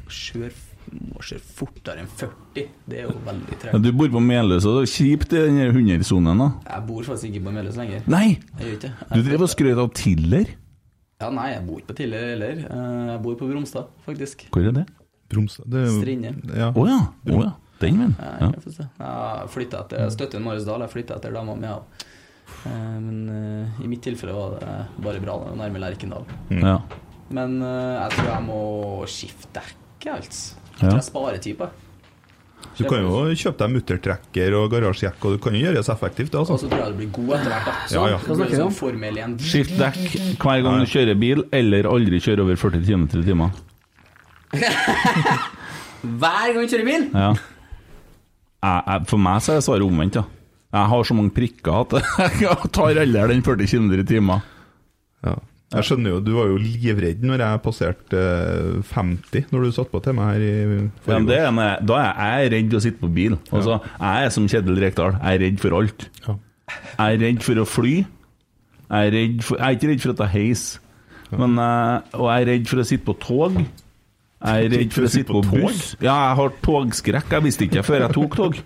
S7: Kjør må kjøre fortere enn 40. Det er jo veldig
S5: Ja,
S7: tregt.
S5: Du bor på Meløs, og det er kjipt i den her hundersonen, da.
S7: Jeg bor faktisk ikke på Meløs lenger.
S5: Nei!
S7: Jeg gjør ikke det.
S5: Du drev og skrøt av Tiller.
S7: Ja, nei, jeg bor ikke på Tiller heller. Eh, Jeg bor på Bromstad, faktisk.
S5: Hvor er det?
S8: Bromsa det er jo-
S7: Strinde.
S8: Ja.
S5: Å ja. Å ja. Den, men.
S7: Nei,
S5: Ja.
S7: jeg får se. Jeg flyttet etter jeg støtter Marius Dahl, jeg flytta etter dama mi òg. Men eh, i mitt tilfelle var det bare bra da, nærme Lerkendal.
S5: Ja.
S7: Men eh, jeg tror jeg må skifte dekk, altså. Jeg
S5: Ja.
S7: tror jeg sparer tid på det.
S8: Du kan jo kjøpe deg muttertrekker og garasjejakke, og du kan jo gjøre det så effektivt. det,
S7: Og
S8: Altså.
S7: så tror jeg det blir god etter hvert. da. Så,
S8: Ja, ja.
S7: det blir sånn Formel 1.
S5: Skift dekk hver gang du kjører bil, eller aldri kjør over 40 km i timen.
S6: Hver gang du kjører bil!
S5: Ja. Jeg, jeg, for meg så er svaret omvendt, ja. Jeg har så mange prikker at jeg tar aldri den 40 km i timen.
S8: Ja. Jeg skjønner jo, du var jo livredd når jeg passerte eh, 50, når du satt på til meg her i
S5: Ja, men det
S8: forrige
S5: er når jeg- Da er jeg redd å sitte på bil. Altså, jeg er som Kjetil Rekdal, jeg er redd for alt.
S8: Ja.
S5: Jeg er redd for å fly. Jeg er, redd for, jeg er ikke redd for å ta heis, men, jeg- og jeg er redd for å sitte på tog. Jeg er redd for å sitte på buss. Ja, jeg har togskrekk. Jeg visste ikke det før jeg tok tog.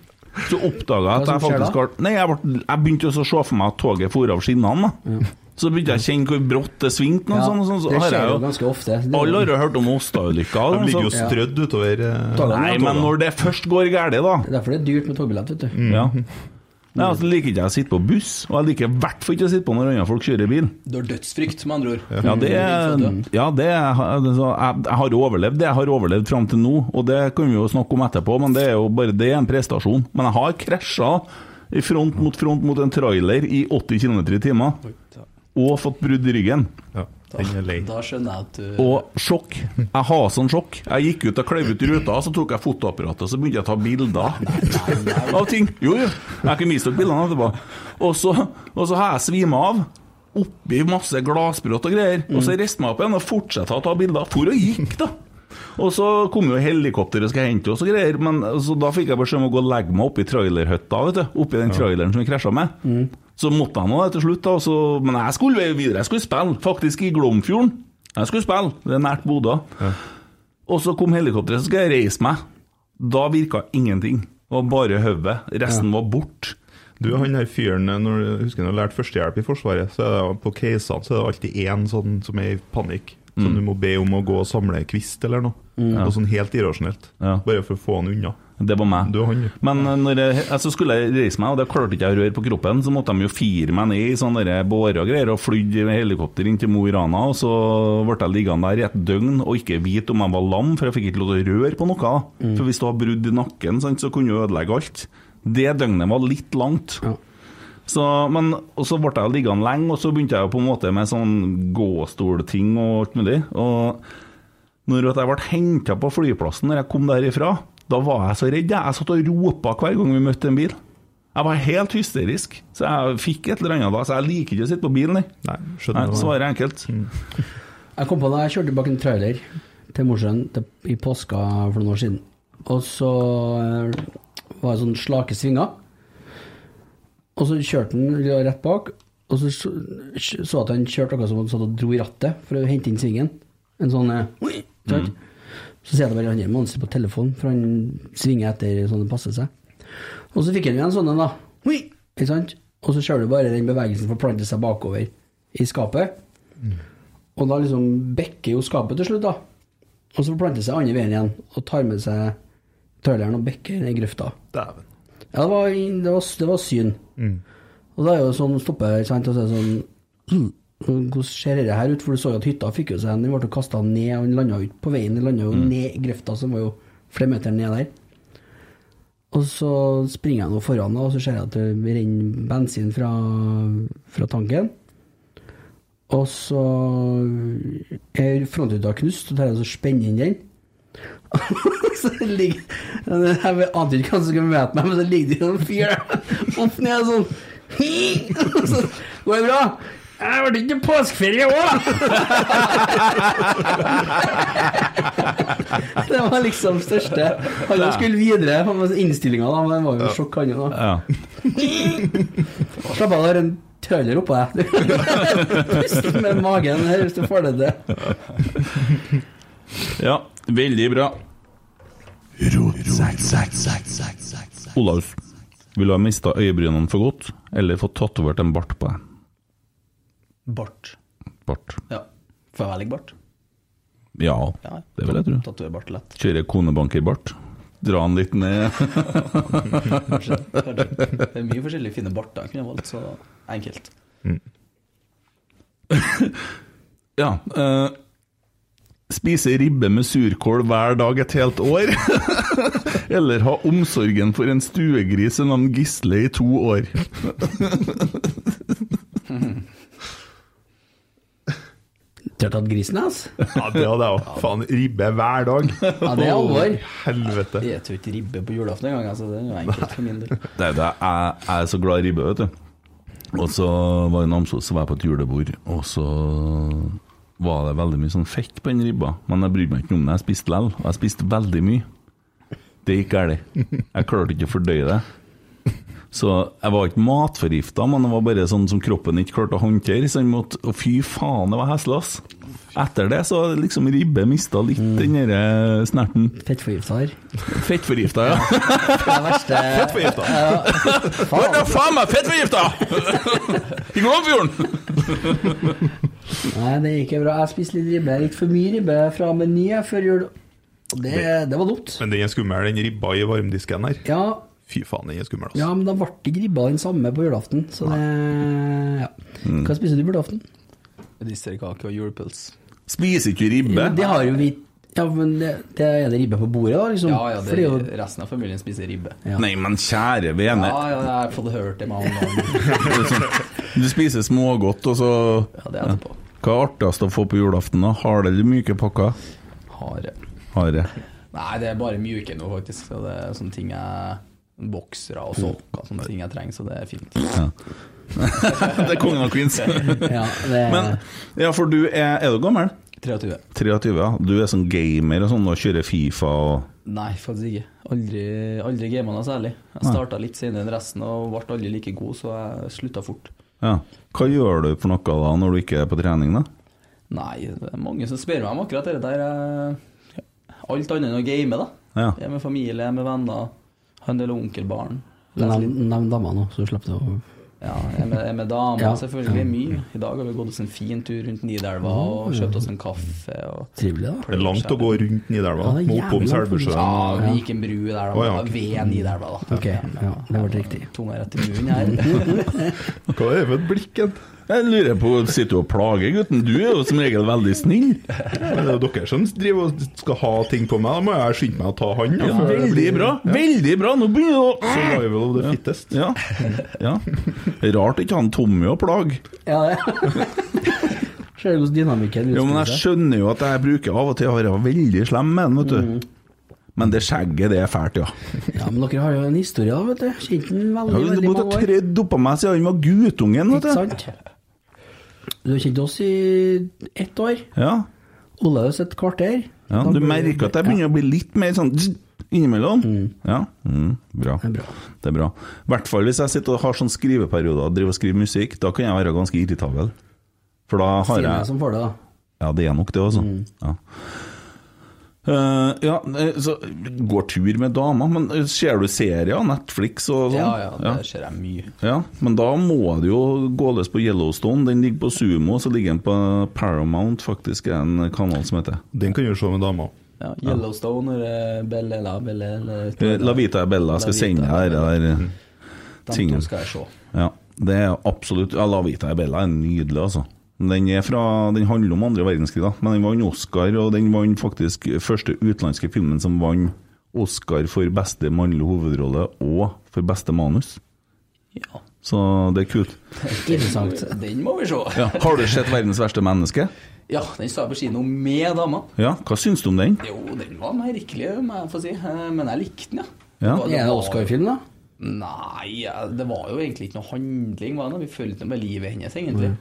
S5: Så oppdaga jeg at
S6: Hva
S5: jeg
S6: som skjer
S5: faktisk har Nei, jeg, ble, jeg begynte jo så å se for meg at toget for av skinnene. da. Så begynte jeg å kjenne hvor brått det svingte. og
S6: Ja,
S5: sånn, og sånn, så
S6: det
S5: har jeg
S6: skjer jo
S5: jo
S6: ganske ofte. Det-
S5: Alle har jo hørt om Åsta-ulykka.
S8: De ligger jo
S5: liksom.
S8: strødd utover eh,
S6: Togene,
S5: Nei,
S6: ja,
S5: men
S6: togene.
S5: når det først går galt, da
S6: Det er derfor det er dyrt med togbillett, vet du.
S5: ja. Nei, altså liker ikke jeg å sitte på buss, og jeg liker i hvert fall ikke å sitte på når andre folk kjører bil.
S7: Du har dødsfrykt, med andre ord.
S5: Ja, det, ja, det altså, jeg, jeg har jo overlevd det jeg har overlevd fram til nå, og det kan vi jo snakke om etterpå, men det er jo bare det er en prestasjon. Men jeg har krasja i front mot front mot en trailer i 80 km i timen, og fått brudd i ryggen.
S8: Ja, den er lei.
S7: Da skjønner jeg at du
S5: Og sjokk. Jeg har sånn sjokk. Jeg gikk ut og kløyv ut ruta, så tok jeg fotoapparatet og så begynte jeg å ta bilder av ting. Jo, jo. Jeg kan vise dere bildene etterpå. Og så, og så har jeg svima av. Oppi masse glassbrott og greier. Og så reiste jeg meg opp igjen og fortsatte å ta bilder. For og gikk, da. Og så kom jo helikopteret og skulle hente oss og greier. Men så da fikk jeg beskjed om å gå og legge meg oppi trailerhytta, vet du. Oppi den traileren som vi krasja med. Så måtte jeg nå det til slutt, da. Så, men jeg skulle jo videre. Jeg skulle spille, faktisk i Glomfjorden. Jeg skulle spille, det er nært Bodø. Og så kom helikopteret, så skal jeg reise meg. Da virka ingenting. Det var bare hodet. Resten var borte.
S8: Du, han her fyren, eh, når, jeg husker når du lærte førstehjelp i Forsvaret, så er det på casene så er det alltid én sånn som er i panikk. Som
S5: Mm.
S8: du må be om å gå og samle kvist eller noe. Og sånn helt irrasjonelt.
S5: Ja.
S8: Bare for å få han unna.
S5: Det var meg.
S8: Du er han, du.
S5: Men eh, når jeg, altså skulle jeg reise meg, og det klarte ikke jeg å røre på kroppen, så måtte de jo fire meg ned i sånne der bårer og greier, og flydde med helikopter inn til Mo i Rana, og så ble jeg liggende der i et døgn og ikke vite om jeg var lam, for jeg fikk ikke lov til å røre på noe. da. For hvis du har brudd i nakken, sant, så kunne du ødelegge alt. Det døgnet var litt langt. Så, men, og så ble jeg liggende lenge, og så begynte jeg jo på en måte med sånn gåstolting og alt mulig. Og når at jeg ble henta på flyplassen når jeg kom derifra, da var jeg så redd. jeg. Jeg satt og ropa hver gang vi møtte en bil. Jeg var helt hysterisk. Så jeg fikk et eller annet da, så jeg liker ikke å sitte på bilen, jeg.
S8: Nei,
S5: Nei,
S8: skjønner du det?
S5: Svaret er enkelt.
S6: Jeg kom på det, jeg kjørte bak en trailer til Mosjøen til- i påska for noen år siden. Og så eh, var det sånn slake svinger. Og så kjørte han rett bak, og så så så at han kjørte noe som han satt og dro i rattet for å hente inn svingen. En sånn eh, oi, sant? Så ser jeg det bare han der monsteret på telefonen, for han svinger etter sånn det passer seg. Og så fikk han jo en sånn en, da. Oi, ikke sant? Og så ser du bare den bevegelsen forplante seg bakover i skapet. Og da liksom bekker jo skapet til slutt, da. Og så forplanter seg andre veien igjen, og tar med seg traileren og bekker ned i grøfta.
S8: Dæven.
S6: Ja, det var, det var, det var syn. Og da er jo sånn stopper jeg, sant, og så er det sånn «Hm, Hvordan ser dette her ut? For du så jo at hytta fikk jo seg en, den ble kasta ned, og den landa ut på veien. Den landa jo ned i grøfta, som var jo flere meter ned der. Og så springer jeg nå foran, da, og så ser jeg at det renner bensin fra, fra tanken. Og så er frontruta knust, og tar jeg og så spenner inn den. så ligger Jeg vet- ante ikke hva som skulle møte meg, men så ligger det jo en fyr der opp ned sånn Hi! Og så går det bra? Jeg ble ikke påskeferie òg! det var liksom største Han jo skulle videre på innstillinga, da, men det var jo sjokk, han jo. da.
S5: Ja.
S6: Slapp av, det er en trailer oppå deg. Pust med magen her hvis du får det til.
S5: ja. Veldig bra. Olaus, vil du ha mista øyebrynene for godt, eller fått tatovert en bart på deg?
S7: Bart.
S5: Bart.
S7: Ja. Får jeg velge bart?
S5: Ja,
S7: Ja.
S5: det vil jeg tro.
S7: Tatoverer Mm. bart lett.
S5: Kjøre konebankerbart. Dra den litt ned.
S7: Kanskje. Kanskje. Det er mye forskjellige fine barter jeg kunne valgt, så enkelt.
S5: Ja. eh, spise ribbe med surkål hver dag et helt år. Eller ha omsorgen for en stuegris ved navn Gisle i to år.
S6: Tør tatt grisen hans?
S8: Ja, det hadde jeg òg. Faen, ribbe hver dag.
S6: Ja, det er alvor.
S8: Helvete.
S7: Jeg spiser ikke ribbe på julaften engang, altså det er jo enkelt for min del.
S5: Det, er det, jeg, jeg er så glad i ribbe, vet du. Og så var jeg i Namsos, så var jeg på et julebord, og så var det veldig mye sånn fett på den ribba. Men jeg brydde meg ikke om det, jeg spiste lell, og jeg spiste veldig mye. Det gikk galt. Jeg klarte ikke å fordøye det. Så jeg var ikke matforgifta, men det var bare sånn som kroppen ikke klarte å håndtere. Så jeg måtte, og fy faen, det var heslig, ass. Etter det så har liksom ribbe mista litt den derre snerten.
S6: Fettforgifta her.
S5: Fettforgifta, ja.
S6: Det er det verste
S5: Hva faen meg fettforgifta! I Glomfjorden!
S6: Nei, det gikk jo bra. Jeg spiste litt ribbe. Litt for mye ribbe fra Meny før jul. Og det, det var dumt.
S8: Men den er skummel, den ribba i varmdisken her.
S6: Ja,
S8: Fy faen, den er skummel, altså.
S6: ja, men da ble ikke ribba den samme på julaften, så det ja. Hva spiser du på julaften?
S7: Medisterkake og julepils.
S5: Spiser ikke ribbe.
S6: Ja, det har jo vi Ja, men det, det er det ribbe på bordet, da? Liksom.
S7: Ja, ja,
S6: For
S7: det,
S6: det er jo
S7: resten av familien spiser ribbe.
S6: Ja.
S5: Nei, men kjære vene.
S7: Ja, ja, jeg har fått hørt det mange ganger.
S5: Det er sånn, Du spiser smågodt, og så
S7: Ja, det er etterpå.
S5: Hva er artigst å få på julaften? da? Harde eller myke pakker?
S7: Hare.
S5: Harde.
S7: Nei, det er bare mjuke nå, faktisk. Så det er sånne ting jeg Boksere og sokker, sånne ting jeg trenger, så det er fint.
S5: Det er kongen av queens.
S6: ja, det,
S5: Men Ja, for du er Er du gammel?
S7: 23.
S5: 23, ja. Du er sånn gamer og sånn og kjører Fifa og
S7: Nei, faktisk ikke. Aldri, aldri gama noe særlig. Jeg starta litt senere enn resten og ble aldri like god, så jeg slutta fort.
S5: Ja. Hva gjør du for noe da når du ikke er på trening, da?
S7: Nei, det er mange som spør meg om akkurat det der. eh, Alt annet enn å game, da.
S5: Ja.
S7: Jeg er med familie, jeg er med venner, har en del onkelbarn.
S6: Nevn nevn damene nå, så du slipper å
S7: Ja, jeg er med, jeg er med damer,
S6: Ja.
S7: selvfølgelig. Mye. I dag har vi gått oss en fin tur rundt Nidelva og kjøpt oss en kaffe. Og
S6: Trivelig, da.
S8: Det er langt å gå rundt Nidelva.
S6: Ja, det er
S8: Må oppom
S6: jævlig langt,
S8: Selbusjøen.
S7: Ja, vi gikk en bru der, da.
S8: Å, ja,
S7: og
S8: ok.
S7: Ved Nidelva, da.
S6: Ok, ja, det ble riktig.
S7: Tunga rett i munnen her.
S8: Hva er det for et blikk? en?
S5: Jeg lurer på, Sitter du og plager gutten? Du er jo som regel veldig snill.
S8: Men Det er jo dere som driver og skal ha ting på meg. Da må jeg skynde meg å ta han. da,
S5: Ja,
S8: før det
S5: veldig
S8: blir-
S5: bra! Veldig bra! Nå begynner du å
S8: Survival of the fittest.
S5: Ja. ja. Rart ikke han Tommy å plage.
S6: Ja, det Ser du hvordan dynamikken
S5: Jo, men jeg
S6: utspiller seg?
S5: skjønner jo at jeg bruker av og til å være veldig slem med han,
S6: Mm.
S5: vet du. Men det skjegget, det er fælt, ja.
S6: Ja, men dere har jo en historie, da, vet du. Kjent
S5: Jeg
S6: den veldig,
S5: har
S6: veldig
S5: gått og
S6: mange år.
S5: tredd oppå meg siden han var guttungen, vet du.
S6: Ikke sant? Du har kjent oss i ett år.
S5: Ja.
S6: Olaus et kvarter.
S5: ja.
S6: Da
S5: Du
S6: blir-
S5: merker at jeg begynner å bli litt mer sånn zzz innimellom. Ja. Mm, bra.
S6: er bra.
S5: Det er bra. I hvert fall hvis jeg sitter og har sånn skriveperioder og driver og skriver musikk, da kan jeg være ganske irritabel. For da
S6: Ja,
S5: har
S6: Stine
S5: jeg
S6: som får det, da.
S5: Ja, det er nok det, altså. Ja. Eh, ja, eh, så går tur med dama, men eh, ser du serier, Netflix og sånn?
S7: Ja, ja, det ser jeg mye.
S5: Ja, men da må det jo gå løs på Yellowstone. Den ligger på Sumo, så ligger den på Paramount, faktisk, er en kanal som heter
S8: Den kan du se med dama.
S7: Ja, Yellowstone eller eh, Bellela Bellela
S5: Eh, La Vita e Bella. Jeg skal sende deg det der eh,
S7: De to
S5: tingen.
S7: skal jeg se.
S5: Ja, det er absolutt ja, La Vita e Bella er nydelig, altså. Den, er fra, den handler om andre verdenskrig, da. men den vant Oscar, og den vant faktisk første utenlandske filmen som vant Oscar for beste mannlige hovedrolle og for beste manus.
S7: Ja.
S5: Så det er kult.
S6: Interessant.
S7: Den må vi se.
S5: Ja. Har du sett 'Verdens verste menneske'?
S7: Ja, den sa jeg på kino med dama.
S5: Ja, Hva syns du om den?
S7: Jo, den var merkelig, må jeg få si. Eh, Men jeg likte den, ja.
S5: Ja.
S7: var-
S6: Er det
S7: var-
S6: Oscar-film, da?
S7: Nei, ja, det var jo egentlig ikke noe handling. Var det? noe? Vi fulgte med livet hennes, egentlig.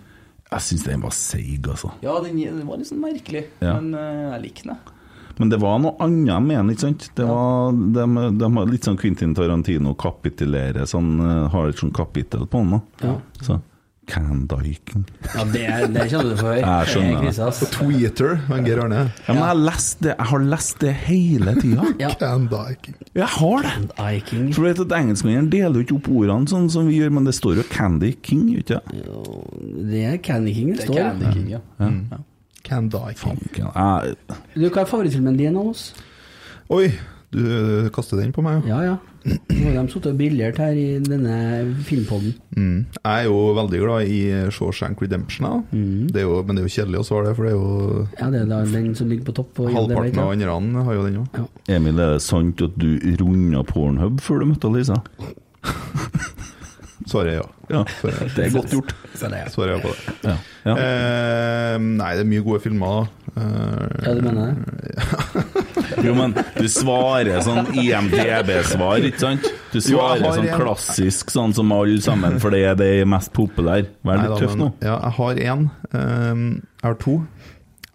S5: Jeg syns den var seig, altså.
S7: Ja, den, den var litt sånn merkelig,
S5: Ja.
S7: men eh, jeg likte den. jeg.
S5: Men det var noe annet med den, ikke sant? Det var, de, de har litt sånn Quentin Tarantino kapitulerer, så han eh, har et sånt kapittel på den. da.
S6: Ja.
S5: Så Candyking.
S6: Ja, det, det kjenner du for høyt.
S5: Jeg skjønner det.
S6: det.
S8: Tweeter, men Geir Arne.
S5: Ja, men jeg, har lest det, jeg har lest det hele tida.
S6: Ja.
S8: Can die.
S5: Jeg har det!
S6: Iking.
S5: For du vet at Engelskmennene deler jo ikke opp ordene sånn som vi gjør, men det står jo Candy King, gjør det ikke det?
S6: Det er Candy King det
S7: Det
S6: står.
S7: er Candy King, ja.
S8: Can die.
S5: Fanken, jeg-
S6: Du, hva er favorittfilmen din av oss?
S8: Oi, du eh, kaster den på meg, ja.
S6: Ja, ja. Nå har de sittet og briljert her i denne filmpodden.
S8: Mm. Jeg er jo veldig glad i Shawshank Redemption, da.
S5: Mm.
S8: Det er jo, men det er jo kjedelig å svare det, for det er jo
S6: Ja, det er da den som ligger på topp. Og
S8: halvparten av andre har jo den òg.
S5: Emil, er det sant at du runda Pornhub før du møtte Lisa?
S8: Svaret er ja.
S5: Ja,
S8: Svaret,
S5: det er godt gjort.
S8: svaret er ja på det.
S5: Ja. Ja.
S8: Eh, nei, det er mye gode filmer, da. Eh,
S6: Ja, du mener det?
S5: Jo, men du svarer sånn IMDb-svar, ikke sant? Du
S8: jeg har
S5: svarer sånn
S8: en-
S5: klassisk, sånn som alle sammen, for det er det mest populære. Vær
S8: nei
S5: litt
S8: da,
S5: tøff
S8: men-
S5: nå.
S8: Ja, jeg har én. jeg har to.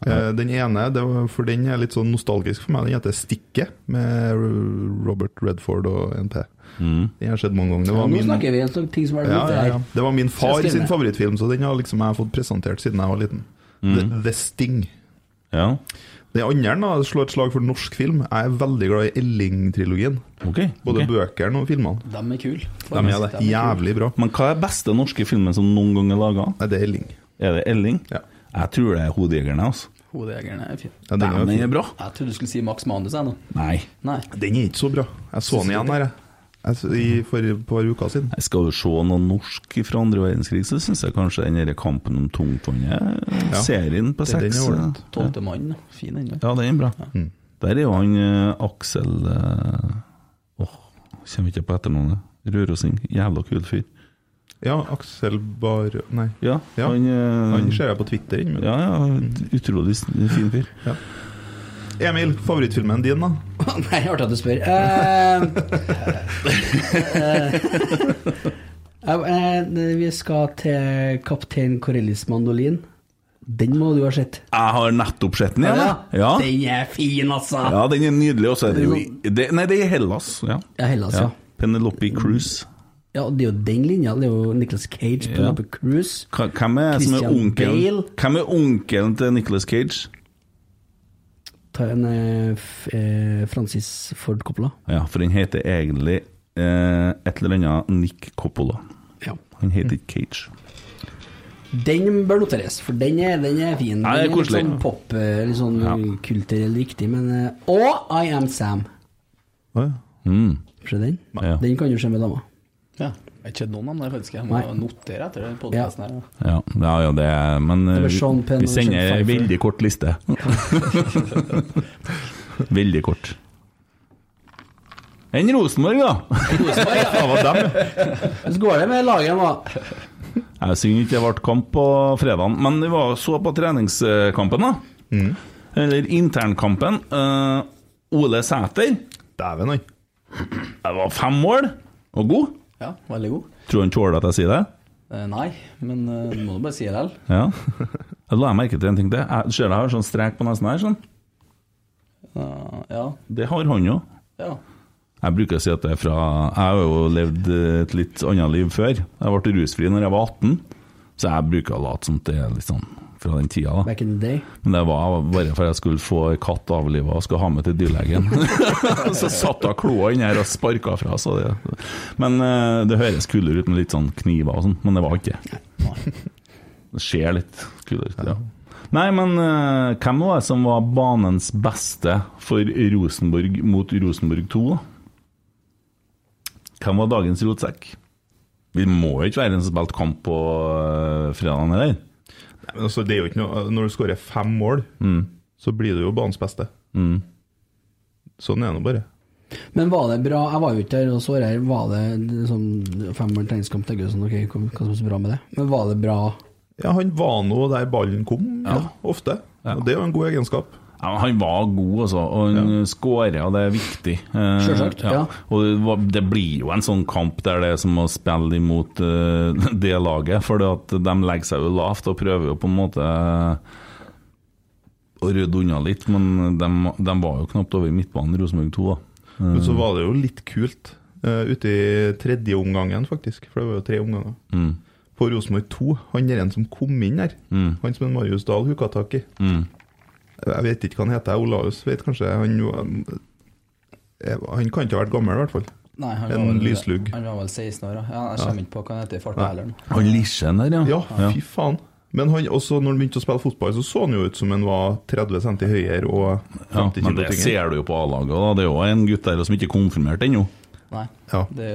S8: Eh, den ene, det var, for den er litt sånn nostalgisk for meg, den heter 'Stikket', med Robert Redford og NP. Den har jeg sett mange ganger. Det var
S6: Nå
S8: min
S6: snakker vi om sånne ting som er
S8: Ja,
S6: ute
S8: ja,
S6: her.
S8: ja. Det var min far
S6: Stine.
S8: sin favorittfilm, så den har liksom jeg fått presentert siden jeg var liten. The, The Sting.
S5: Ja,
S8: Den andre da, slår et slag for norsk film. Jeg er veldig glad i Elling-trilogien.
S5: ok.
S8: Både
S5: ok.
S8: bøkene og filmene.
S7: De er kule.
S8: De er det. Jævlig bra.
S5: Men hva er beste norske filmen som noen gang er laga?
S8: Nei, det er Elling.
S5: Er det Elling?
S8: Ja.
S5: Jeg tror det er Hodejegerne, altså.
S7: Hodejegerne er fin.
S8: Ja, den, er jo
S5: Den
S8: fin.
S5: er bra.
S7: Jeg trodde du skulle si Max Manus, jeg nå.
S5: Nei.
S7: Nei.
S8: den er ikke så bra. Jeg så den igjen her, jeg. jeg. så- I, for et par uker siden.
S5: Jeg skal jo se noe norsk fra andre verdenskrig, så syns jeg kanskje den der Kampen om tungtvannet, serien på
S8: Det- den er
S5: seks
S8: ålreit.
S5: eh,
S7: Tolvte mann, fin den. da.
S5: Ja, den er bra.
S8: Mm.
S5: Der er jo han eh, Aksel eh, Åh, kommer ikke på etternavnet. Rørosing. Jævla kul fyr.
S8: Ja, Aksel Bar... Nei.
S5: Ja,
S8: Ja,
S5: han, eh,
S8: Han Mm. ser jeg på Twitter. Men.
S5: Ja, ja, utrolig s- fin fyr.
S8: Emil, favorittfilmen din, da?
S6: Nei, artig at du spør. Eh, eh, eh, vi skal til Kaptein Corellis mandolin. Den må du ha sett.
S5: Jeg har nettopp sett den, jeg. Ja.
S6: Den er fin, altså!
S5: ja, den er nydelig. Og så er det jo i det, Nei, det er i Hellas. Ja.
S6: Ja, Hellas, ja.
S5: Ja. Penelope Cruise.
S6: Ja, og det er jo den linja. Det er jo Nicholas Cage, Penelope Cruise.
S5: Hva- Hvem er, som er
S6: Christian
S5: onkelen
S6: Bale.
S5: Hvem er onkelen til Nicolas Cage?
S6: Ta en eh, f, eh, Francis Ford Coppola.
S5: Ja, for den heter egentlig eh, et eller annet Nick Coppola.
S6: Ja.
S5: Han heter ikke Cage.
S6: Den bør noteres, for den er, den er fin. Den
S5: Ja, det er
S6: litt
S5: koselig.
S6: sånn pop, eh, litt sånn
S5: Ja.
S6: kulturell riktig, men eh, Og I Am Sam.
S8: Å, ja.
S5: Mm.
S6: Se den.
S5: Ja.
S6: Den kan du se med dama.
S7: Ja. Jeg har ikke sett noen av dem, der, faktisk. Jeg må
S6: Nei.
S7: notere etter den podcasten her.
S5: Ja, ja, ja, det er Men eh,
S6: var
S5: vi-
S6: Sean Penn
S5: vi
S6: og
S5: sender
S6: Sean
S5: en
S6: Pfeiffer.
S5: veldig kort liste. veldig kort. Enn Rosenborg, da!
S8: Det var dem, ja.
S6: Hvordan går det med laget, da?
S5: Jeg Synd ikke det ble kamp på fredagen, men vi var så på treningskampen, da. Eller internkampen. Eh, Ole Sæter.
S8: Dæven, han.
S5: Det var fem mål, og god.
S7: Ja, veldig god.
S5: Tror du han tåler at jeg sier det?
S7: Eh, Nei, men eh, du må jo bare si det likevel.
S5: Ja. Jeg la merke til en ting til. Jeg ser det her, sånn strek på nesen her, sånn.
S7: Eh, Ja.
S5: Det har han jo.
S7: ja.
S5: Jeg bruker å si at det er fra Jeg har jo levd eh, et litt annet liv før. Jeg ble rusfri når jeg var 18, så jeg bruker å late som det er litt sånn fra den tida, da.
S6: Back in the day.
S5: Men det var bare for jeg skulle få ei katt avliva og skulle ha med til dyrlegen. så satt hun kloa inni her og sparka fra så det. Men eh, det høres kulere ut med litt sånn kniver og sånn, men det var ikke det. Det ser litt kulere ut, ja. Nei, men eh, hvem var det som var banens beste for Rosenborg mot Rosenborg 2? da? Hvem var dagens rotsekk? Vi må jo ikke være en som spilte kamp på uh, fredagen heller.
S8: Nei, men altså, det er jo ikke noe Når du skårer fem mål, så blir du jo banens beste. Mm. Sånn er det nå bare.
S6: Men var det bra Jeg var jo ikke der og så det her. Var det liksom femmeren treningskamp til Gausen? sånn, Ok, hva hva som er så bra med det? Men var det bra?
S8: Ja, han var nå der ballen kom, ja. ofte. Og det er jo en god egenskap.
S5: Ja, han var god, altså. Og han skårer, og det er viktig. Eh,
S6: Selvsagt, ja.
S5: Og det, var, det blir jo en sånn kamp der det er som å spille imot eh, det laget. For at de legger seg jo lavt og prøver jo på en måte eh, å rydde unna litt. Men de, de var jo knapt over midtbanen, Rosenborg 2. da.
S8: Men så var det jo litt kult eh, ute i tredje omgangen, faktisk. For det var jo tre omganger.
S5: Mm.
S8: På Rosenborg 2, han der en som kom inn der,
S5: Mm.
S8: han som en Marius Dahl hooka tak i Jeg vet ikke hva han heter, Olaus vet kanskje han, var- eh, han kan ikke ha vært gammel, i hvert fall.
S7: Nei, han
S8: En
S7: var vel-
S8: lyslugg.
S7: Han var vel 16 år, ja. ja jeg kommer ikke på hva han heter i farta heller. nå.
S5: Han Lisjen der, ja.
S8: Ja, fy faen. Men han, også når han begynte å spille fotball, så så han jo ut som han var 30 cm høyere og
S5: Ja,
S8: 50
S5: men
S8: kilo
S5: det
S8: tyngre.
S5: ser du jo på A-laget. da. Det er jo en gutt der som ikke er konfirmert ennå.
S7: Nei,
S8: Ja.
S7: det,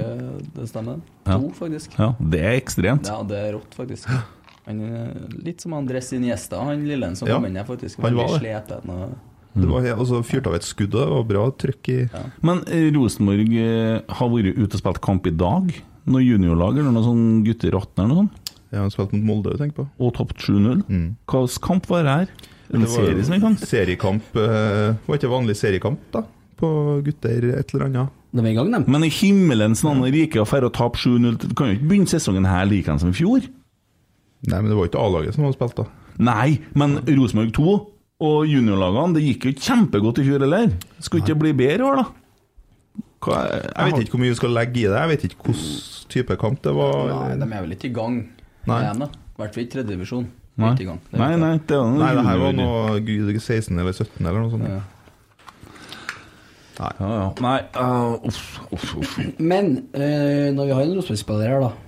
S7: det stemmer.
S5: Ja.
S7: To, faktisk.
S5: Ja, det er ekstremt.
S7: Ja, det er rått, faktisk. Han, er litt som Andres Iniesta, han lille som
S8: Ja,
S7: kom inn her, faktisk.
S8: han var
S7: Veldig
S8: det.
S7: sliten og-
S8: Det var, he- altså, fyrte av et skudd, og det var bra trykk i
S5: Men eh, Rosenborg eh, har vært ute og spilt kamp i dag. Noe juniorlag eller noe sånn gutter 18 eller noe sånt.
S8: ja, Han spilte mot Molde, tenk på.
S5: Og tapt 7-0. Hva slags kamp var det her? En
S8: Mm. Det var
S5: serie som vi kan
S8: seriekamp. eh, var ikke vanlig seriekamp, da? På gutter et eller annet.
S6: De er i gang, de.
S5: Men i himmelens navn er rike å færre å tape 7-0. Du kan jo ikke begynne sesongen her likeens som i fjor.
S8: Nei, men det var jo ikke A-laget som hadde spilt, da.
S5: Nei, men Rosenborg 2 og juniorlagene, det gikk jo kjempegodt i fjor heller. Skulle ikke det bli bedre i år, da? Hva, jeg,
S8: Jeg vet ikke hvor mye vi skal legge i det. Jeg vet ikke hvilken type kamp det var.
S7: Nei, de er vel ikke i gang
S8: Nei.
S7: med dem, da. I hvert fall ikke tredje divisjon. De er
S5: Nei,
S7: ikke i gang. Det er
S5: nei,
S7: ikke
S5: nei,
S7: det.
S5: det var noe
S8: Nei, det her var
S5: junior-
S8: noe gud, 16 eller 17 eller noe sånt.
S7: Ja.
S5: ja, ja. Nei, ah, uff, uff, uff.
S6: Men eh, når vi har en Rosenborg-spiller her, da eh,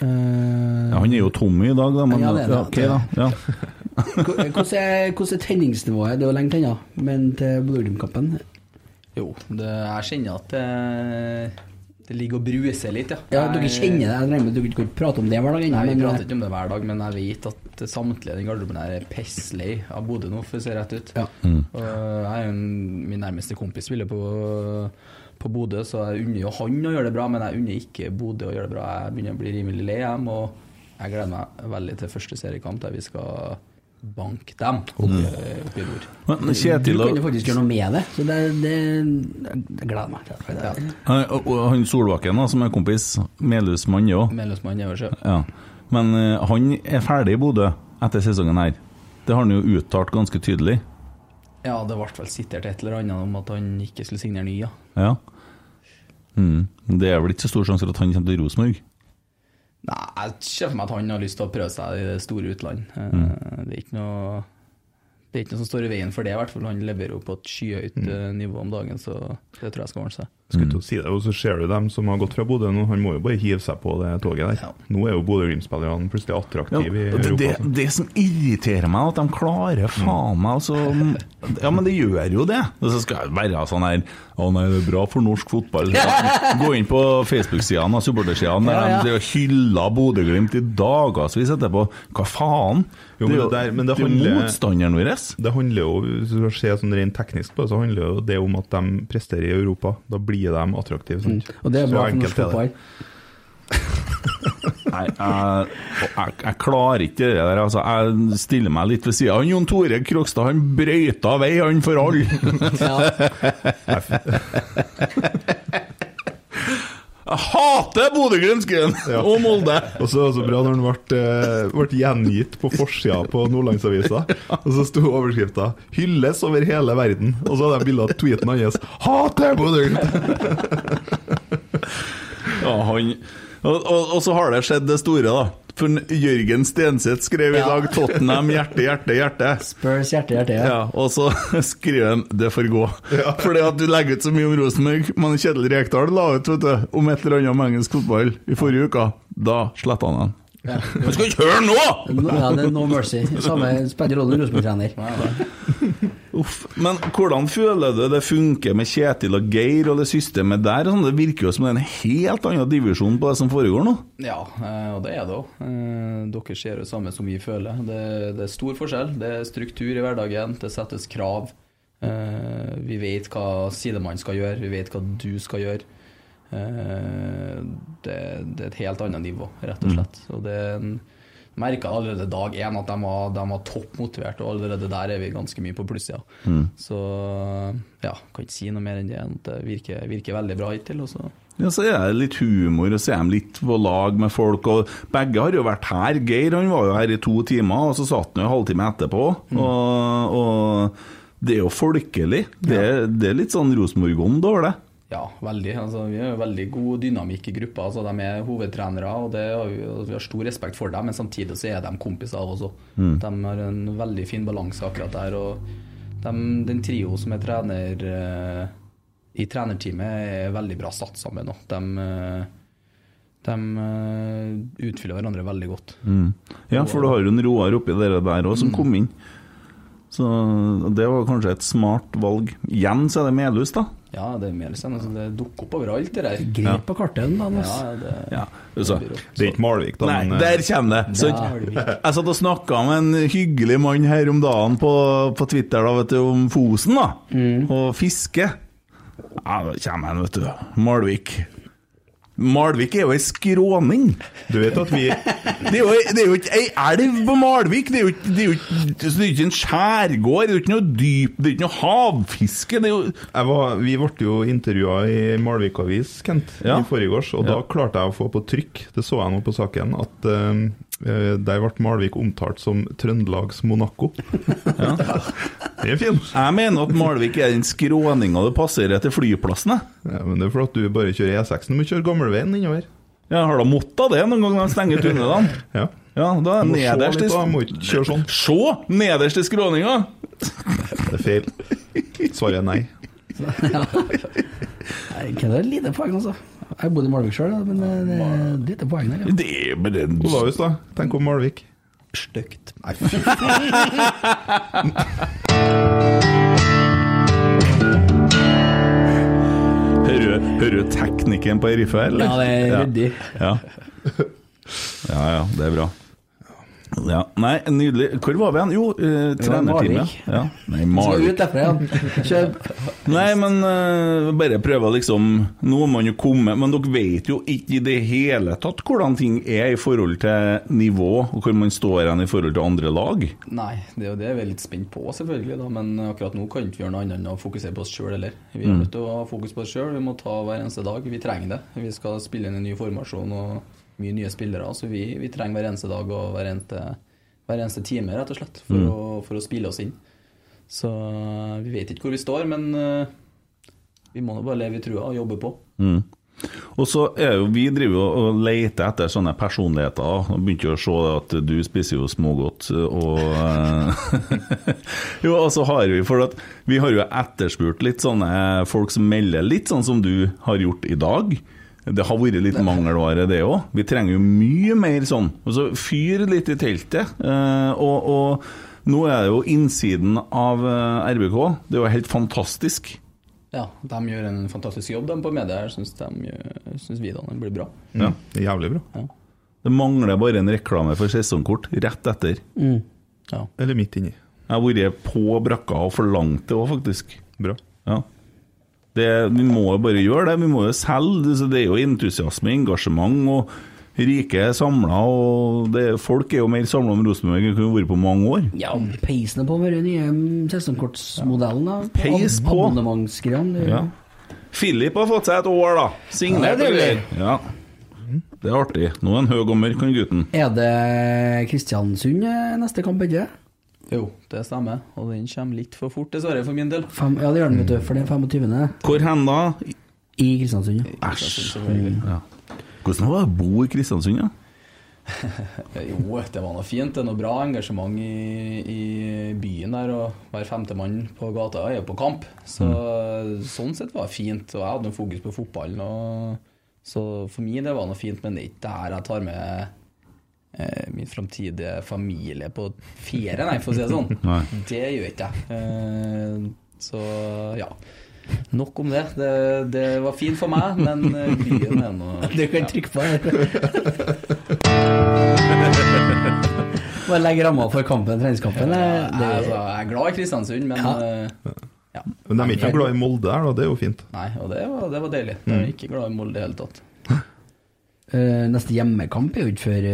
S5: Ja, han er jo tom i dag, da. Men,
S6: Ja, det er det.
S5: ja, ok, da. Ja.
S6: Hvor- Hvordan er, hvordan er tenningsnivået? Det er jo lenge til, ja. Men til Bodø-Glimt-kampen
S7: Jo, det, jeg kjenner at det, det ligger og bruser litt, ja.
S6: Ja, dere
S7: Jeg-
S6: kjenner det. Jeg regner med at dere ikke prater om det hver dag ennå.
S7: Nei, vi
S6: men- eh,
S7: prater ikke om det hver dag, men jeg vet at samtlige i den garderoben her er pisslei av Bodø nå, for å se rett ut.
S6: Ja.
S7: Og jeg er jo en, min nærmeste kompis spiller på, på Bodø, så jeg unner jo han å gjøre det bra, men jeg unner ikke Bodø å gjøre det bra. Jeg begynner å bli rimelig lei dem, og jeg gleder meg veldig til første seriekamp der vi skal banke dem oppe, oppe i nord.
S5: Men
S6: Du
S5: Kjetil
S6: kan jo
S5: og,
S6: faktisk gjøre noe med det. Så det, det jeg gleder meg til at det.
S5: Nei, og- og han Solbakken, da, som er kompis, Melhusmann òg.
S7: Mellomsmann øverst, ja.
S5: Ja. Men eh, han er ferdig i Bodø etter sesongen her. Det har han jo uttalt ganske tydelig.
S7: Ja, det ble vel sitert et eller annet om at han ikke skulle signere ny, ja.
S5: Ja. Mm. Det er vel ikke så stor sjanse for at han kommer til Rosenborg?
S7: Nei, jeg ser for meg at han har lyst til å prøve seg i det store utland. Eh, Det er ikke noe det er ikke noe som står i veien for det, i hvert fall. Han leverer jo på et skyhøyt eh, nivå om dagen, så det tror jeg skal ordne seg.
S8: Skulle til å si det, og så ser du dem som har gått fra Bodø nå, han må jo bare hive seg på det toget der. Nå er jo Bodø-Glimt-spillerne plutselig
S5: Ja,
S8: attraktive i
S5: det,
S8: Europa.
S5: det,
S8: altså.
S5: det som irriterer meg, er at de klarer faen meg altså, Ja, men det gjør jo det. Og så skal jeg være sånn her Å nei, det er bra for norsk fotball. Gå inn på Facebook-sidene og supportersidene der de driver og hyller Bodø-Glimt i dagevis etterpå. Hva faen?
S8: Jo,
S5: det
S8: men
S5: er jo
S8: det der- men det
S5: det er jo
S8: handler-
S5: motstanderen vår.
S8: Det handler jo, hvis du skal se sånn rent teknisk på det, så handler jo det om at de presterer i Europa. Da blir de attraktive. sant?
S6: Og det er
S8: Så
S6: bra for
S8: enkelt
S6: norsk
S8: er det.
S6: fotball.
S5: Nei, jeg, jeg, jeg klarer ikke det der. Altså, jeg stiller meg litt ved sida. Han Jon Tore Krokstad, han brøyta vei, han for alle! Jeg hater Bodø-Glimt-grønn
S8: Ja.
S5: og Molde!
S8: Og så var det så bra når han ble, eh, ble gjengitt på forsida på Nordlandsavisa. Og så sto overskrifta 'Hylles over hele verden'. Og så hadde jeg bilde av tweeten hans 'Hater Bodø-Glimt'!
S5: Ja, han og, og, og så har det skjedd det store, da. For Jørgen Stenseth skrev i dag 'Tottenham hjerte, hjerte, hjerte'.
S6: Spurs hjerte, hjerte, ja.
S5: Ja, og så skriver han 'det får gå'. Fordi at du legger ut så mye om Rosenborg, men Kjetil Rekdal la ut vet du, om et eller annet om engelsk fotball i forrige uke. Da sletta han den. Men skal ikke høre nå!
S6: No, ja, det er no mercy. Samme spiller rollen i Rosenborg-trener.
S5: Uff. Men hvordan føler du det funker med Kjetil og Geir og det systemet der? og Sånn, det virker jo som det er en helt annen divisjon på det som foregår nå.
S7: Ja, eh, og det er det òg. Dere ser jo det samme som vi føler. Det, det er stor forskjell. Det er struktur i hverdagen, det settes krav. Eh, Vi vet hva sidemannen skal gjøre, vi vet hva du skal gjøre. Eh, Det, det er et helt annet nivå, rett og slett. Og det er en- jeg merka allerede dag én at de var, de var toppmotiverte, og allerede der er vi ganske mye på plussida. Så ja, kan ikke si noe mer enn det. enn at Det virker, virker veldig bra hittil. og så
S5: Ja, Så er det litt humor, og så er de litt på lag med folk. og Begge har jo vært her. Geir han var jo her i to timer, og så satt han jo en halvtime etterpå.
S8: Mm.
S5: Og, og det er jo folkelig. Det, er- det er litt sånn Rosenborg-ånd over det.
S7: Ja, veldig. Altså, vi har jo veldig god dynamikk i gruppa. Altså, de er hovedtrenere, og det har vi, altså, vi har stor respekt for dem. Men samtidig så er de kompiser også. De har en veldig fin balanse akkurat der. Og de, den trio som er trener eh, i trenerteamet, er veldig bra satt sammen. også. De, eh, de eh, utfyller hverandre veldig godt.
S5: Ja, for du har jo en Roar oppi dere der òg,
S8: Mm.
S5: som kom inn. Så det var kanskje et smart valg. Igjen så er det Melhus, da.
S7: Ja, det er mer sånn, altså, det dukker opp overalt, det der.
S6: Grep på kartet, da.
S7: Ja,
S6: Anders.
S7: det,
S5: Ja, så.
S8: Det er ikke Malvik, da.
S5: Nei,
S8: men, eh,
S5: der kommer det. Altså, Så, jeg satt og snakka med en hyggelig mann her om dagen på, på Twitter da, vet du, om Fosen da, og fiske. Ja, da kommer han, vet du. Malvik. Malvik er jo ei skråning.
S8: Du vet at vi
S5: Det er jo, det er jo ikke ei elv på Malvik, det er jo ikke, det er jo ikke, altså, det er jo ikke en skjærgård, det er jo ikke noe dyp, det er jo ikke noe havfiske. Det er jo
S8: jeg var, Vi ble jo intervjua i Malvik Avis, Kent,
S5: Ja.
S8: i forgårs. Og da klarte jeg å få på trykk, det så jeg nå på saken, at eh, der ble Malvik omtalt som Trøndelags Monaco. Det er fint.
S5: Jeg mener at Malvik er den skråninga du passerer til flyplassen. jeg.
S8: Ja, men det er fordi at du bare kjører E6-en, du må kjøre gammelveien innover.
S5: Jeg har da måtta det noen gang de stenger tunnelene.
S8: Ja.
S5: Ja, da er
S8: Du må se
S5: nederst i
S8: litt, da. Må ikke kjøre sånn.
S5: Se! Nederst i skråninga!
S8: Det er feil. Svaret er nei.
S6: Nei, Det er et lite poeng, altså. Jeg har bodd i Malvik sjøl, men eh, det er et lite poeng der, ja.
S5: Det er bare en
S8: Olaus, da. Tenk om Malvik.
S7: Stygt.
S8: Nei, fy faen.
S5: Hører hører du teknikken på riffet, her, eller?
S6: Ja, det er ryddig.
S5: Ja. ja ja, det er bra. Ja, Nei, nydelig. Hvor var vi hen? Jo, eh, trenerteamet.
S6: Malvik.
S5: Ja. Nei,
S6: Skal
S5: Malvik
S6: ut derfra, ja. Kjøp.
S5: Nei, men eh, bare prøve å liksom Nå må man jo komme, men dere vet jo ikke i det hele tatt hvordan ting er i forhold til nivå, og hvor man står hen i forhold til andre lag.
S7: Nei, det er jo det vi er litt spent på, selvfølgelig. da, Men akkurat nå kan vi ikke gjøre noe annet enn å fokusere på oss sjøl heller. Vi er nødt til å ha fokus på oss sjøl. Vi må ta hver eneste dag. Vi trenger det. Vi skal spille inn en ny formasjon og mye nye spillere. Så vi, vi trenger hver eneste dag og hver eneste, hver eneste time, rett og slett, for, å, for å spille oss inn. Så eh, vi vet ikke hvor vi står, men eh, vi må nå bare leve i trua og jobbe på.
S5: Og så er jo vi driver jo og leter etter sånne personligheter. Og begynte jo å se at du spiser jo smågodt, og eh, Jo, og så har vi For at vi har jo etterspurt litt sånne folk som melder litt sånn som du har gjort i dag. Det har vært litt mangelvare, det òg. Vi trenger jo mye mer sånn. Og så fyr litt i teltet. eh, og, og nå er det jo innsiden av eh, RBK. Det er jo helt fantastisk.
S7: Ja, de gjør en fantastisk jobb, de på media her, syns, de, gjør- syns videoene blir bra.
S5: Ja.
S8: Det er jævlig bra.
S5: Det mangler bare en reklame for sesongkort rett etter.
S8: Eller midt inni.
S5: Jeg har vært på brakka og forlangt det òg, faktisk.
S8: Bra.
S5: Ja. Det, vi må jo bare gjøre det. Vi må jo selge. Det- så Det er jo entusiasme, engasjement og rike er samla. Og det, folk er jo mer samla om Rosenborg enn de kunne vært på mange år.
S6: Ja, peisene på med den nye mm, sesongkortsmodellen. da.
S5: Peis
S6: Ab-
S5: på.
S6: Abonnementsgreiene. det-
S5: Ja. Philip har fått seg et år, da. Signert.
S6: Ja, det er
S5: eller? Ja. Det er artig. Nå er han høy og mørk, han gutten.
S6: Er det Kristiansund eh, neste kamp, ikke?
S7: Jo, det stemmer, og den kommer litt for fort, dessverre, for min del.
S6: Fem, ja, det gjør den, vet du, for det er 25.
S5: Hvor hen da?
S6: i Kristiansund. ja.
S5: Æsj. Ja. Hvordan var det å bo i Kristiansund, da?
S7: Jo, det var noe fint. Det er noe bra engasjement i, i byen der. Og hver femte mann på gata er jo på kamp. Så
S8: Mm.
S7: sånn sett var det fint. Og jeg hadde noe fokus på fotballen. Og, så for meg det var noe fint, men det er ikke det her jeg tar med eh, min framtidige familie på ferie, nei, for å si det sånn.
S5: Nei.
S7: Det gjør ikke jeg. Eh, så ja. Nok om det. det. Det var fint for meg, men eh, byen er nå
S6: Du kan trykke på her. Bare legge ramma for kampen, treningskampen.
S7: jeg,
S6: eh, Det,
S7: altså, jeg er glad i Kristiansund, men
S6: Ja.
S7: eh,
S8: Men de er ikke noe glad i Molde her, da. Det er jo fint.
S7: Nei, og det var, det var deilig. Jeg er ikke glad i Molde i det hele tatt.
S6: eh, neste hjemmekamp er jo ikke før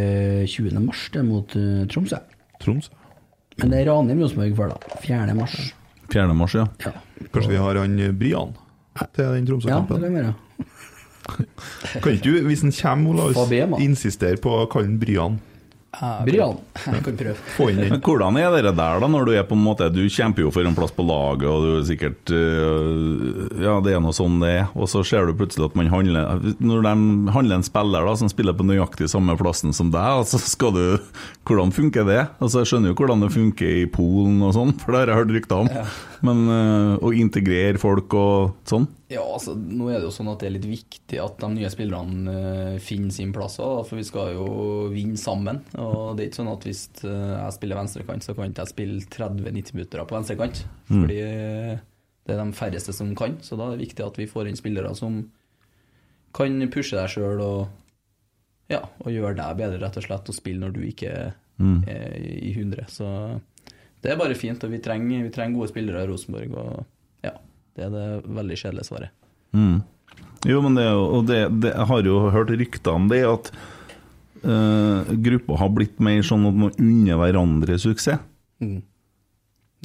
S6: eh, 20. mars, det er mot eh, Tromsø.
S8: Troms.
S6: Men det er Ranheim Rosenborg før, da. 4. mars.
S5: 4. mars, ja.
S6: Ja,
S8: Kanskje vi har han eh, Brian til den
S6: ja det
S8: Tromsø-kampen?
S6: kan være.
S8: Kan ikke du, hvis han kommer,
S6: Fabian, da.
S8: Olaus, insistere på å kalle han Brian?
S6: Brian.
S7: Jeg kan prøve.
S8: Få inn den.
S5: Men hvordan er det der, da, når du er på en måte Du kjemper jo for en plass på laget, og du er sikkert øh, Ja, det er nå sånn det er, og så ser du plutselig at man handler Når de handler en spiller da som spiller på nøyaktig samme plassen som deg, og så skal du Hvordan funker det? Altså, jeg skjønner jo hvordan det funker i Polen og sånn, for det har jeg hørt rykter om, men øh, å integrere folk og sånn
S7: Ja, altså, nå er det jo sånn at det er litt viktig at de nye spillerne eh, finner sin plass også, da, for vi skal jo vinne sammen. Og det er ikke sånn at hvis eh, jeg spiller venstrekant, så kan ikke jeg spille 30-90 minutter på venstrekant. Fordi eh, det er de færreste som kan, så da er det viktig at vi får inn spillere som kan pushe deg sjøl og, ja, og gjøre deg bedre, rett og slett, og spille når du ikke er i 100. Så det er bare fint, og vi trenger, vi trenger gode spillere i Rosenborg. og ja, det er det veldig kjedelige svaret.
S5: Jo, men det, er jo- og det, det, jeg har jo hørt rykter om det, at øh, gruppa har blitt mer sånn at man unner hverandre suksess.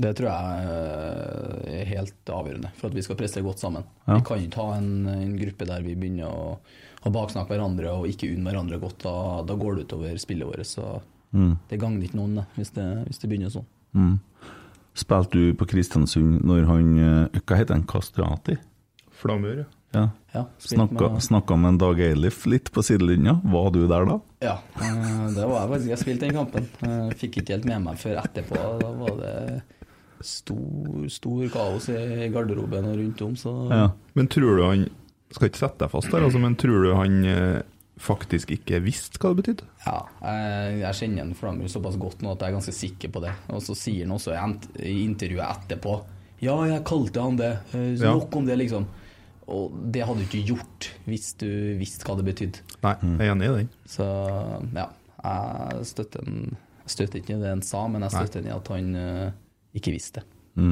S7: Det tror jeg eh, er helt avgjørende for at vi skal prestere godt sammen.
S5: Ja.
S7: Vi kan ikke ha en, en gruppe der vi begynner å, å baksnakke hverandre og ikke unne hverandre godt. Da, da går det utover spillet vårt. Så det gagner ikke noen det, hvis, det, hvis det begynner sånn.
S5: Spilte du på Kristiansund når han eh, Hva heter han? Kastrati?
S8: Flamør, ja.
S5: Ja.
S7: Ja, spilt
S5: Snakka,
S7: med-
S5: snakka med en Dag Eilif litt på sidelinja. Var du der da?
S7: Ja, eh, det var jeg faktisk. Jeg spilte den kampen. Eh, Fikk ikke helt med meg før etterpå. Da var det stor, stor kaos i garderoben og rundt om, så
S5: Ja.
S8: Men tror du han Skal ikke sette deg fast der, altså, men tror du han eh, faktisk ikke visste hva det betydde?
S7: Ja, jeg, jeg kjenner en Flamur såpass godt nå at jeg er ganske sikker på det. Og så sier han også i ent- i intervjuet etterpå Ja, jeg kalte han det. Eh,
S8: Ja.
S7: Nok om det, liksom. Og det hadde du ikke gjort hvis du visste hva det betydde.
S8: Nei,
S5: Mm.
S8: jeg er enig i den.
S7: Så ja, jeg støtter, en, jeg støtter ikke det han sa, men jeg støtter han i at han eh, ikke visste det.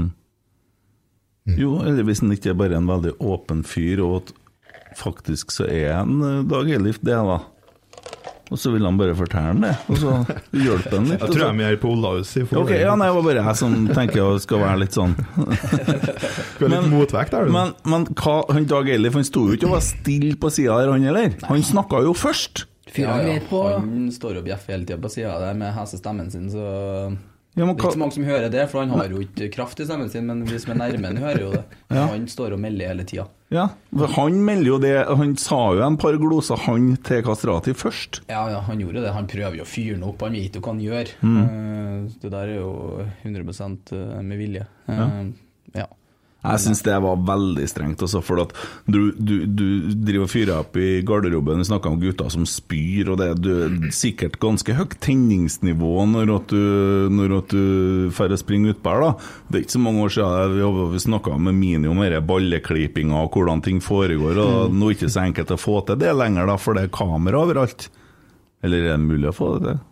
S8: Mm.
S5: Jo, eller hvis han ikke er bare en veldig åpen fyr, og at faktisk så er han eh, Dag Eilif det, da. Og så vil han bare fortelle han det, og så hjelper han litt.
S8: Jeg
S5: og
S8: tror
S5: så-
S8: jeg er mer på Olaus. i forhold
S5: Altså, Ok,
S8: til-
S5: ja, nei, Det var bare jeg som tenker å skal være litt sånn.
S8: Du er litt
S5: men-
S8: motvekt der, du.
S5: Men, men hva, han Dag Eilif han sto jo ikke og var stille på sida der, han heller. Han snakka jo først.
S6: Fyrer han greit på?
S7: Han står og bjeffer hele tida på sida der med hesestemmen sin, så
S5: Ja, men
S7: Det er ikke så
S5: hva-
S7: mange som hører det, for han har jo ikke kraft i stemmen sin, men vi som er nærme han hører jo det. Han står og melder hele tida.
S5: Ja, for han melder jo det Han sa jo en par gloser, han til Kastrati først.
S7: Ja, ja, han gjorde det. Han prøver jo å fyre den opp, han vet jo hva han gjør.
S5: Mm.
S7: Eh, Det der er jo 100 med vilje. Eh, ja.
S5: Jeg syns det var veldig strengt, altså, for at du, du, du driver og fyrer opp i garderoben, vi snakker om gutter som spyr, og det er du- sikkert ganske høyt tenningsnivå når at du, når at du får springe utpå her, da. Det er ikke så mange år siden vi, jobbet- vi snakka med Mini om denne balleklypinga og hvordan ting foregår, og nå er det ikke så enkelt å få til det lenger, da, for det er kamera overalt. Eller er det mulig å få det til?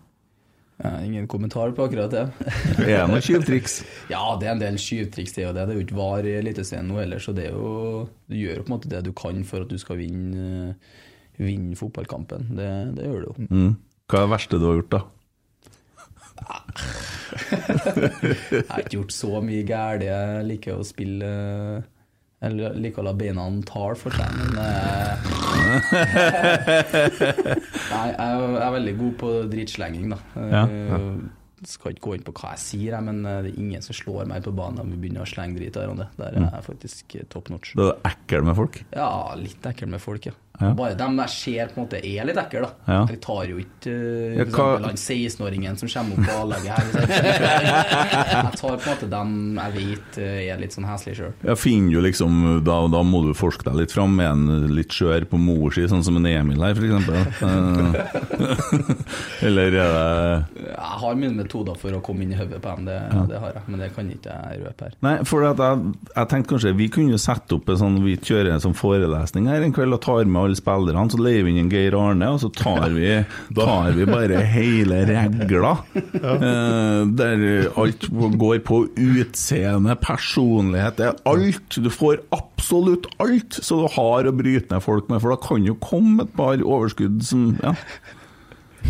S7: Eh, Ingen kommentar på akkurat det.
S5: Det er noen tjuvtriks.
S7: Ja, det er en del skyvtriks til, og det, det er jo ikke var i Eliteserien nå heller, så det er jo Du gjør jo på en måte det du kan for at du skal vinne, eh, vinne fotballkampen. Det, det gjør du jo.
S5: Hva er det verste du har gjort, da?
S7: Jeg har ikke gjort så mye gærent. Jeg liker å spille eh, Eller jeg liker å la beina tale for seg, men eh, Nei, jeg er- jeg er veldig god på dritslenging, da.
S5: Ja,
S7: Eh, Skal ikke gå inn på hva jeg sier, jeg, men eh, det er ingen som slår meg på banen om vi begynner å slenge drit her om det. Der
S5: Mm.
S7: er jeg faktisk eh, top notch.
S5: Du er ekkel med folk.
S7: Ja, litt ekkel med folk, ja.
S5: Ja.
S7: Bare dem jeg ser på en måte er litt ekle, da.
S5: Ja.
S7: Jeg tar jo ikke
S5: Ja,
S7: uh,
S5: hva-
S7: for eksempel han 16-åringen som kommer opp på anlegget her. hvis Jeg Jeg tar på en måte dem jeg vet eh, er litt sånn heslige sjøl.
S5: Jeg finner jo liksom, da, da må du forske deg litt fram med en litt skjør på mor si, sånn som en Emil her, f.eks. Eller er det
S7: Jeg har mine metoder for å komme inn i hodet på dem, det, det har jeg. Men det kan ikke jeg røpe her.
S5: Nei, for at jeg, jeg tenkte kanskje vi kunne jo sette opp en sånn Vi kjører en sånn forelesning her en kveld og tar med alle spillerne. Så leier vi inn en Geir Arne, og så tar vi, tar vi bare hele regla. Eh, der alt går på utseende, personlighet, det er alt. Du får absolutt alt så du har å bryte ned folk med, for da kan jo komme et par overskudd som ja.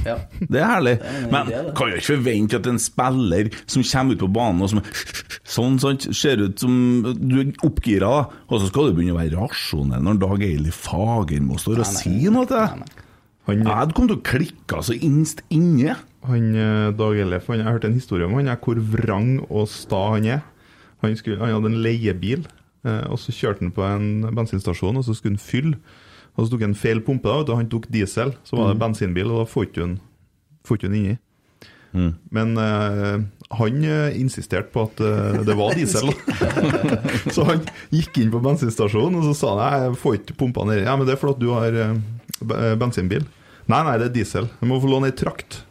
S7: Ja.
S5: Det er herlig.
S7: en
S5: Men
S7: idé, det.
S5: kan jo ikke forvente at en spiller som kommer ut på banen og som sånn, sant, ser ut som du er oppgira, da. og så skal du begynne å være rasjonell når Dag Eili Fagermo står og sier noe til deg.
S8: Han,
S5: Jeg hadde kommet til å klikke så innst inne.
S8: han eh, Dag Ellef, han, jeg hørte en historie om han, jeg, hvor vrang og sta han er. Han, skulle, han hadde en leiebil, eh, og så kjørte han på en bensinstasjon, og så skulle han fylle. Og så tok han feil pumpe, da, og da han tok diesel, så
S5: Mm.
S8: var det bensinbil, og da får ikke han- får ikke han inni. Men eh, han eh, insisterte på at eh, det var diesel. da. så han gikk inn på bensinstasjonen og så sa han, jeg får ikke pumpa nedi. Ja, men det er fordi at du har eh, b- eh, bensinbil. Nei, nei, det er diesel. Du må få låne ei trakt.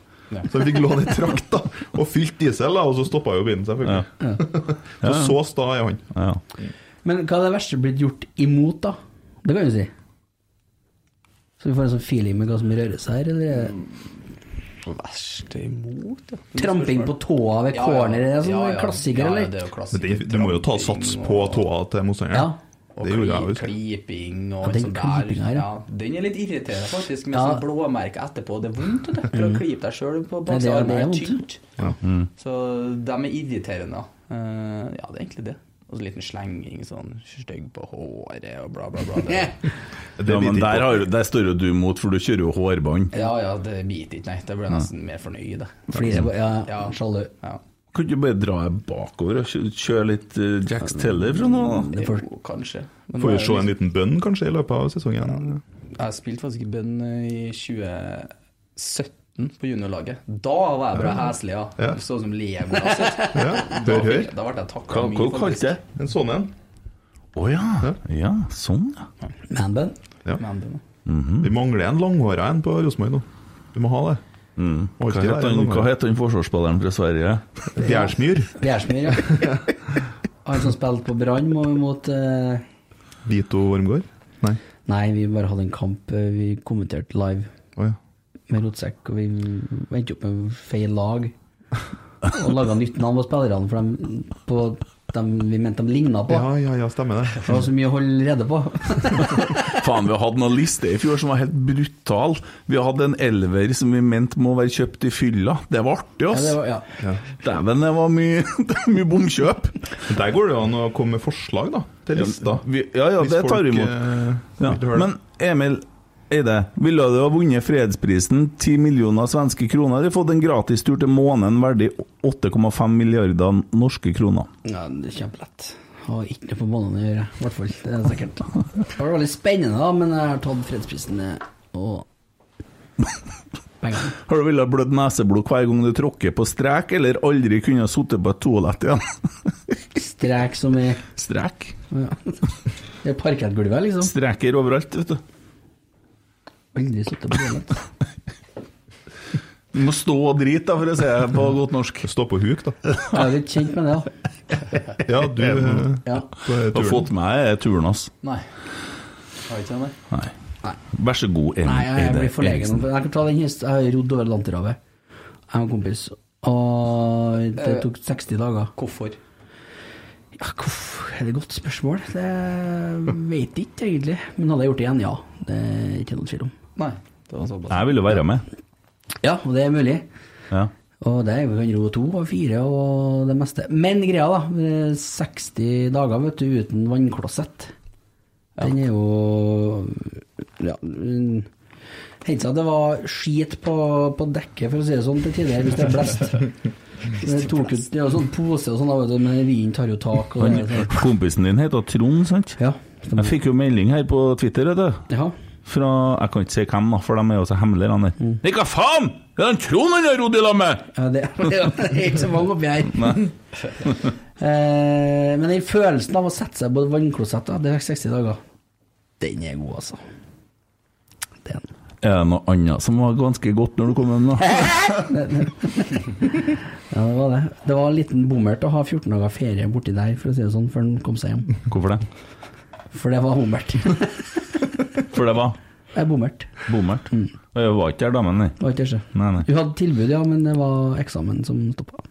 S8: Så han fikk låne ei trakt da, og fylt diesel, da, og så stoppa jo bilen, selvfølgelig. så så sta er han.
S5: Ja.
S6: Men hva er det verste blitt gjort imot, da? Det kan vi si. Så vi får en sånn feeling med hva som rører seg her, eller? er det
S7: Verst imot, ja.
S6: Tramping på tåa ved corner, er det sånn klassiker,
S7: ja,
S6: eller?
S7: ja, det er jo
S8: Men
S7: klassiker.
S8: det, du må jo ta sats på tåa til
S6: Ja.
S8: motstanderen.
S7: Og
S8: Det gjorde jeg
S7: kli-
S8: også.
S7: kliping
S6: Ja,
S7: og
S6: den
S7: sånn der.
S6: klipingen her, ja.
S7: ja. Den er litt irriterende, faktisk, med
S6: Ja.
S7: sånn blåmerke etterpå. Det er vondt å det, for å klype deg sjøl på
S6: Nei, det er- det er
S7: baksearmen. Det er tynt.
S6: vondt.
S8: Mm.
S7: Så de er irriterende. Eh, ja, det er egentlig det. Og så liten slenging, sånn stygg på håret og bla, bla, bla. Det,
S8: Det
S5: Ja, men
S8: biter
S5: der,
S8: ikke på.
S5: har, der står jo du imot, for du kjører jo hårbånd.
S7: ja ja, det biter ikke, nei. Da blir jeg nesten mer fornøyd, det.
S6: Flirer på Ja,
S7: Ja.
S6: sjalu.
S7: Ja.
S5: Kan du ikke bare dra deg bakover og kjø- kjøre litt eh, Jack Teller fra nå? da?
S6: Det får-
S7: Jo, kanskje. Men
S8: Får
S7: nå
S8: jo
S7: er
S8: se
S7: det
S8: en liten bønn, kanskje, i løpet av sesongen.
S7: Jeg spilte faktisk i bønn i 2017 på juniorlaget. Da var jeg bra heslig, ja.
S8: Ja.
S7: Sånn som Legolas. Da
S8: Ja, hør,
S7: fikk
S8: hør.
S7: jeg- Da ble jeg takka
S5: Hva, hva kalte det?
S8: En sånn en.
S5: Å ja. ja, sånn ja.
S6: Manbun.
S8: Vi mangler en langhåra en på Rosenborg nå. Vi må ha det. Må
S5: Hva
S8: alltid
S5: het
S8: være en
S5: han, hva
S8: langhåra.
S5: het han forsvarsspilleren fra Sverige?
S8: Bjærsmyr.
S6: Bjærsmyr, ja. Han som spilte på Brann må jo mot eh,
S8: Vito Wormgård? Nei.
S6: Nei, vi bare hadde en kamp eh, vi kommenterte live
S8: Å ja.
S6: med Rotsekk, og vi endte opp med feil lag. Og laga nytt navn på spillerne, for dem, på dem vi mente de ligna på.
S8: ja, ja, ja, stemmer det.
S6: Det var så mye å holde rede på.
S5: Faen, vi hadde noen lister i fjor som var helt brutal. Vi hadde en elver som vi mente må være kjøpt i fylla. Det var artig,
S6: Ja,
S5: ass.
S6: det var, ja.
S5: Dæven, det var mye, det var mye bomkjøp.
S8: Men Der går det jo an å komme med forslag, da. Til lista.
S5: Vi- Ja, ja,
S8: Hvis
S5: det tar vi
S8: folk,
S5: imot.
S8: eh,
S5: Ja.
S8: vil høre det.
S5: Men Emil, Eide, ville du ha vunnet fredsprisen, 10 millioner svenske kroner, eller fått en gratis tur til månen verdig 8,5 milliarder norske kroner?
S6: Ja, det er kjempelett. Har ikke noe på måneden å gjøre, i hvert fall. Det er sikkert. Det var veldig spennende, da, men jeg har tatt fredsprisen eh, og pengene.
S5: Har du villet blødd neseblod hver gang du tråkker på strek, eller aldri kunne ha sittet på et toalett igjen?
S6: Strek som i
S5: Strek?
S6: ja. Det er parkettgulvet, liksom.
S5: Streker overalt, vet du.
S6: Aldri sittet på toalett.
S5: Du må stå og drite, da, for å si det på godt norsk.
S8: Stå på huk, da.
S6: Jeg er litt kjent med det, da.
S8: Ja, du eh,
S6: Ja.
S8: på
S5: Du har fått
S8: turen.
S5: med deg turen hans.
S7: Nei. Har ikke det, nei.
S5: Nei. Vær så god, Eide
S6: Nei, jeg, jeg blir
S5: Eriksen.
S6: forlegen. Jeg kan ta den hist. Jeg har rodd over Atlanterhavet, jeg og en kompis. Og det tok 60 dager.
S7: Eh, Hvorfor?
S6: Ja, hvorfor er det et godt spørsmål? Det vet jeg ikke egentlig. Men hadde jeg gjort det igjen, ja. Det er ikke noen tvil om.
S7: Nei. Det var såpass.
S5: Jeg ville være med.
S6: Ja, og det er mulig.
S5: Ja.
S6: Og det er jo 102 og 4 og det meste. Men greia, da. eh, 60 dager vet du, uten vannklosett. Den er jo Ja. mm, Hendte seg at det var skit på, på dekket, for å si det sånn, til tider, hvis det er blest. Det tok ut det er jo sånn pose og sånn, da, vet du, men vinden tar jo tak. Og det,
S5: Han,
S6: er sånn.
S5: kompisen din heter Trond, sant?
S6: ja,
S5: Jeg
S6: stemmer.
S5: fikk jo melding her på Twitter, vet du.
S6: Ja.
S5: Fra Jeg kan ikke si hvem, da, for de er jo så hemmelige, han der.
S6: Mm.
S5: Nei, hva faen?! Det er han Trond han har rodd i lag med!
S6: Ja, det, det er ikke så mange oppi her. eh, men den følelsen av å sette seg på et vannklosett da, det er 60 dager, den er god, altså. Den.
S5: Er det noe annet som var ganske godt når du kom hjem, da?
S6: Ja, det var det. Det var en liten bommert å ha 14 dager ferie borti der, for å si det sånn, før den kom seg hjem.
S5: Hvorfor det?
S6: For det var bommert. Det
S5: For det var
S6: er bommert.
S5: bommert.
S6: Mm.
S5: Og jeg var ikke der, damen, nei.
S6: Det var ikke det.
S5: Nei, nei.
S6: Hun hadde tilbud, ja, men det var eksamen som stoppa.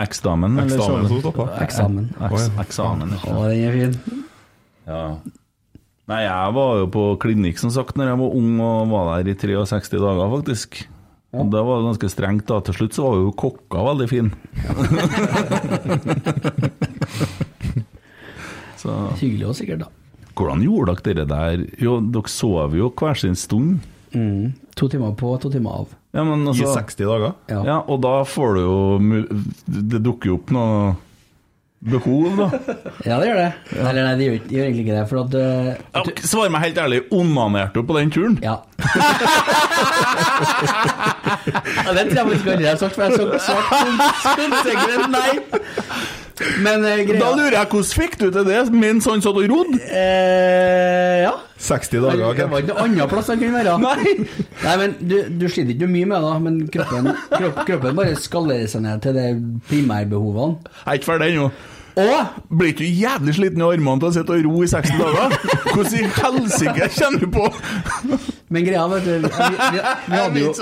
S5: Eksdamen, eller
S8: Eksamen som
S5: sånn?
S8: stoppet.
S6: Eksamen.
S5: Eks- Eksamen, ja.
S6: Å, den er fin.
S5: ja. Nei, jeg var jo på klinikk, som sagt, når jeg var ung og var der i 63 dager, faktisk. Og Det var ganske strengt da. Til slutt så var jo kokka veldig fin. så
S6: Hyggelig og sikkert, da.
S5: hvordan gjorde dere det der? Jo, dere sov jo hver sin stund.
S6: Mm. To timer på, to timer av.
S5: Ja, men
S8: I
S5: altså
S8: 60 dager.
S6: Ja.
S5: Ja, og da får du jo mul- Det dukker jo opp noe behov, da.
S6: Ja, det gjør det. Eller nei, det gjør, det gjør egentlig ikke det. For at eh,
S5: Ja, Svar meg helt ærlig, onanerte du på den turen?
S6: Ja. ja det tror jeg faktisk aldri jeg har sagt, for jeg har sagt svart kon- konsekvent nei. Men eh,
S5: Da
S6: greia
S5: lurer jeg, hvordan fikk du til det mens han satt og rodde?
S6: eh, Ja.
S8: 60
S6: Det
S8: dager.
S6: var
S8: Kent.
S6: ikke noe annet plass han kunne være. Nei, men Du, du sliter ikke mye med det, da, men kroppen, kropp, kroppen bare skallerer seg ned til de primærbehovene.
S5: Jeg er ikke ferdig ennå.
S6: Og
S5: Blir ikke du jævlig sliten i armene til å sitte og ro i 60 dager? Hvordan i helsike kjenner du på
S6: Men greia, vet du vi, vi, vi hadde jo,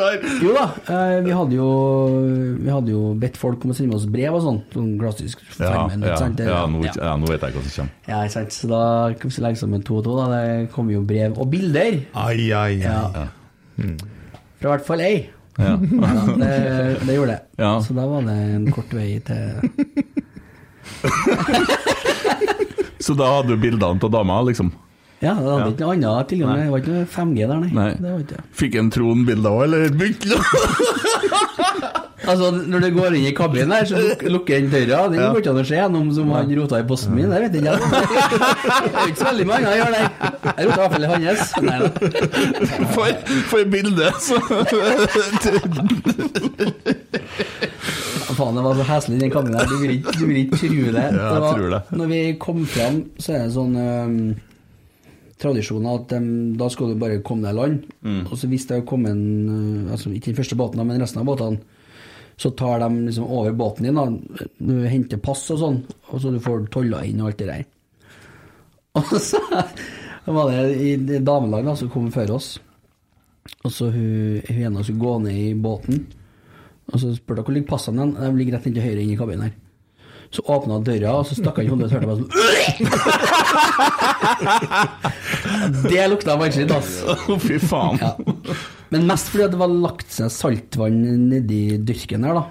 S6: jo da, eh, vi hadde jo Vi hadde jo bedt folk om å sende oss brev og sånn. Sånn klassisk Farmen. ikke sant? Det- ja.
S5: vet jeg hva som kommer.
S6: Ja, ikke sant. Så da kan vi legge sammen to og to. Da. Det kommer jo brev og bilder
S8: Ai, ai, ai.
S6: ja. fra i hvert fall ei.
S5: Ja.
S6: Ja, det, det gjorde det.
S5: Ja.
S6: Så da var det en kort vei til
S5: Så da hadde du bildene av dama, liksom?
S6: Ja, det hadde ikke noe annet tilgang. Det var ikke noe 5G der, nei.
S5: Nei.
S6: Det var ikke det.
S5: Fikk en Trond bilder òg, eller begynte han å
S6: Altså, når du går inn i kabinen her, så luk- lukker den døra. Den går ikke an å se gjennom som han rota i posten min. Det vet jeg ikke. Det er ikke så veldig mange jeg gjør det. Jeg rota i hvert fall i hans. Nei da.
S5: For, for bildet, så
S6: Faen, det var så heslig i den kabinen her. Du vil ikke, du vil ikke tro det.
S5: Ja, jeg
S6: var,
S5: tror det.
S6: Når vi kom fram, så er det sånn øhm, tradisjon at øhm, da skal du bare komme deg i land.
S8: Mm.
S6: Og så hvis det kom en øh, altså Ikke den første båten, da, men resten av båtene. Så tar de liksom over båten din, da, øh, henter pass og sånn, og så du får tolla inn og alt det der. Og så var det i i damelag da, som kom før oss. Og så hun, hun ene skulle gå ned i båten. Og så spurte hun hvor ligger passene hen. De ligger rett inntil høyre inne i kabinen her. Så åpna hun døra, og så stakk han hodet ut, hørte jeg bare sånn Det lukta vanskelig, altså.
S5: Fy faen.
S6: Ja. Men mest fordi at det var lagt seg saltvann nedi dyrken her, da.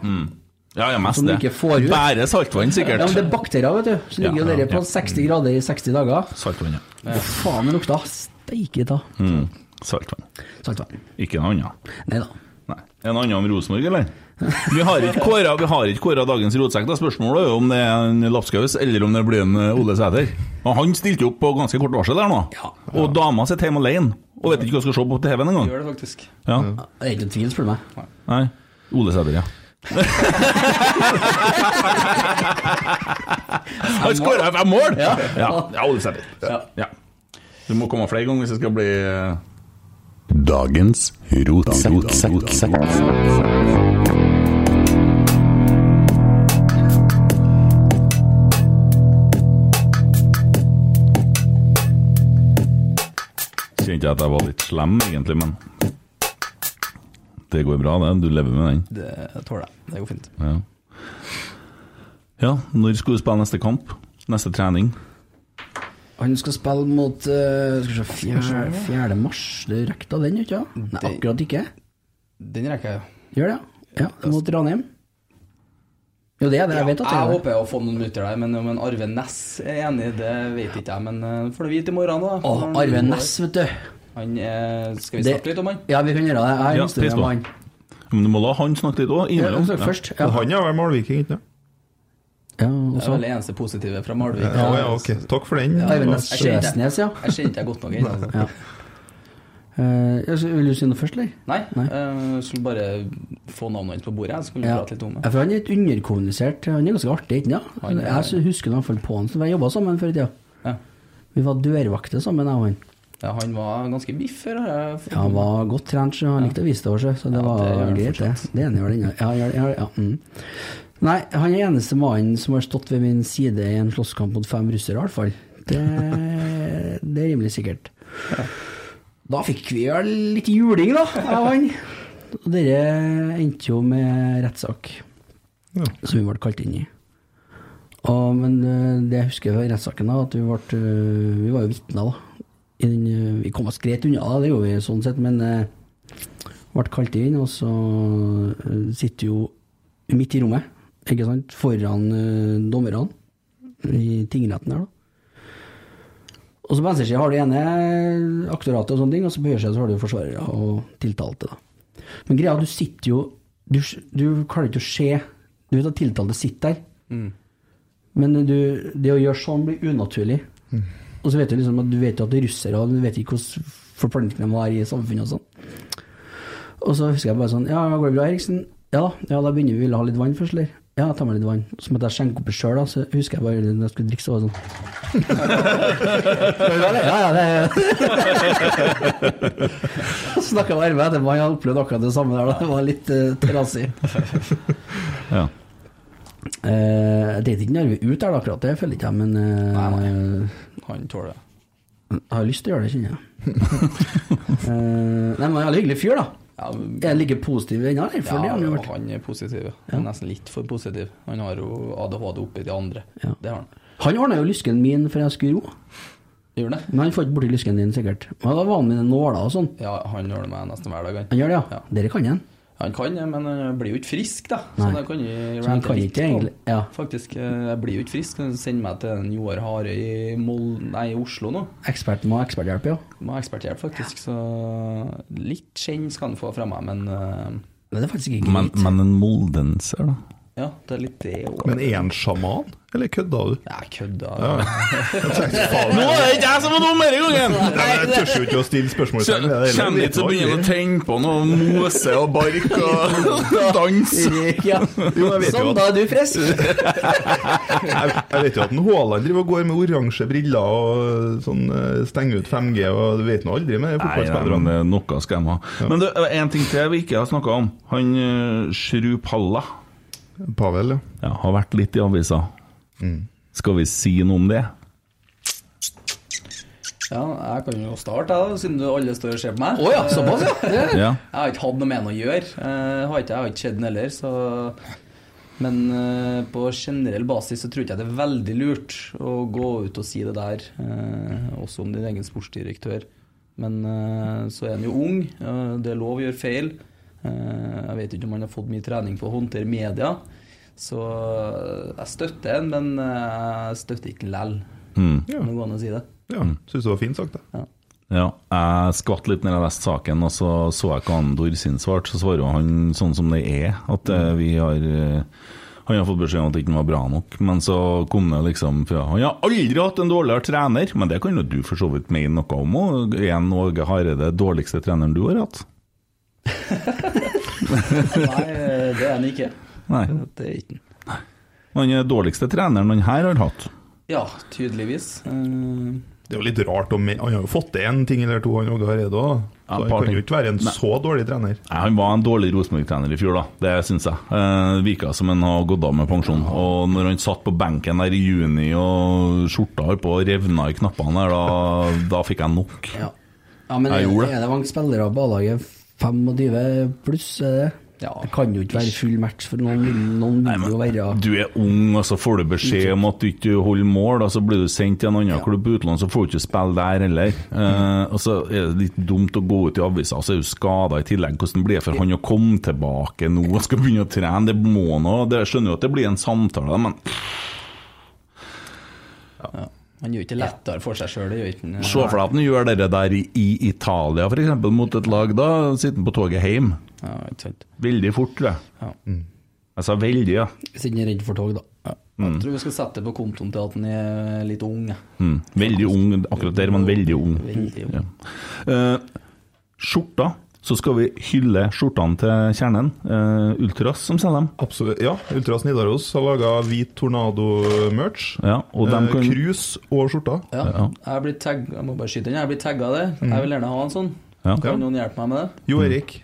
S5: Ja, ja, mest
S6: Som du
S5: Mm. det.
S6: ikke får ut.
S5: Bære saltvann, sikkert.
S6: Ja, men det er bakterier, vet du. Så ligger
S5: Ja,
S6: jo
S5: ja,
S6: dere på
S5: ja.
S6: 60 grader i 60 dager.
S5: Saltvann, ja. Mm.
S6: Å, faen, det lukta steike ta.
S5: Saltvann.
S6: Saltvann.
S5: Ikke noe annet.
S6: Nei da.
S5: Nei. Er det noe annet om Rosenborg, eller? Vi har ikke kåra, vi har ikke kåra dagens rotsekk. da. Spørsmålet er jo om det er en Lapskaus eller om det blir en eh, Ole Sæter. Og han stilte jo opp på ganske kort varsel der nå.
S6: Ja.
S5: Og dama sitter hjemme alene og vet ikke hva hun skal se på TV-en engang.
S7: Gjør det faktisk.
S5: Ja.
S6: Det er ikke noen tvil, spør du meg.
S5: Nei. Ole Sæter, ja. Han skåra fem mål! Ja. Ja. Ole Sæter. Ja. Du må komme flere ganger hvis det skal bli eh,
S9: Dagens rotsekk.
S5: Kjente jeg at jeg var litt slem, egentlig, men Det går bra, det. Du lever med den.
S7: Det tåler jeg. Det går fint.
S5: Ja, ja når skal du spille neste kamp? Neste trening?
S6: Han skal spille mot eh, skal vi se, 4. 4. mars. Det rekker da den, ikke sant? Nei, akkurat ikke.
S7: Den rekker jeg.
S6: Gjør det, ja. ja mot Ranheim. Jo, det er det. Jeg vet at det
S7: jeg
S6: er det.
S7: håper å få noen minutter der, men om en Arve Næss er enig, det vet ikke jeg. Men eh, får du vite i morgen, da.
S6: Å,
S7: Når han-
S6: Arve Næss, vet du.
S7: Han er Skal vi
S6: Det-
S7: snakke litt om han?
S6: Ja, vi kan gjøre det. Jeg har
S5: Ja,
S6: en historie
S5: pris
S6: om
S5: på.
S6: han.
S5: Men du må la han snakke litt òg,
S6: Ja,
S5: innimellom.
S8: altså,
S6: snakk først. Ja.
S8: Han er vel malviking, ikke sant?
S6: Ja,
S7: Det er
S6: også.
S7: vel det eneste positive fra Malvik.
S8: Ja, ja, ok. Takk for den.
S6: Arve Næss
S7: Jeg kjenner-
S6: Skjesnes, ja.
S7: Jeg kjente deg godt nok inn. Altså.
S6: ja. Eh, jeg skal- vil du si noe først, eller?
S7: Nei,
S6: Nei.
S7: eh, jeg skulle bare få navnet hans på bordet, jeg, så kunne vi
S6: Ja.
S7: prate litt om
S6: Ja,
S7: det.
S6: for han er litt underkommunisert. Han er ganske artig, ikke
S7: Han
S6: sant?
S7: er-
S6: Jeg sy- husker i hvert fall på han som jeg jobba sammen før i tida.
S7: Ja.
S6: Vi var dørvakter sammen, jeg og han.
S7: Ja, han var ganske biff før. har jeg fått-
S6: Ja, han var godt trent, så han likte å vise det over seg. Så det
S7: Ja,
S6: var
S7: det gjør han
S6: greit, det. Det ene gjør det ennå. Ja, gjør det, gjør det, ja. Mm. Nei, han er eneste mannen som har stått ved min side i en slåsskamp mot fem russere, i hvert fall. Det, det er rimelig sikkert. Da fikk vi vel litt juling, da, jeg og han. Og dette endte jo med rettssak, som vi ble kalt inn i. Og, men eh, det jeg husker fra rettssaken, da, at vi, ble, eh, vi var jo vitner, da. I den, eh, vi kom oss greit unna, da, det gjorde vi sånn sett, men eh, ble kalt inn, og så eh, sitter jo midt i rommet, ikke sant, foran eh, dommerne i tingretten her, da. Og så på venstresida har du ene aktoratet og sånne ting, og så på høyresida så har du forsvarere og tiltalte, da. Men greia er at du sitter jo Du, du klarer ikke å se Du vet at tiltalte sitter der. Men du, det å gjøre sånn blir unaturlig. Og så vet du liksom at du vet jo at det er russere, og du vet ikke hvordan forplantning de var i samfunnet og sånn. Og så husker jeg bare sånn Ja, går det bra, Eriksen? Ja da, ja, da begynner vi vel å ha litt vann først, eller? Ja, ta meg litt vann. Så måtte jeg skjenke oppi sjøl, da. Så husker jeg bare når jeg skulle drikke, så var det sånn. ja, det- ja, ja, det Så snakka jeg med Arve etterpå, han hadde opplevd akkurat det samme der, da. Det var litt uh, trasig.
S5: Ja.
S6: Eh, Jeg delte ikke Narve ut der, da, akkurat det føler ikke jeg, men eh,
S7: Han tåler det.
S6: jeg har lyst til å gjøre det, kjenner jeg. Eh, nei, men han er en jævlig hyggelig fyr, da.
S7: Ja, men-
S6: Jeg ligger positiv ennå, eller? For det
S7: ja,
S6: har han jo
S7: og
S6: vært.
S7: han er positiv. Han er nesten litt for positiv. Han har jo ADHD oppi de andre.
S6: Ja.
S7: Det har han.
S6: Han ordna jo lysken min før jeg skulle ro,
S7: Gjør han det?
S6: men han får ikke borti lysken din, sikkert. Men da var han med nåler og sånn.
S7: Ja, han gjør det med nesten hver dag.
S6: Han
S7: Han,
S6: gjør det,
S7: Ja.
S6: ja. Dere kan han.
S7: han kan det, men han blir jo ikke frisk, da. Så
S6: Nei.
S7: det kan jeg
S6: Så han
S7: rante
S6: kan
S7: litt på.
S6: ikke egentlig- ja.
S7: Faktisk, eh, jeg blir jo ikke frisk. Han Sender meg til en Joar Harøy i Mol... Nei, i Oslo nå.
S6: Ekspert må ha eksperthjelp, ja.
S7: Må ha eksperthjelp, faktisk. Så litt skjenn skal han få fra meg, men eh,
S6: Men det er faktisk ikke
S5: Men,
S6: greit.
S5: men en moldenser, da?
S7: ja, det er litt det òg.
S8: Men er han sjaman, eller kødda du?
S7: Jeg kødda.
S5: Nå er det ikke jeg som er dum denne gangen!
S8: Nei, men Jeg tør jo ikke å stille spørsmål til ham. Det er
S5: Kjenner
S8: litt
S5: ikke så begynner han å tenne på noe mose og bark og dans.
S6: Ja.
S8: Jo, jeg vet jo
S6: Sånn,
S8: at-
S6: da er du frisk.
S8: Jeg, jeg vet jo at en Haaland driver og går med oransje briller og sånn, eh, stenger ut 5G, og du vet nå aldri
S5: Nei,
S8: med
S5: nei, men
S8: fotballspillerne.
S5: det er noe skal de ha. Men det er en ting til vi ikke har snakka om. Han eh, Shru Palla eh,
S8: Pavel, ja. Mm.
S5: ja, har vært litt i avisa. Skal vi si noe om det?
S7: Ja, jeg kan jo starte, jeg, da, siden du alle står og ser på meg.
S6: Å ja, såpass, ja. Det er-
S5: Ja.
S7: Jeg har ikke hatt noe med den å gjøre. Eh, har ikke, jeg har ikke sett den heller, så Men eh, på generell basis så tror ikke jeg det er veldig lurt å gå ut og si det der, eh, også om din egen sportsdirektør. Men eh, så er han jo ung, eh, det er lov å gjøre feil. Eh, jeg vet ikke om han har fått mye trening på å håndtere media, så eh, jeg støtter han, men eh, jeg støtter ikke lell.
S5: Mm.
S7: Om det går an å si det.
S8: ja. Syns det var fint sagt, det.
S5: Ja, jeg skvatt litt når jeg leste saken, og så så jeg hva Andor sin svarte. Så svarer jo han sånn som det er, at
S7: Mm.
S5: eh, vi har eh, Han har fått beskjed om at det ikke var bra nok, men så kom det liksom fra Han har aldri hatt en dårligere trener! Men det kan jo du for så vidt mene noe om òg. Er en Åge Hareide dårligste treneren du har hatt?
S7: Nei, Eh, det er han ikke.
S5: Nei.
S7: Det er ikke han.
S5: Han er dårligste treneren han her har hatt.
S7: Ja, tydeligvis. Eh,
S8: Det er jo litt rart om Han har jo fått til en ting eller to, han Åge Hareide òg.
S5: Ja, et
S8: Så han
S5: par
S8: kan
S5: ting.
S8: jo ikke være en
S5: Nei.
S8: så dårlig trener.
S5: Nei, Han var en dårlig Rosenborg-trener i fjor, da. Det syns jeg. Eh, virka som han har gått av med pensjon. Og når han satt på benken der i juni og skjorta holdt på å revne i knappene der, da, da fikk jeg nok.
S6: Ja, ja men
S5: Jeg
S6: er,
S5: gjorde det.
S6: er det mange spillere på A-laget? 25 pluss, er det?
S7: Ja.
S6: Det kan jo ikke være full match, for noen vil, noen vil jo være
S5: Du er ung, og så får du beskjed om at du ikke holder mål, og så blir du sendt til en annen klubb på utlandet, så får du ikke spille der heller. Eh, og så er det litt dumt å gå ut i avisa, og så er du skada i tillegg. Hvordan blir det for han å komme tilbake nå og skal begynne å trene? Det må nå det- Jeg skjønner jo at det blir en samtale, men
S7: han gjør ikke det lettere for seg sjøl, det gjør ikke han.
S5: Se for deg at han gjør det der i, i Italia, f.eks., mot et lag. Da sitter han på toget hjem.
S7: Ja, ikke sant.
S5: Veldig fort, tror jeg.
S7: Ja.
S8: Mm.
S5: Jeg sa veldig, ja.
S6: siden jeg er redd for tog, da.
S7: Jeg tror vi skal sette det på kontoen til at han er litt ung. jeg.
S5: Mm. Veldig ung akkurat der, men veldig ung.
S7: Veldig ung.
S5: Ja. Eh, skjorta. Så skal vi hylle skjortene til kjernen. Eh, Ultras som selger dem.
S8: Absolutt. Ja, Ultras Nidaros har laga hvit tornado-merch.
S5: Ja, og dem
S8: Eh,
S5: kan-
S8: Krus og skjorta.
S7: Ja. Jeg blir tagg... Jeg må bare skyte inn, jeg blir tagga det. Jeg vil gjerne ha en sånn.
S5: Ja.
S7: Kan noen hjelpe meg med det?
S8: Jo Erik.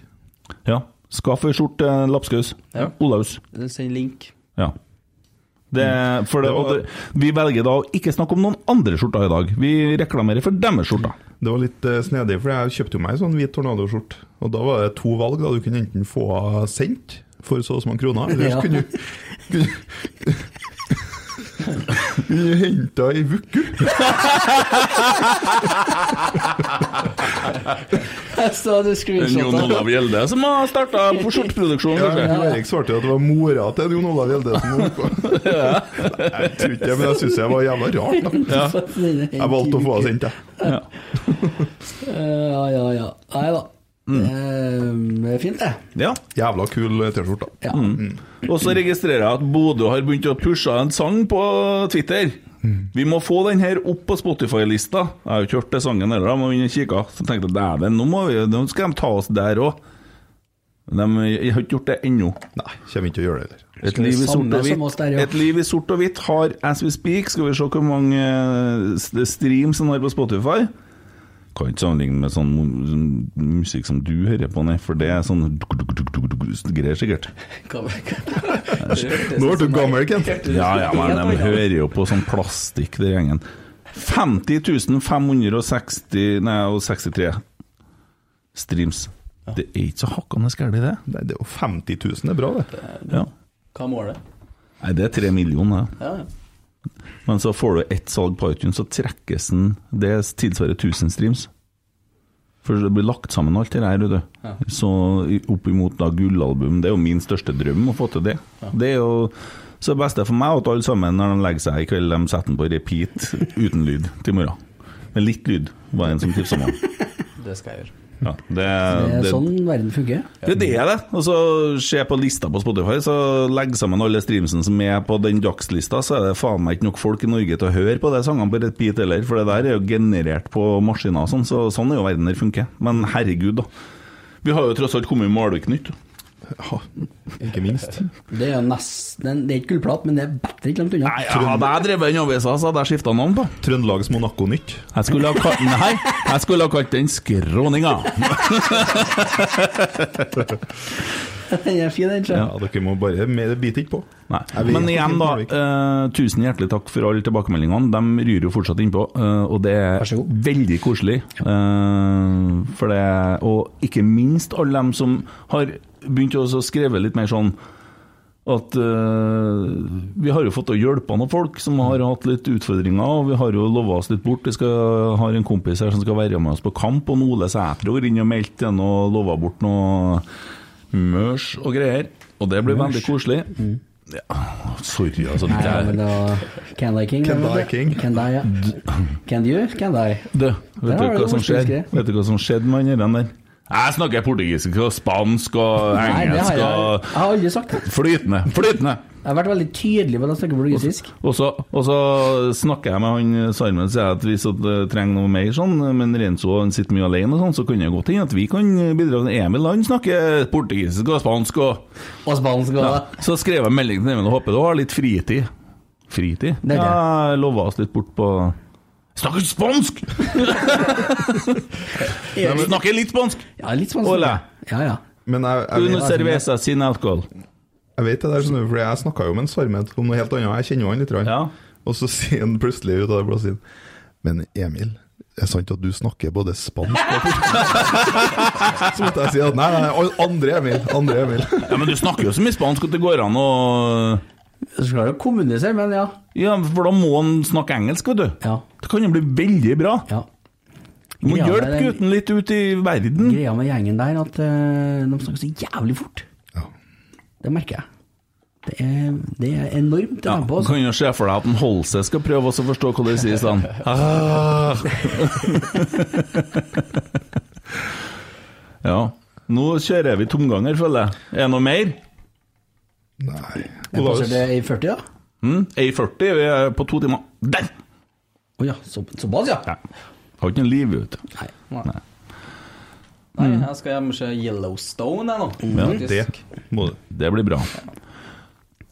S5: Ja. Skaff ei skjorte, eh, Lapskaus.
S7: Ja.
S5: Olaus.
S7: Send link.
S5: Ja. Det, for det,
S8: Mm. Det var-
S5: og det, vi velger da å ikke snakke om noen andre skjorter i dag. Vi reklamerer for deres skjorter.
S8: Det var litt eh, snedig, for jeg kjøpte jo meg en sånn hvit tornadoskjort. Og da var det to valg. da Du kunne enten få henne sendt for så og så mange kroner, eller så
S6: Ja.
S8: kunne du kunne- Kunne du hente henne i Vuku.
S6: Jeg så du screenshotta.
S5: Gjelde som har starta skjorteproduksjonen,
S8: Ja, Jo Erik svarte jo at det var mora til Jon Olav Gjelde som var oppå. Jeg tror ikke det, men jeg syns det var jævla rart. da Jeg valgte å få henne sendt, jeg.
S6: Eh, Ja, ja, ja. Nei da.
S5: Mm.
S6: Eh, Det er fint, det.
S5: Ja.
S8: Jævla kul eh, T-skjorte. da.
S5: Mm. Og så registrerer jeg at Bodø har begynt å pushe en sang på Twitter.
S8: Mm.
S5: Vi må få den her opp på Spotify-lista. Jeg har jo ikke hørt den sangen heller, da, men vi kikka. Så tenkte jeg dæven, nå, må vi- nå skal de ta oss der òg. De har ikke gjort det ennå.
S8: Nei, kommer ikke til å gjøre det heller.
S5: Et liv, i sort
S6: Samme
S5: og
S6: som oss
S5: hvitt.
S6: der, ja.
S5: Et liv i sort og hvitt har As We Speak. Skal vi se hvor mange eh, st- streams han har på Spotify? Kan ikke sammenligne med sånn mu- sånn musikk som du hører på, nei, for det er sånn duk- duk- duk- duk- duk- greier, sikkert.
S8: Nå ble du gammel, Kent.
S5: Ja, ja, men de hører jo på sånn plastikk, den gjengen. 50 560 Nei, og 63 streams. Det er ikke så hakkende gærent, det.
S8: Nei, det er jo 50 000 er bra, det.
S5: Ja.
S7: Hva er målet?
S5: Nei, det er tre millioner.
S7: Ja, ja.
S5: Men så får du ett salg på iTunes, så trekkes den Det tilsvarer 1000 streams. For det blir lagt sammen alt det der, vet du. Så i- opp imot da gullalbum. Det er jo min største drøm å få til det. Det er jo så det beste for meg at alle sammen når de legger seg i kveld, de setter den på repeat uten lyd til i morgen. Med litt lyd, var en som tipsa meg om.
S7: Det skal jeg gjøre.
S5: Ja, det,
S6: Det er
S5: det,
S6: sånn verden fungerer.
S5: ja, det er det. Og så se på lista på Spotify, så legg sammen alle streamsene som er på den dagslista, så er det faen meg ikke nok folk i Norge til å høre på de sangene på repeat heller, for det der er jo generert på maskiner og sånn, så sånn er jo verden der funker. Men herregud, da. Vi har jo tross alt kommet med Malvik nytt.
S8: Ja, ikke minst.
S6: Det er jo nesten Det er ikke gullplat, men det er bedre ikke langt unna.
S5: Nei, ja, hadde jeg drevet en avisa, så hadde jeg skifta navn på.
S8: Trøndelags Monaco-nytt.
S5: Jeg skulle ha kalt Nei, jeg skulle ha kalt den Skråninga.
S6: Den er fin, den.
S8: Ja, dere må bare mer bite ikke på.
S5: Nei.
S8: Jeg vet
S5: Men
S8: ikke
S5: igjen,
S8: om
S5: da.
S8: Malvik-
S5: eh, tusen hjertelig takk for alle tilbakemeldingene. De ryr jo fortsatt innpå, eh, og det er
S6: så god.
S5: veldig koselig. Eh, for det, og ikke minst alle dem som har begynt å også skrive litt mer sånn at eh, vi har jo fått å hjelpe noen folk som har hatt litt utfordringer, og vi har jo lova oss litt bort. Vi skal, har en kompis her som skal være med oss på kamp, og Ole Sæter har vært inne og meldt igjen og lova bort noe mørs og greier. Og det blir veldig koselig. Sorry, altså.
S6: Mm. Nei, ja,
S5: Det
S6: men det var Can I King?
S8: Can
S6: eller
S8: I
S6: noe?
S8: King?
S6: Can I, ja. Can you? Can I?
S5: er Du, vet
S6: Der
S5: du
S6: har
S5: hva
S6: du
S5: som
S6: morsomt
S5: skjedde?
S6: skrevet.
S5: Vet du hva som skjedde med han der? Jeg snakker portugisisk og spansk og
S6: Nei, det har
S5: engelsk
S6: jeg,
S5: og
S6: jeg har aldri sagt det.
S5: Flytende! Flytende!
S6: Jeg har vært veldig tydelig på at jeg snakker portugisisk.
S5: Og så, og så snakker jeg med han eh, Sarmen og sier jeg at hvis at det trenger noe mer sånn, men Renzo han sitter mye alene og sånn, så kan det godt hende at vi kan eh, bidra. Emil han snakker portugisisk og spansk og
S6: Og spansk og
S5: ja. Så skrev jeg melding til Emil og håper du har litt fritid. Fritid?
S6: er det.
S5: Ja, jeg lova oss litt bort på Snakker ikke spansk! Jeg snakker litt spansk!
S6: Ja, litt spansk.
S5: Hola.
S6: Ja, ja.
S8: Men jeg, jeg,
S5: Uno
S8: vet-
S5: cerveza sin alcohol.
S8: jeg vet det der, skjønner du, for jeg snakka jo med en Sarmet om noe helt annet. Jeg kjenner jo han litt. grann.
S5: Ja.
S8: Og så sier han plutselig ut av det blå siden Men Emil, er det sant at du snakker både spansk og portugisisk? Så måtte jeg si at nei, nei, nei, andre Emil. Andre Emil.
S5: Ja, men du snakker jo så mye spansk at det går an å
S6: Så klarer du å kommunisere, men ja.
S5: Ja, for da må han snakke engelsk, vet du.
S6: Ja.
S5: Det kan jo bli veldig bra.
S6: ja.
S5: Du må
S6: Ja,
S5: hjelpe
S6: det er-
S5: gutten litt ut i verden.
S6: Greia med gjengen der at eh, de snakker så jævlig fort.
S8: Ja.
S6: Det merker jeg. Det er, det er enormt det
S5: Ja,
S6: tempo.
S5: du
S6: altså.
S5: kan jo se for deg at en Holse skal prøve også å forstå hva det sies da. Ah. ja. Nå kjører vi tomganger, føler jeg. Er det noe mer?
S8: Nei.
S6: Jeg
S8: Olaus,
S6: passer det i 40, da?
S5: Mm? A40 vi er på to timer. Der!
S6: Å ja, så, såpass, ja.
S5: Ja. Har ikke noe liv, vet du.
S6: Nei.
S7: Nei, jeg skal hjem og se Yellowstone, jeg nå.
S5: Ja,
S8: det må du.
S5: Det blir bra.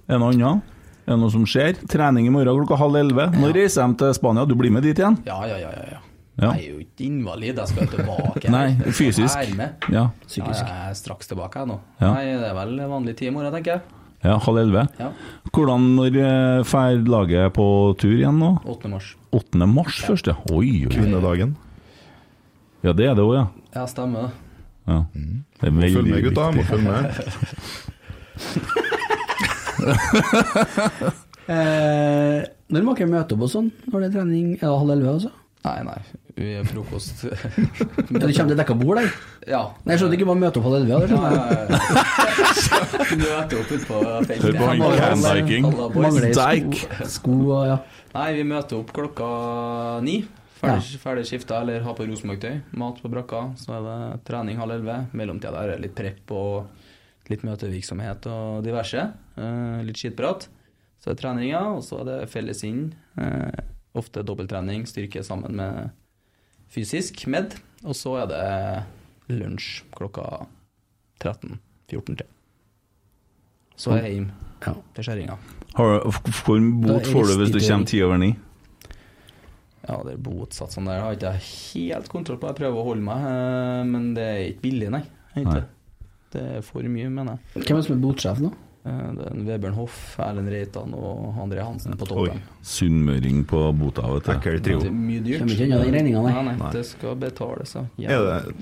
S5: Er det noe annet? Er det noe som skjer? Trening i morgen klokka halv elleve. Nå reiser de til Spania. Du blir med dit igjen?
S7: Ja, ja, ja. ja, ja.
S5: Ja.
S7: Jeg er jo ikke invalid, jeg skal jo tilbake.
S5: Nei, fysisk.
S7: Jeg er med.
S5: Ja.
S7: Ja, jeg er straks tilbake jeg nå.
S5: Ja.
S7: Nei, det er vel vanlig tid i morgen, tenker jeg.
S5: ja halv elleve.
S7: Ja.
S5: Hvordan når eh, fer laget på tur igjen nå?
S7: 8. mars.
S5: 8. mars først, ja. Oi, oi. oi.
S8: Kvinnedagen.
S5: Ja, det er det òg, ja.
S7: Ja, stemmer det.
S5: ja. Det er veldig
S8: Følg med, gutta. Må
S5: viktig.
S8: følge med.
S6: Eh, når må dere møte opp og sånn? Når det er trening? Er det halv elleve, altså?
S7: Nei, nei. Vi er frokost.
S6: Ja, du kommer til dekka bord, der?
S7: ja.
S6: Nei, jeg skjønner ikke om man møter opp halv elleve. ja, det skjønner jeg.
S7: Møte opp ute på feltet.
S5: Hør på han
S7: Hallo,
S5: Cambiking.
S7: hallo, boys.
S6: Mangler
S5: Steik.
S6: sko, sko og ja.
S7: Nei, vi møter opp klokka ni. Ferdig, ferdig skifta eller ha på Rosenborg-tøy. Mat på brakka. Så er det trening halv elleve. Mellomtida der er det litt prep og litt møtevirksomhet og diverse. Eh, litt skitprat. Så er det treninga, og så er det felles inn. Eh, ofte dobbelttrening, styrke sammen med fysisk med. Og så er det lunsj klokka 13-14 til. Så er jeg hjemme
S6: ja.
S7: til skjæringa.
S5: Har, hvor mye
S6: Da er
S5: bot får du hvis du
S6: riktig
S5: kommer
S6: teori.
S5: ti over ni?
S7: Ja, det er botsatsene der har ikke jeg helt kontroll på. Jeg prøver å holde meg, eh, men det er ikke billig, nei. Ikke.
S5: Nei.
S7: Det er for mye, mener jeg.
S6: Hvem er det som er botsjef nå?
S7: Eh, Det er en Vebjørn Hoff, Erlend Reitan og André Hansen på
S8: Oi.
S7: toppen.
S5: Sunnmøring på bota, vet du.
S8: Ekkel
S7: Det
S8: trio.
S7: er mye dyrt.
S6: Kommer ikke unna den regninga, nei.
S7: Nei, nei, det skal betales. Ja.
S8: Er det,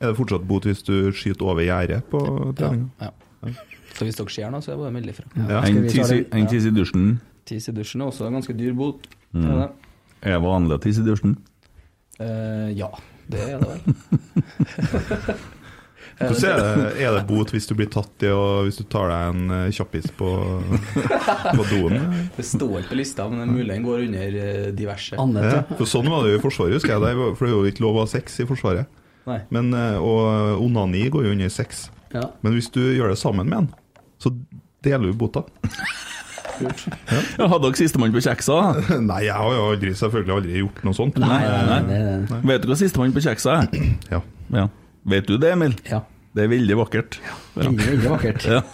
S8: er det fortsatt bot hvis du skyter over gjerdet på treninga?
S7: Ja. Så hvis dere ser noe, så er det bare å melde ifra.
S8: Ja.
S6: Skal
S5: En
S6: vi ta
S5: tiss i-
S6: den?
S5: en tiss i dusjen
S7: Tis i dusjen er også en ganske dyr bot. Er det?
S5: er vanlig å tisse i dusjen.
S7: Eh, ja, det er det vel.
S8: Hvordan er det, er det bot hvis du blir tatt i og hvis du tar deg en eh, kjappis på, på doen?
S7: Det står ikke på lista, men det er mulig den går under eh, diverse.
S6: Annet,
S8: Ja,
S6: ja.
S8: for sånn var det jo i Forsvaret, husker jeg. det, For det er jo ikke lov å ha sex i Forsvaret.
S7: Nei.
S8: Men, eh, og onani går jo under sex.
S6: ja.
S8: Men hvis du gjør det sammen med en, så deler du bota.
S5: Ja, hadde dere sistemann på kjeksa? da?
S8: Nei, jeg har jo aldri, selvfølgelig aldri gjort noe sånt.
S5: Nei, nei.
S6: Det, det-
S5: Vet du hva sistemann på kjeksa er?
S8: Ja.
S5: Ja. Vet du det, Emil?
S6: ja.
S5: Det er veldig vakkert. Ja.
S6: Veldig, veldig vakkert.
S5: Ja.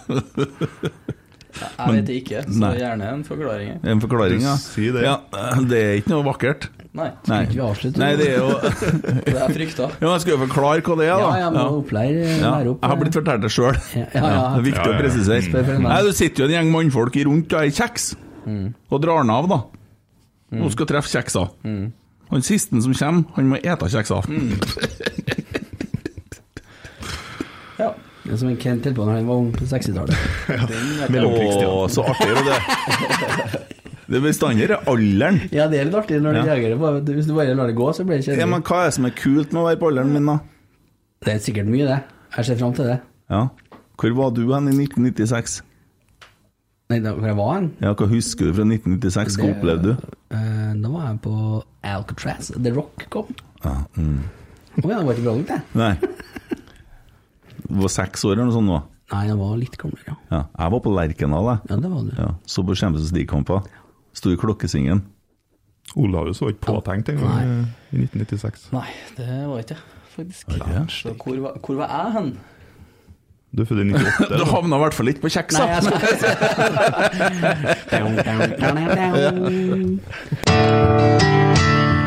S7: Jeg vet det ikke, så
S5: Nei.
S7: gjerne en forklaring. her.
S5: En forklaring, ja.
S8: Du sier det.
S5: ja. Det er ikke noe vakkert.
S7: Nei,
S5: Nei.
S6: Skal ikke vi avslutte?
S5: Nei, det er jo
S7: det er jeg frykta.
S5: Jo, jeg skal jo forklare hva det er,
S6: Ja,
S5: da.
S6: jeg må opplære,
S5: Ja.
S6: lære opp eh,
S5: Jeg har blitt fortalt det sjøl.
S6: Ja, ja, ja.
S5: Det er viktig å
S6: Spør for
S5: presisere.
S6: en Mm. venn.
S5: Nei, Du sitter jo en gjeng mannfolk i rundt og er kjeks, og drar den av, da.
S6: Mm.
S5: Nå skal treffe kjeksa. Han siste som kommer, han må ete kjeksa.
S6: Mm,
S7: Ja.
S6: Det er som en Kent holdt på når han var ung på 60-tallet.
S5: Å, så artig er det. Det bestandig er alderen.
S6: Ja, det er litt artig når du
S5: Ja.
S6: reagerer på det. Hvis du bare lar det gå, så blir det
S5: Ja,
S6: kjedelig.
S5: men hva er det som er kult med å være på alderen min, da?
S6: Det er sikkert mye, det. Jeg ser fram til det.
S5: Ja. Hvor var du hen i 1996?
S6: Nei, da, hvor jeg var hen?
S5: Ja, Hva husker du fra 1996? Hva
S6: Det-
S5: opplevde du?
S6: Eh, da var jeg på Alcatraz. The Rock kom. Å
S5: Ja, mm.
S6: ja, det var ikke bra nok, det.
S5: Nei. Du var seks år eller noe sånt nå?
S6: Nei, jeg var litt gammel, ja.
S5: Ja. Jeg var på Lerkendal, jeg.
S6: Ja, det var du.
S5: Ja. Så på Champions League-kamper. Sto i klokkesingen.
S8: Olaus var ikke påtenkt engang eh, i 1996.
S7: Nei, det var ikke jeg, faktisk.
S5: Ja.
S7: Så hvor, var, hvor var jeg hen?
S8: Du er født i 98.
S5: Du havna i hvert fall ikke på kjeksa!
S6: Nei, jeg skal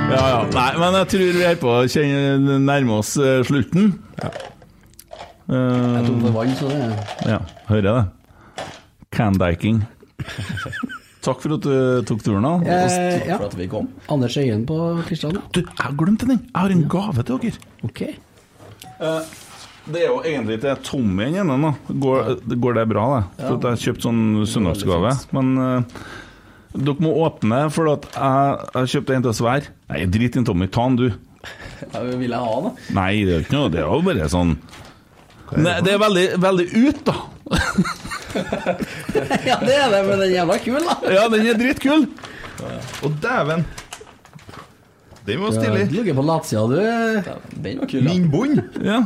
S5: Ja, ja. Nei, men jeg tror vi er på å kjenne- nærme oss eh, slutten.
S6: Jeg
S5: Eh,
S6: tok for vann, så det
S5: ja, hører jeg det. Candiking. Takk for at du tok turen. da. Og s-
S6: eh, Ja.
S7: For at vi kom.
S6: Anders Øyen på Kristian.
S5: Du, jeg har glemt en ting! Jeg har en gave til dere.
S6: Ok.
S5: Det er jo egentlig til Tommy i den enden, da. Går, går det bra, det? For at jeg har kjøpt sånn søndagsgave. Men eh, dere må åpne, for at jeg jeg har kjøpt en til oss hver. Nei, drit i en Tommy. Ta den, du.
S7: Ja, hva vil jeg ha, da?
S5: Nei, det er jo ikke noe. Det er jo bare sånn Nei, Det er veldig, veldig ut, da.
S6: Ja, det er det, men den er jævla kul, da.
S5: Ja, den er dritkul.
S8: Å, dæven! Den var
S6: Du
S8: stilig.
S6: ligger på latsida, du.
S7: Den var kul, da.
S8: Innbånd!
S5: Ja.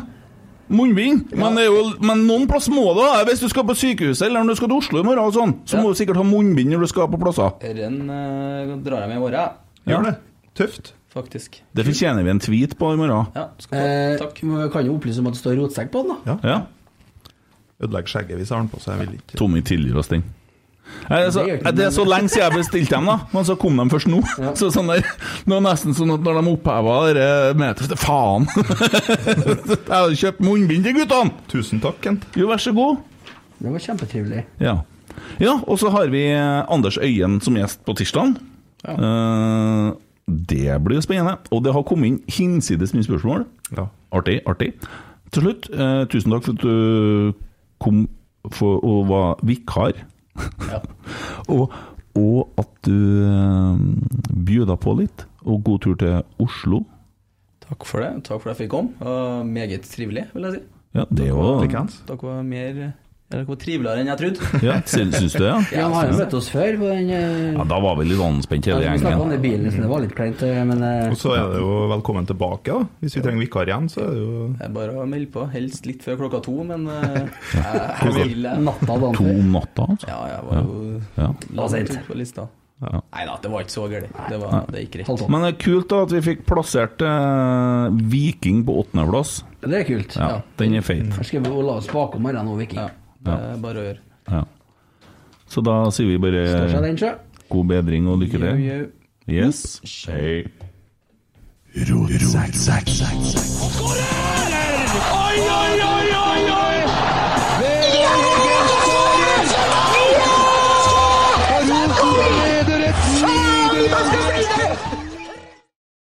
S5: Munnbind. Men, det er jo, men noen plass må det. da. Hvis du skal på sykehuset eller når du skal til Oslo i morgen, og sånn, så må du sikkert ha munnbind når du skal på plasser.
S7: Den eh, drar jeg med i morgen,
S8: Gjør det. Tøft.
S7: jeg, faktisk.
S5: Det fortjener vi en tweet på i morgen.
S7: Ja, du skal
S6: Eh,
S7: få. Takk.
S6: men vi kan jo opplyse om at det står rotsekk på den, da.
S5: Ja.
S8: Ødelegger skjegget hvis jeg har den på, så jeg vil ikke.
S5: Tommy tilgir oss den. Nei, altså,
S6: Det gjør ikke noe.
S5: det er så lenge siden jeg bestilte dem, da, men så kom de først nå. Så sånn der, nå er det nesten sånn at når de oppheva det eh, meteret Faen! jeg hadde kjøpt munnbind til guttene!
S8: Tusen takk, Kent.
S5: Jo, vær så god.
S6: Det var kjempetrivelig.
S5: Ja. ja, og så har vi eh, Anders Øyen som gjest på tirsdag. det blir jo spennende. Og det har kommet inn hinsides mye spørsmål.
S8: Ja.
S5: Artig, artig. Til slutt, eh, tusen takk for at du kom for, og var vikar. og, og at du eh, bjuda på litt. Og god tur til Oslo.
S7: Takk for det. Takk for at jeg fikk komme. Og meget trivelig, vil jeg si.
S5: Ja, det var
S8: Likens.
S7: Dere var mer Eller dere var triveligere enn jeg trodde.
S5: ja, Syns syns du det? Ja?
S6: Ja, han har jo møtt oss før på den eh,
S5: ja, da var vi litt anspent hele
S6: Vi snakka om
S5: gjengen.
S6: den bilen, så det var litt kleint, eh, men eh,
S8: Og så er det jo velkommen tilbake, da. Hvis vi trenger vikar igjen, så er det jo
S7: Det er bare å melde på. Helst litt før klokka to, men eh, jeg, jeg vil jeg.
S6: natta dagen
S5: To
S6: før.
S5: om natta, altså.
S7: Ja, jeg var jo
S5: Ja.
S7: langt ute på lista.
S5: Ja. sånn.
S7: Nei da, det var ikke så galt. Det, var- det gikk
S6: Halv
S7: rett.
S6: tolv.
S5: Men det er kult da at vi fikk plassert eh, Viking på åttendeplass.
S6: Det er kult.
S5: Ja, Den er feit.
S6: Her skal vi jo la oss bake om morgenen nå, Viking.
S7: Ja, det er Eh, bare å gjøre.
S5: Ja. Så da sier vi
S6: Står seg
S5: bare
S6: den, sjø?
S5: god bedring og lykke
S7: Yo,
S5: til.
S7: yo.
S5: Yes. Hei.
S3: Skårer!